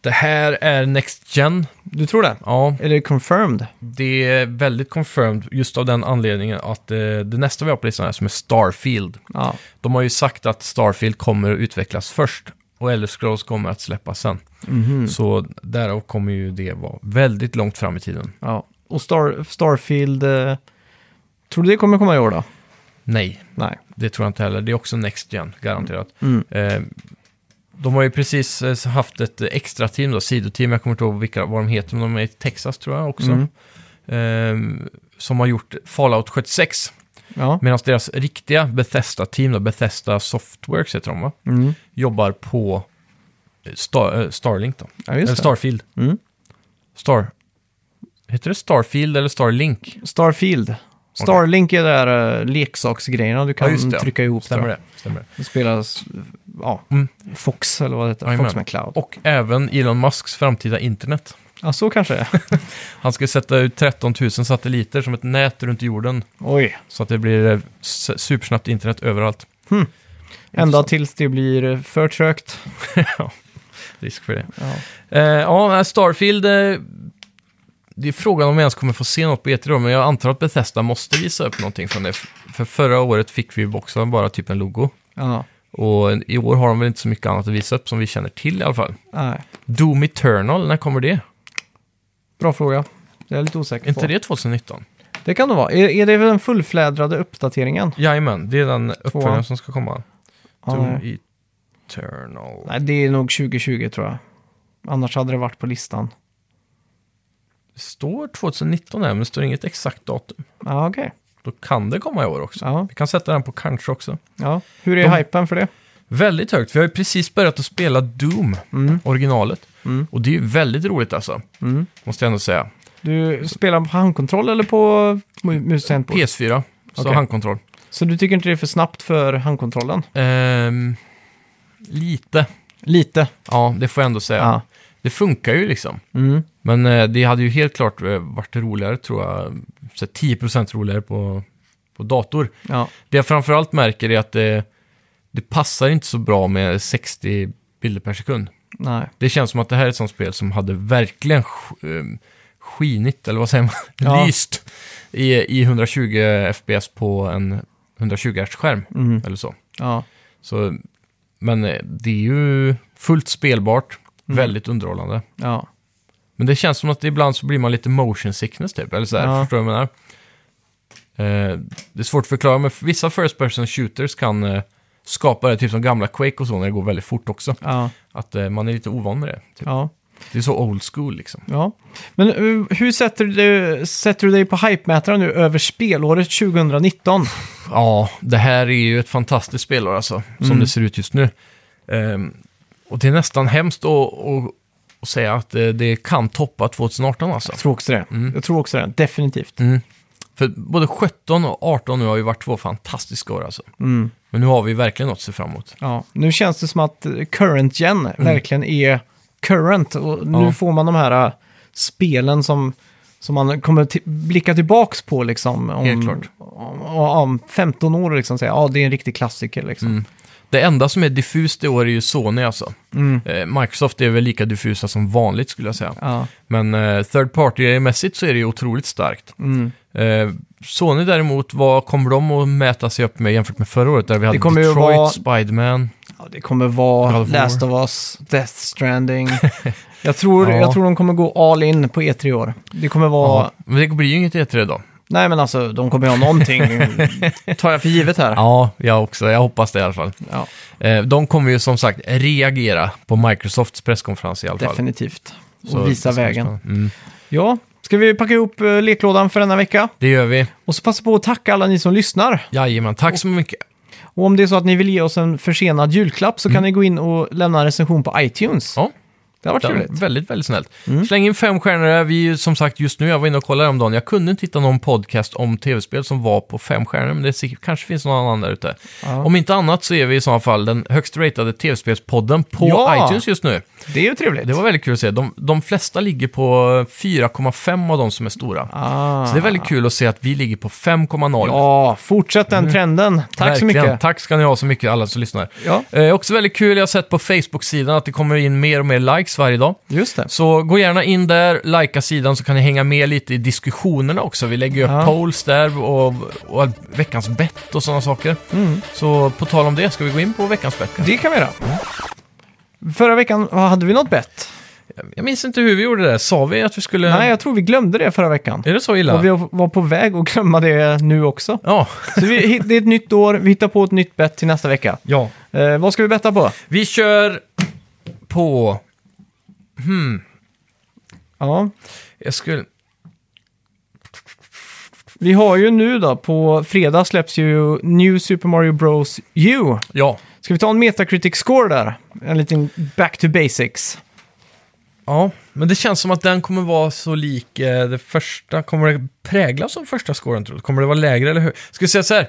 [SPEAKER 2] Det här är Next Gen.
[SPEAKER 1] Du tror det?
[SPEAKER 2] Ja,
[SPEAKER 1] Är det confirmed?
[SPEAKER 2] det är väldigt confirmed just av den anledningen att eh, det nästa vi har på listan är som är Starfield.
[SPEAKER 1] Ja.
[SPEAKER 2] De har ju sagt att Starfield kommer att utvecklas först och Elder Scrolls kommer att släppas sen.
[SPEAKER 1] Mhm.
[SPEAKER 2] Så därav kommer ju det vara väldigt långt fram i tiden.
[SPEAKER 1] ja. Och Star, Starfield eh, Tror du det kommer komma i år då?
[SPEAKER 2] Nej,
[SPEAKER 1] Nej.
[SPEAKER 2] det tror jag inte heller. Det är också Next Gen, garanterat.
[SPEAKER 1] Mm.
[SPEAKER 2] Eh, de har ju precis eh, haft ett extra team, då, sidoteam, jag kommer inte ihåg vilka, vad de heter, men de är i Texas tror jag också.
[SPEAKER 1] Mm.
[SPEAKER 2] Eh, som har gjort Fallout 76,
[SPEAKER 1] Ja.
[SPEAKER 2] medan deras riktiga Bethesda-team, då, Bethesda Softworks heter de va,
[SPEAKER 1] Mm.
[SPEAKER 2] jobbar på eh, Star, eh, Starlink då.
[SPEAKER 1] ja, just
[SPEAKER 2] eller
[SPEAKER 1] det.
[SPEAKER 2] Starfield.
[SPEAKER 1] Mm.
[SPEAKER 2] Star... Heter det Starfield eller Starlink?
[SPEAKER 1] Starfield. Starlink är där uh, leksaksgrejerna du kan
[SPEAKER 2] Ja, just det, ja.
[SPEAKER 1] trycka ihop.
[SPEAKER 2] Stämmer
[SPEAKER 1] tror jag.
[SPEAKER 2] det? Stämmer det.
[SPEAKER 1] Det spelas, ja,
[SPEAKER 2] Mm.
[SPEAKER 1] Fox eller vad det heter.
[SPEAKER 2] Jajamän.
[SPEAKER 1] Fox med Cloud.
[SPEAKER 2] Och även Elon Musks framtida internet.
[SPEAKER 1] Ja, så kanske det är.
[SPEAKER 2] Han ska sätta ut 13 000 satelliter som ett nät runt jorden.
[SPEAKER 1] Oj.
[SPEAKER 2] Så att det blir eh, s- supersnabbt internet överallt.
[SPEAKER 1] Ända tills det blir eh, för trögt.
[SPEAKER 2] Risk för det.
[SPEAKER 1] Ja.
[SPEAKER 2] Eh, ja, Starfield. Eh, det är frågan om vi ens kommer få se något på E3 då, men jag antar att Bethesda måste visa upp någonting från det. För förra året fick vi ju boxen bara typ en logo.
[SPEAKER 1] Ja.
[SPEAKER 2] Och i år har de väl inte så mycket annat att visa upp som vi känner till i alla fall.
[SPEAKER 1] Nej.
[SPEAKER 2] Doom Eternal, när kommer det?
[SPEAKER 1] Bra fråga. Det är jag lite osäker
[SPEAKER 2] Är inte
[SPEAKER 1] på.
[SPEAKER 2] det 2019?
[SPEAKER 1] Det kan det vara. Är, är det väl den fullflädrade uppdateringen?
[SPEAKER 2] Jajamän, det är den uppföljaren
[SPEAKER 1] Tvåan.
[SPEAKER 2] som ska komma.
[SPEAKER 1] Ja,
[SPEAKER 2] Doom
[SPEAKER 1] nej.
[SPEAKER 2] Eternal.
[SPEAKER 1] Nej, det är nog 2020 tror jag. Annars hade det varit på listan.
[SPEAKER 2] Det står 2019 här, men det står inget exakt datum.
[SPEAKER 1] Ja, okej.
[SPEAKER 2] Då kan det komma i år också.
[SPEAKER 1] Ja.
[SPEAKER 2] Vi kan sätta den på kanske också.
[SPEAKER 1] ja. Hur är
[SPEAKER 2] De-
[SPEAKER 1] hypen för det?
[SPEAKER 2] Väldigt högt, vi har ju precis börjat att spela Doom,
[SPEAKER 1] Mm.
[SPEAKER 2] originalet.
[SPEAKER 1] Mm.
[SPEAKER 2] Och det är ju väldigt roligt alltså,
[SPEAKER 1] Mm.
[SPEAKER 2] måste jag ändå säga.
[SPEAKER 1] Du spelar på handkontroll eller på mu- mus och handboll?
[SPEAKER 2] PS4, så
[SPEAKER 1] Okej.
[SPEAKER 2] handkontroll.
[SPEAKER 1] Så du tycker inte det är för snabbt för handkontrollen?
[SPEAKER 2] Ehm, lite,
[SPEAKER 1] Lite.
[SPEAKER 2] ja det får jag ändå säga.
[SPEAKER 1] Ja.
[SPEAKER 2] Det funkar ju liksom.
[SPEAKER 1] Mm.
[SPEAKER 2] Men eh, det hade ju helt klart eh, varit roligare tror jag. Så 10% roligare på, på dator.
[SPEAKER 1] Ja.
[SPEAKER 2] Det jag framförallt märker är att det, det passar inte så bra med 60 bilder per sekund.
[SPEAKER 1] Nej.
[SPEAKER 2] Det känns som att det här är ett sånt spel som hade verkligen sk- eh, skinit, eller vad säger man,
[SPEAKER 1] Ja.
[SPEAKER 2] lyst i, i 120 FPS på en 120 Hz-skärm
[SPEAKER 1] Mm.
[SPEAKER 2] eller så.
[SPEAKER 1] Ja.
[SPEAKER 2] så. Men eh, det är ju fullt spelbart,
[SPEAKER 1] Mm.
[SPEAKER 2] väldigt underhållande.
[SPEAKER 1] Ja.
[SPEAKER 2] Men det känns som att ibland så blir man lite motion sickness typ, eller så här,
[SPEAKER 1] Ja.
[SPEAKER 2] förstår du vad jag menar? Eh, det är svårt att förklara, men vissa first person shooters kan eh, skapa det, typ som gamla Quake och så, när det går väldigt fort också.
[SPEAKER 1] Ja.
[SPEAKER 2] Att eh, man är lite ovan med det. Typ.
[SPEAKER 1] Ja.
[SPEAKER 2] Det är så old school liksom.
[SPEAKER 1] Ja, men uh, hur sätter du, sätter du dig på hypemätaren nu över spelåret 2019?
[SPEAKER 2] Ja, det här är ju ett fantastiskt spelår alltså, som
[SPEAKER 1] Mm.
[SPEAKER 2] det ser ut just nu. Ehm, och det är nästan hemskt att, att, att säga att eh, det kan toppa 2018 alltså.
[SPEAKER 1] Jag tror också det. Jag tror också det, definitivt.
[SPEAKER 2] Mm. För både 17 och 18 nu har ju varit två fantastiska år alltså.
[SPEAKER 1] Mm.
[SPEAKER 2] Men nu har vi verkligen något att se fram emot.
[SPEAKER 1] Ja. Nu känns det som att eh, current gen verkligen är current. Och nu
[SPEAKER 2] Mm. Ja.
[SPEAKER 1] får man de här eh, spelen som, som man kommer ti- blicka tillbaks på liksom, om,
[SPEAKER 2] Helt klart.
[SPEAKER 1] Om, om 15 år. och Liksom, säga, ja, det är en riktig klassiker. Liksom.
[SPEAKER 2] Mm. Det enda som är diffust i år är ju Sony alltså.
[SPEAKER 1] Mm.
[SPEAKER 2] Eh, Microsoft är väl lika diffusa som vanligt skulle jag säga.
[SPEAKER 1] Ja.
[SPEAKER 2] Men eh, third party-mässigt så är det ju otroligt starkt.
[SPEAKER 1] Mm.
[SPEAKER 2] Eh, Sony däremot, vad kommer de att mäta sig upp med jämfört med förra året? Där vi hade
[SPEAKER 1] kommer ju
[SPEAKER 2] Detroit,
[SPEAKER 1] vara-
[SPEAKER 2] Spiderman.
[SPEAKER 1] Ja, det kommer vara
[SPEAKER 2] God of War.
[SPEAKER 1] Last of Us, Death Stranding. jag, tror,
[SPEAKER 2] Ja.
[SPEAKER 1] jag tror de kommer gå all in på E3 i år. Det kommer vara...
[SPEAKER 2] Ja. Men det blir ju inget E3 då.
[SPEAKER 1] Nej, men alltså, de kommer ha någonting. tar jag för givet här.
[SPEAKER 2] Ja, jag också. Jag hoppas det i alla fall.
[SPEAKER 1] Ja,
[SPEAKER 2] Eh, de kommer ju som sagt reagera på Microsofts presskonferens i alla fall.
[SPEAKER 1] definitivt. Och
[SPEAKER 2] Så
[SPEAKER 1] visa
[SPEAKER 2] det ska bli
[SPEAKER 1] vägen.
[SPEAKER 2] spännande. Mm.
[SPEAKER 1] Ja, ska vi packa ihop eh, leklådan för denna vecka?
[SPEAKER 2] Det gör vi.
[SPEAKER 1] Och så passa på att tacka alla ni som lyssnar.
[SPEAKER 2] Jajamän, tack så mycket.
[SPEAKER 1] Och om det är så att ni vill ge oss en försenad julklapp så kan ni gå in och lämna en recension på iTunes.
[SPEAKER 2] Mm. Ja.
[SPEAKER 1] Det har varit
[SPEAKER 2] Det var
[SPEAKER 1] trevligt. Mm.
[SPEAKER 2] väldigt, väldigt snällt. Släng in fem stjärnor där. Vi är ju som sagt just nu, jag var inne och kollade om dagen. Jag kunde inte hitta någon podcast om tv-spel som var på fem stjärnor, men det är säkert- kanske finns någon annan där ute.
[SPEAKER 1] Ja.
[SPEAKER 2] Om inte annat så är vi i så fall den högst ratade tv-spelspodden på
[SPEAKER 1] Ja!
[SPEAKER 2] iTunes just nu.
[SPEAKER 1] Det är ju trevligt.
[SPEAKER 2] Det var väldigt kul att se. De, de flesta ligger på 4,5 av de som är stora.
[SPEAKER 1] ah.
[SPEAKER 2] Så det är väldigt kul att se att vi ligger på 5,0.
[SPEAKER 1] Ja, fortsätt den trenden. Tack så
[SPEAKER 2] Mm. Verkligen.
[SPEAKER 1] mycket.
[SPEAKER 2] Tack ska ni ha så mycket alla som lyssnar.
[SPEAKER 1] Ja,
[SPEAKER 2] Eh, också väldigt kul, jag har sett på Facebook-sidan att det kommer in mer och mer likes varje dag.
[SPEAKER 1] just det.
[SPEAKER 2] Så gå gärna in där, likea sidan så kan ni hänga med lite i diskussionerna också. Vi lägger ju upp
[SPEAKER 1] Ja.
[SPEAKER 2] polls där och, och veckans bett och sådana saker.
[SPEAKER 1] Mm.
[SPEAKER 2] Så på tal om det, ska vi gå in på veckans bett? kanske?
[SPEAKER 1] Det kan vi göra. Förra veckan vad hade vi något bett.
[SPEAKER 2] Jag minns inte hur vi gjorde det. där. Sa vi att vi skulle...
[SPEAKER 1] Nej, jag tror vi glömde det förra veckan.
[SPEAKER 2] Är det så illa?
[SPEAKER 1] Och vi var på väg att glömma det nu också.
[SPEAKER 2] Ja.
[SPEAKER 1] Så vi, det är ett nytt år, vi hittar på ett nytt bett till nästa vecka.
[SPEAKER 2] ja.
[SPEAKER 1] Eh, vad ska vi betta på?
[SPEAKER 2] Vi kör på...
[SPEAKER 1] Ja,
[SPEAKER 2] Jag skulle...
[SPEAKER 1] vi har ju nu då, på fredag släpps ju New Super Mario Bros U.
[SPEAKER 2] Ja.
[SPEAKER 1] Ska vi ta en Metacritic score där? En liten back to basics.
[SPEAKER 2] Ja, men det känns som att den kommer vara så lik eh, det första. Kommer det präglas av första scoren tror du? Kommer det vara lägre eller högre? Ska vi säga så här?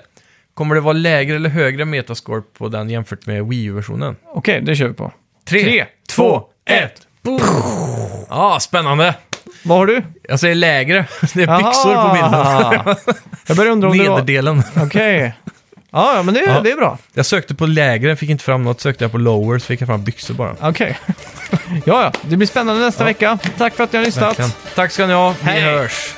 [SPEAKER 2] Kommer det vara lägre eller högre metascore på den jämfört med Wii U-versionen?
[SPEAKER 1] Okej, det kör vi på.
[SPEAKER 2] Tre,
[SPEAKER 1] Tre,
[SPEAKER 2] två,
[SPEAKER 1] två,
[SPEAKER 2] ett! Ja, ah, spännande!
[SPEAKER 1] Vad har du?
[SPEAKER 2] Jag säger lägre. Det är byxor på bilden.
[SPEAKER 1] Jag börjar undra om det var...
[SPEAKER 2] Nederdelen.
[SPEAKER 1] Okej. Ja, ja, men det,
[SPEAKER 2] Ja.
[SPEAKER 1] det är bra.
[SPEAKER 2] Jag sökte på lägre, fick inte fram något. Sökte jag på lower, så fick jag fram byxor bara.
[SPEAKER 1] Okej. ja, ja. Det blir spännande nästa vecka. Tack för att ni har lyssnat.
[SPEAKER 2] Verkligen. Tack ska ni ha. Vi
[SPEAKER 1] Hej.
[SPEAKER 2] hörs.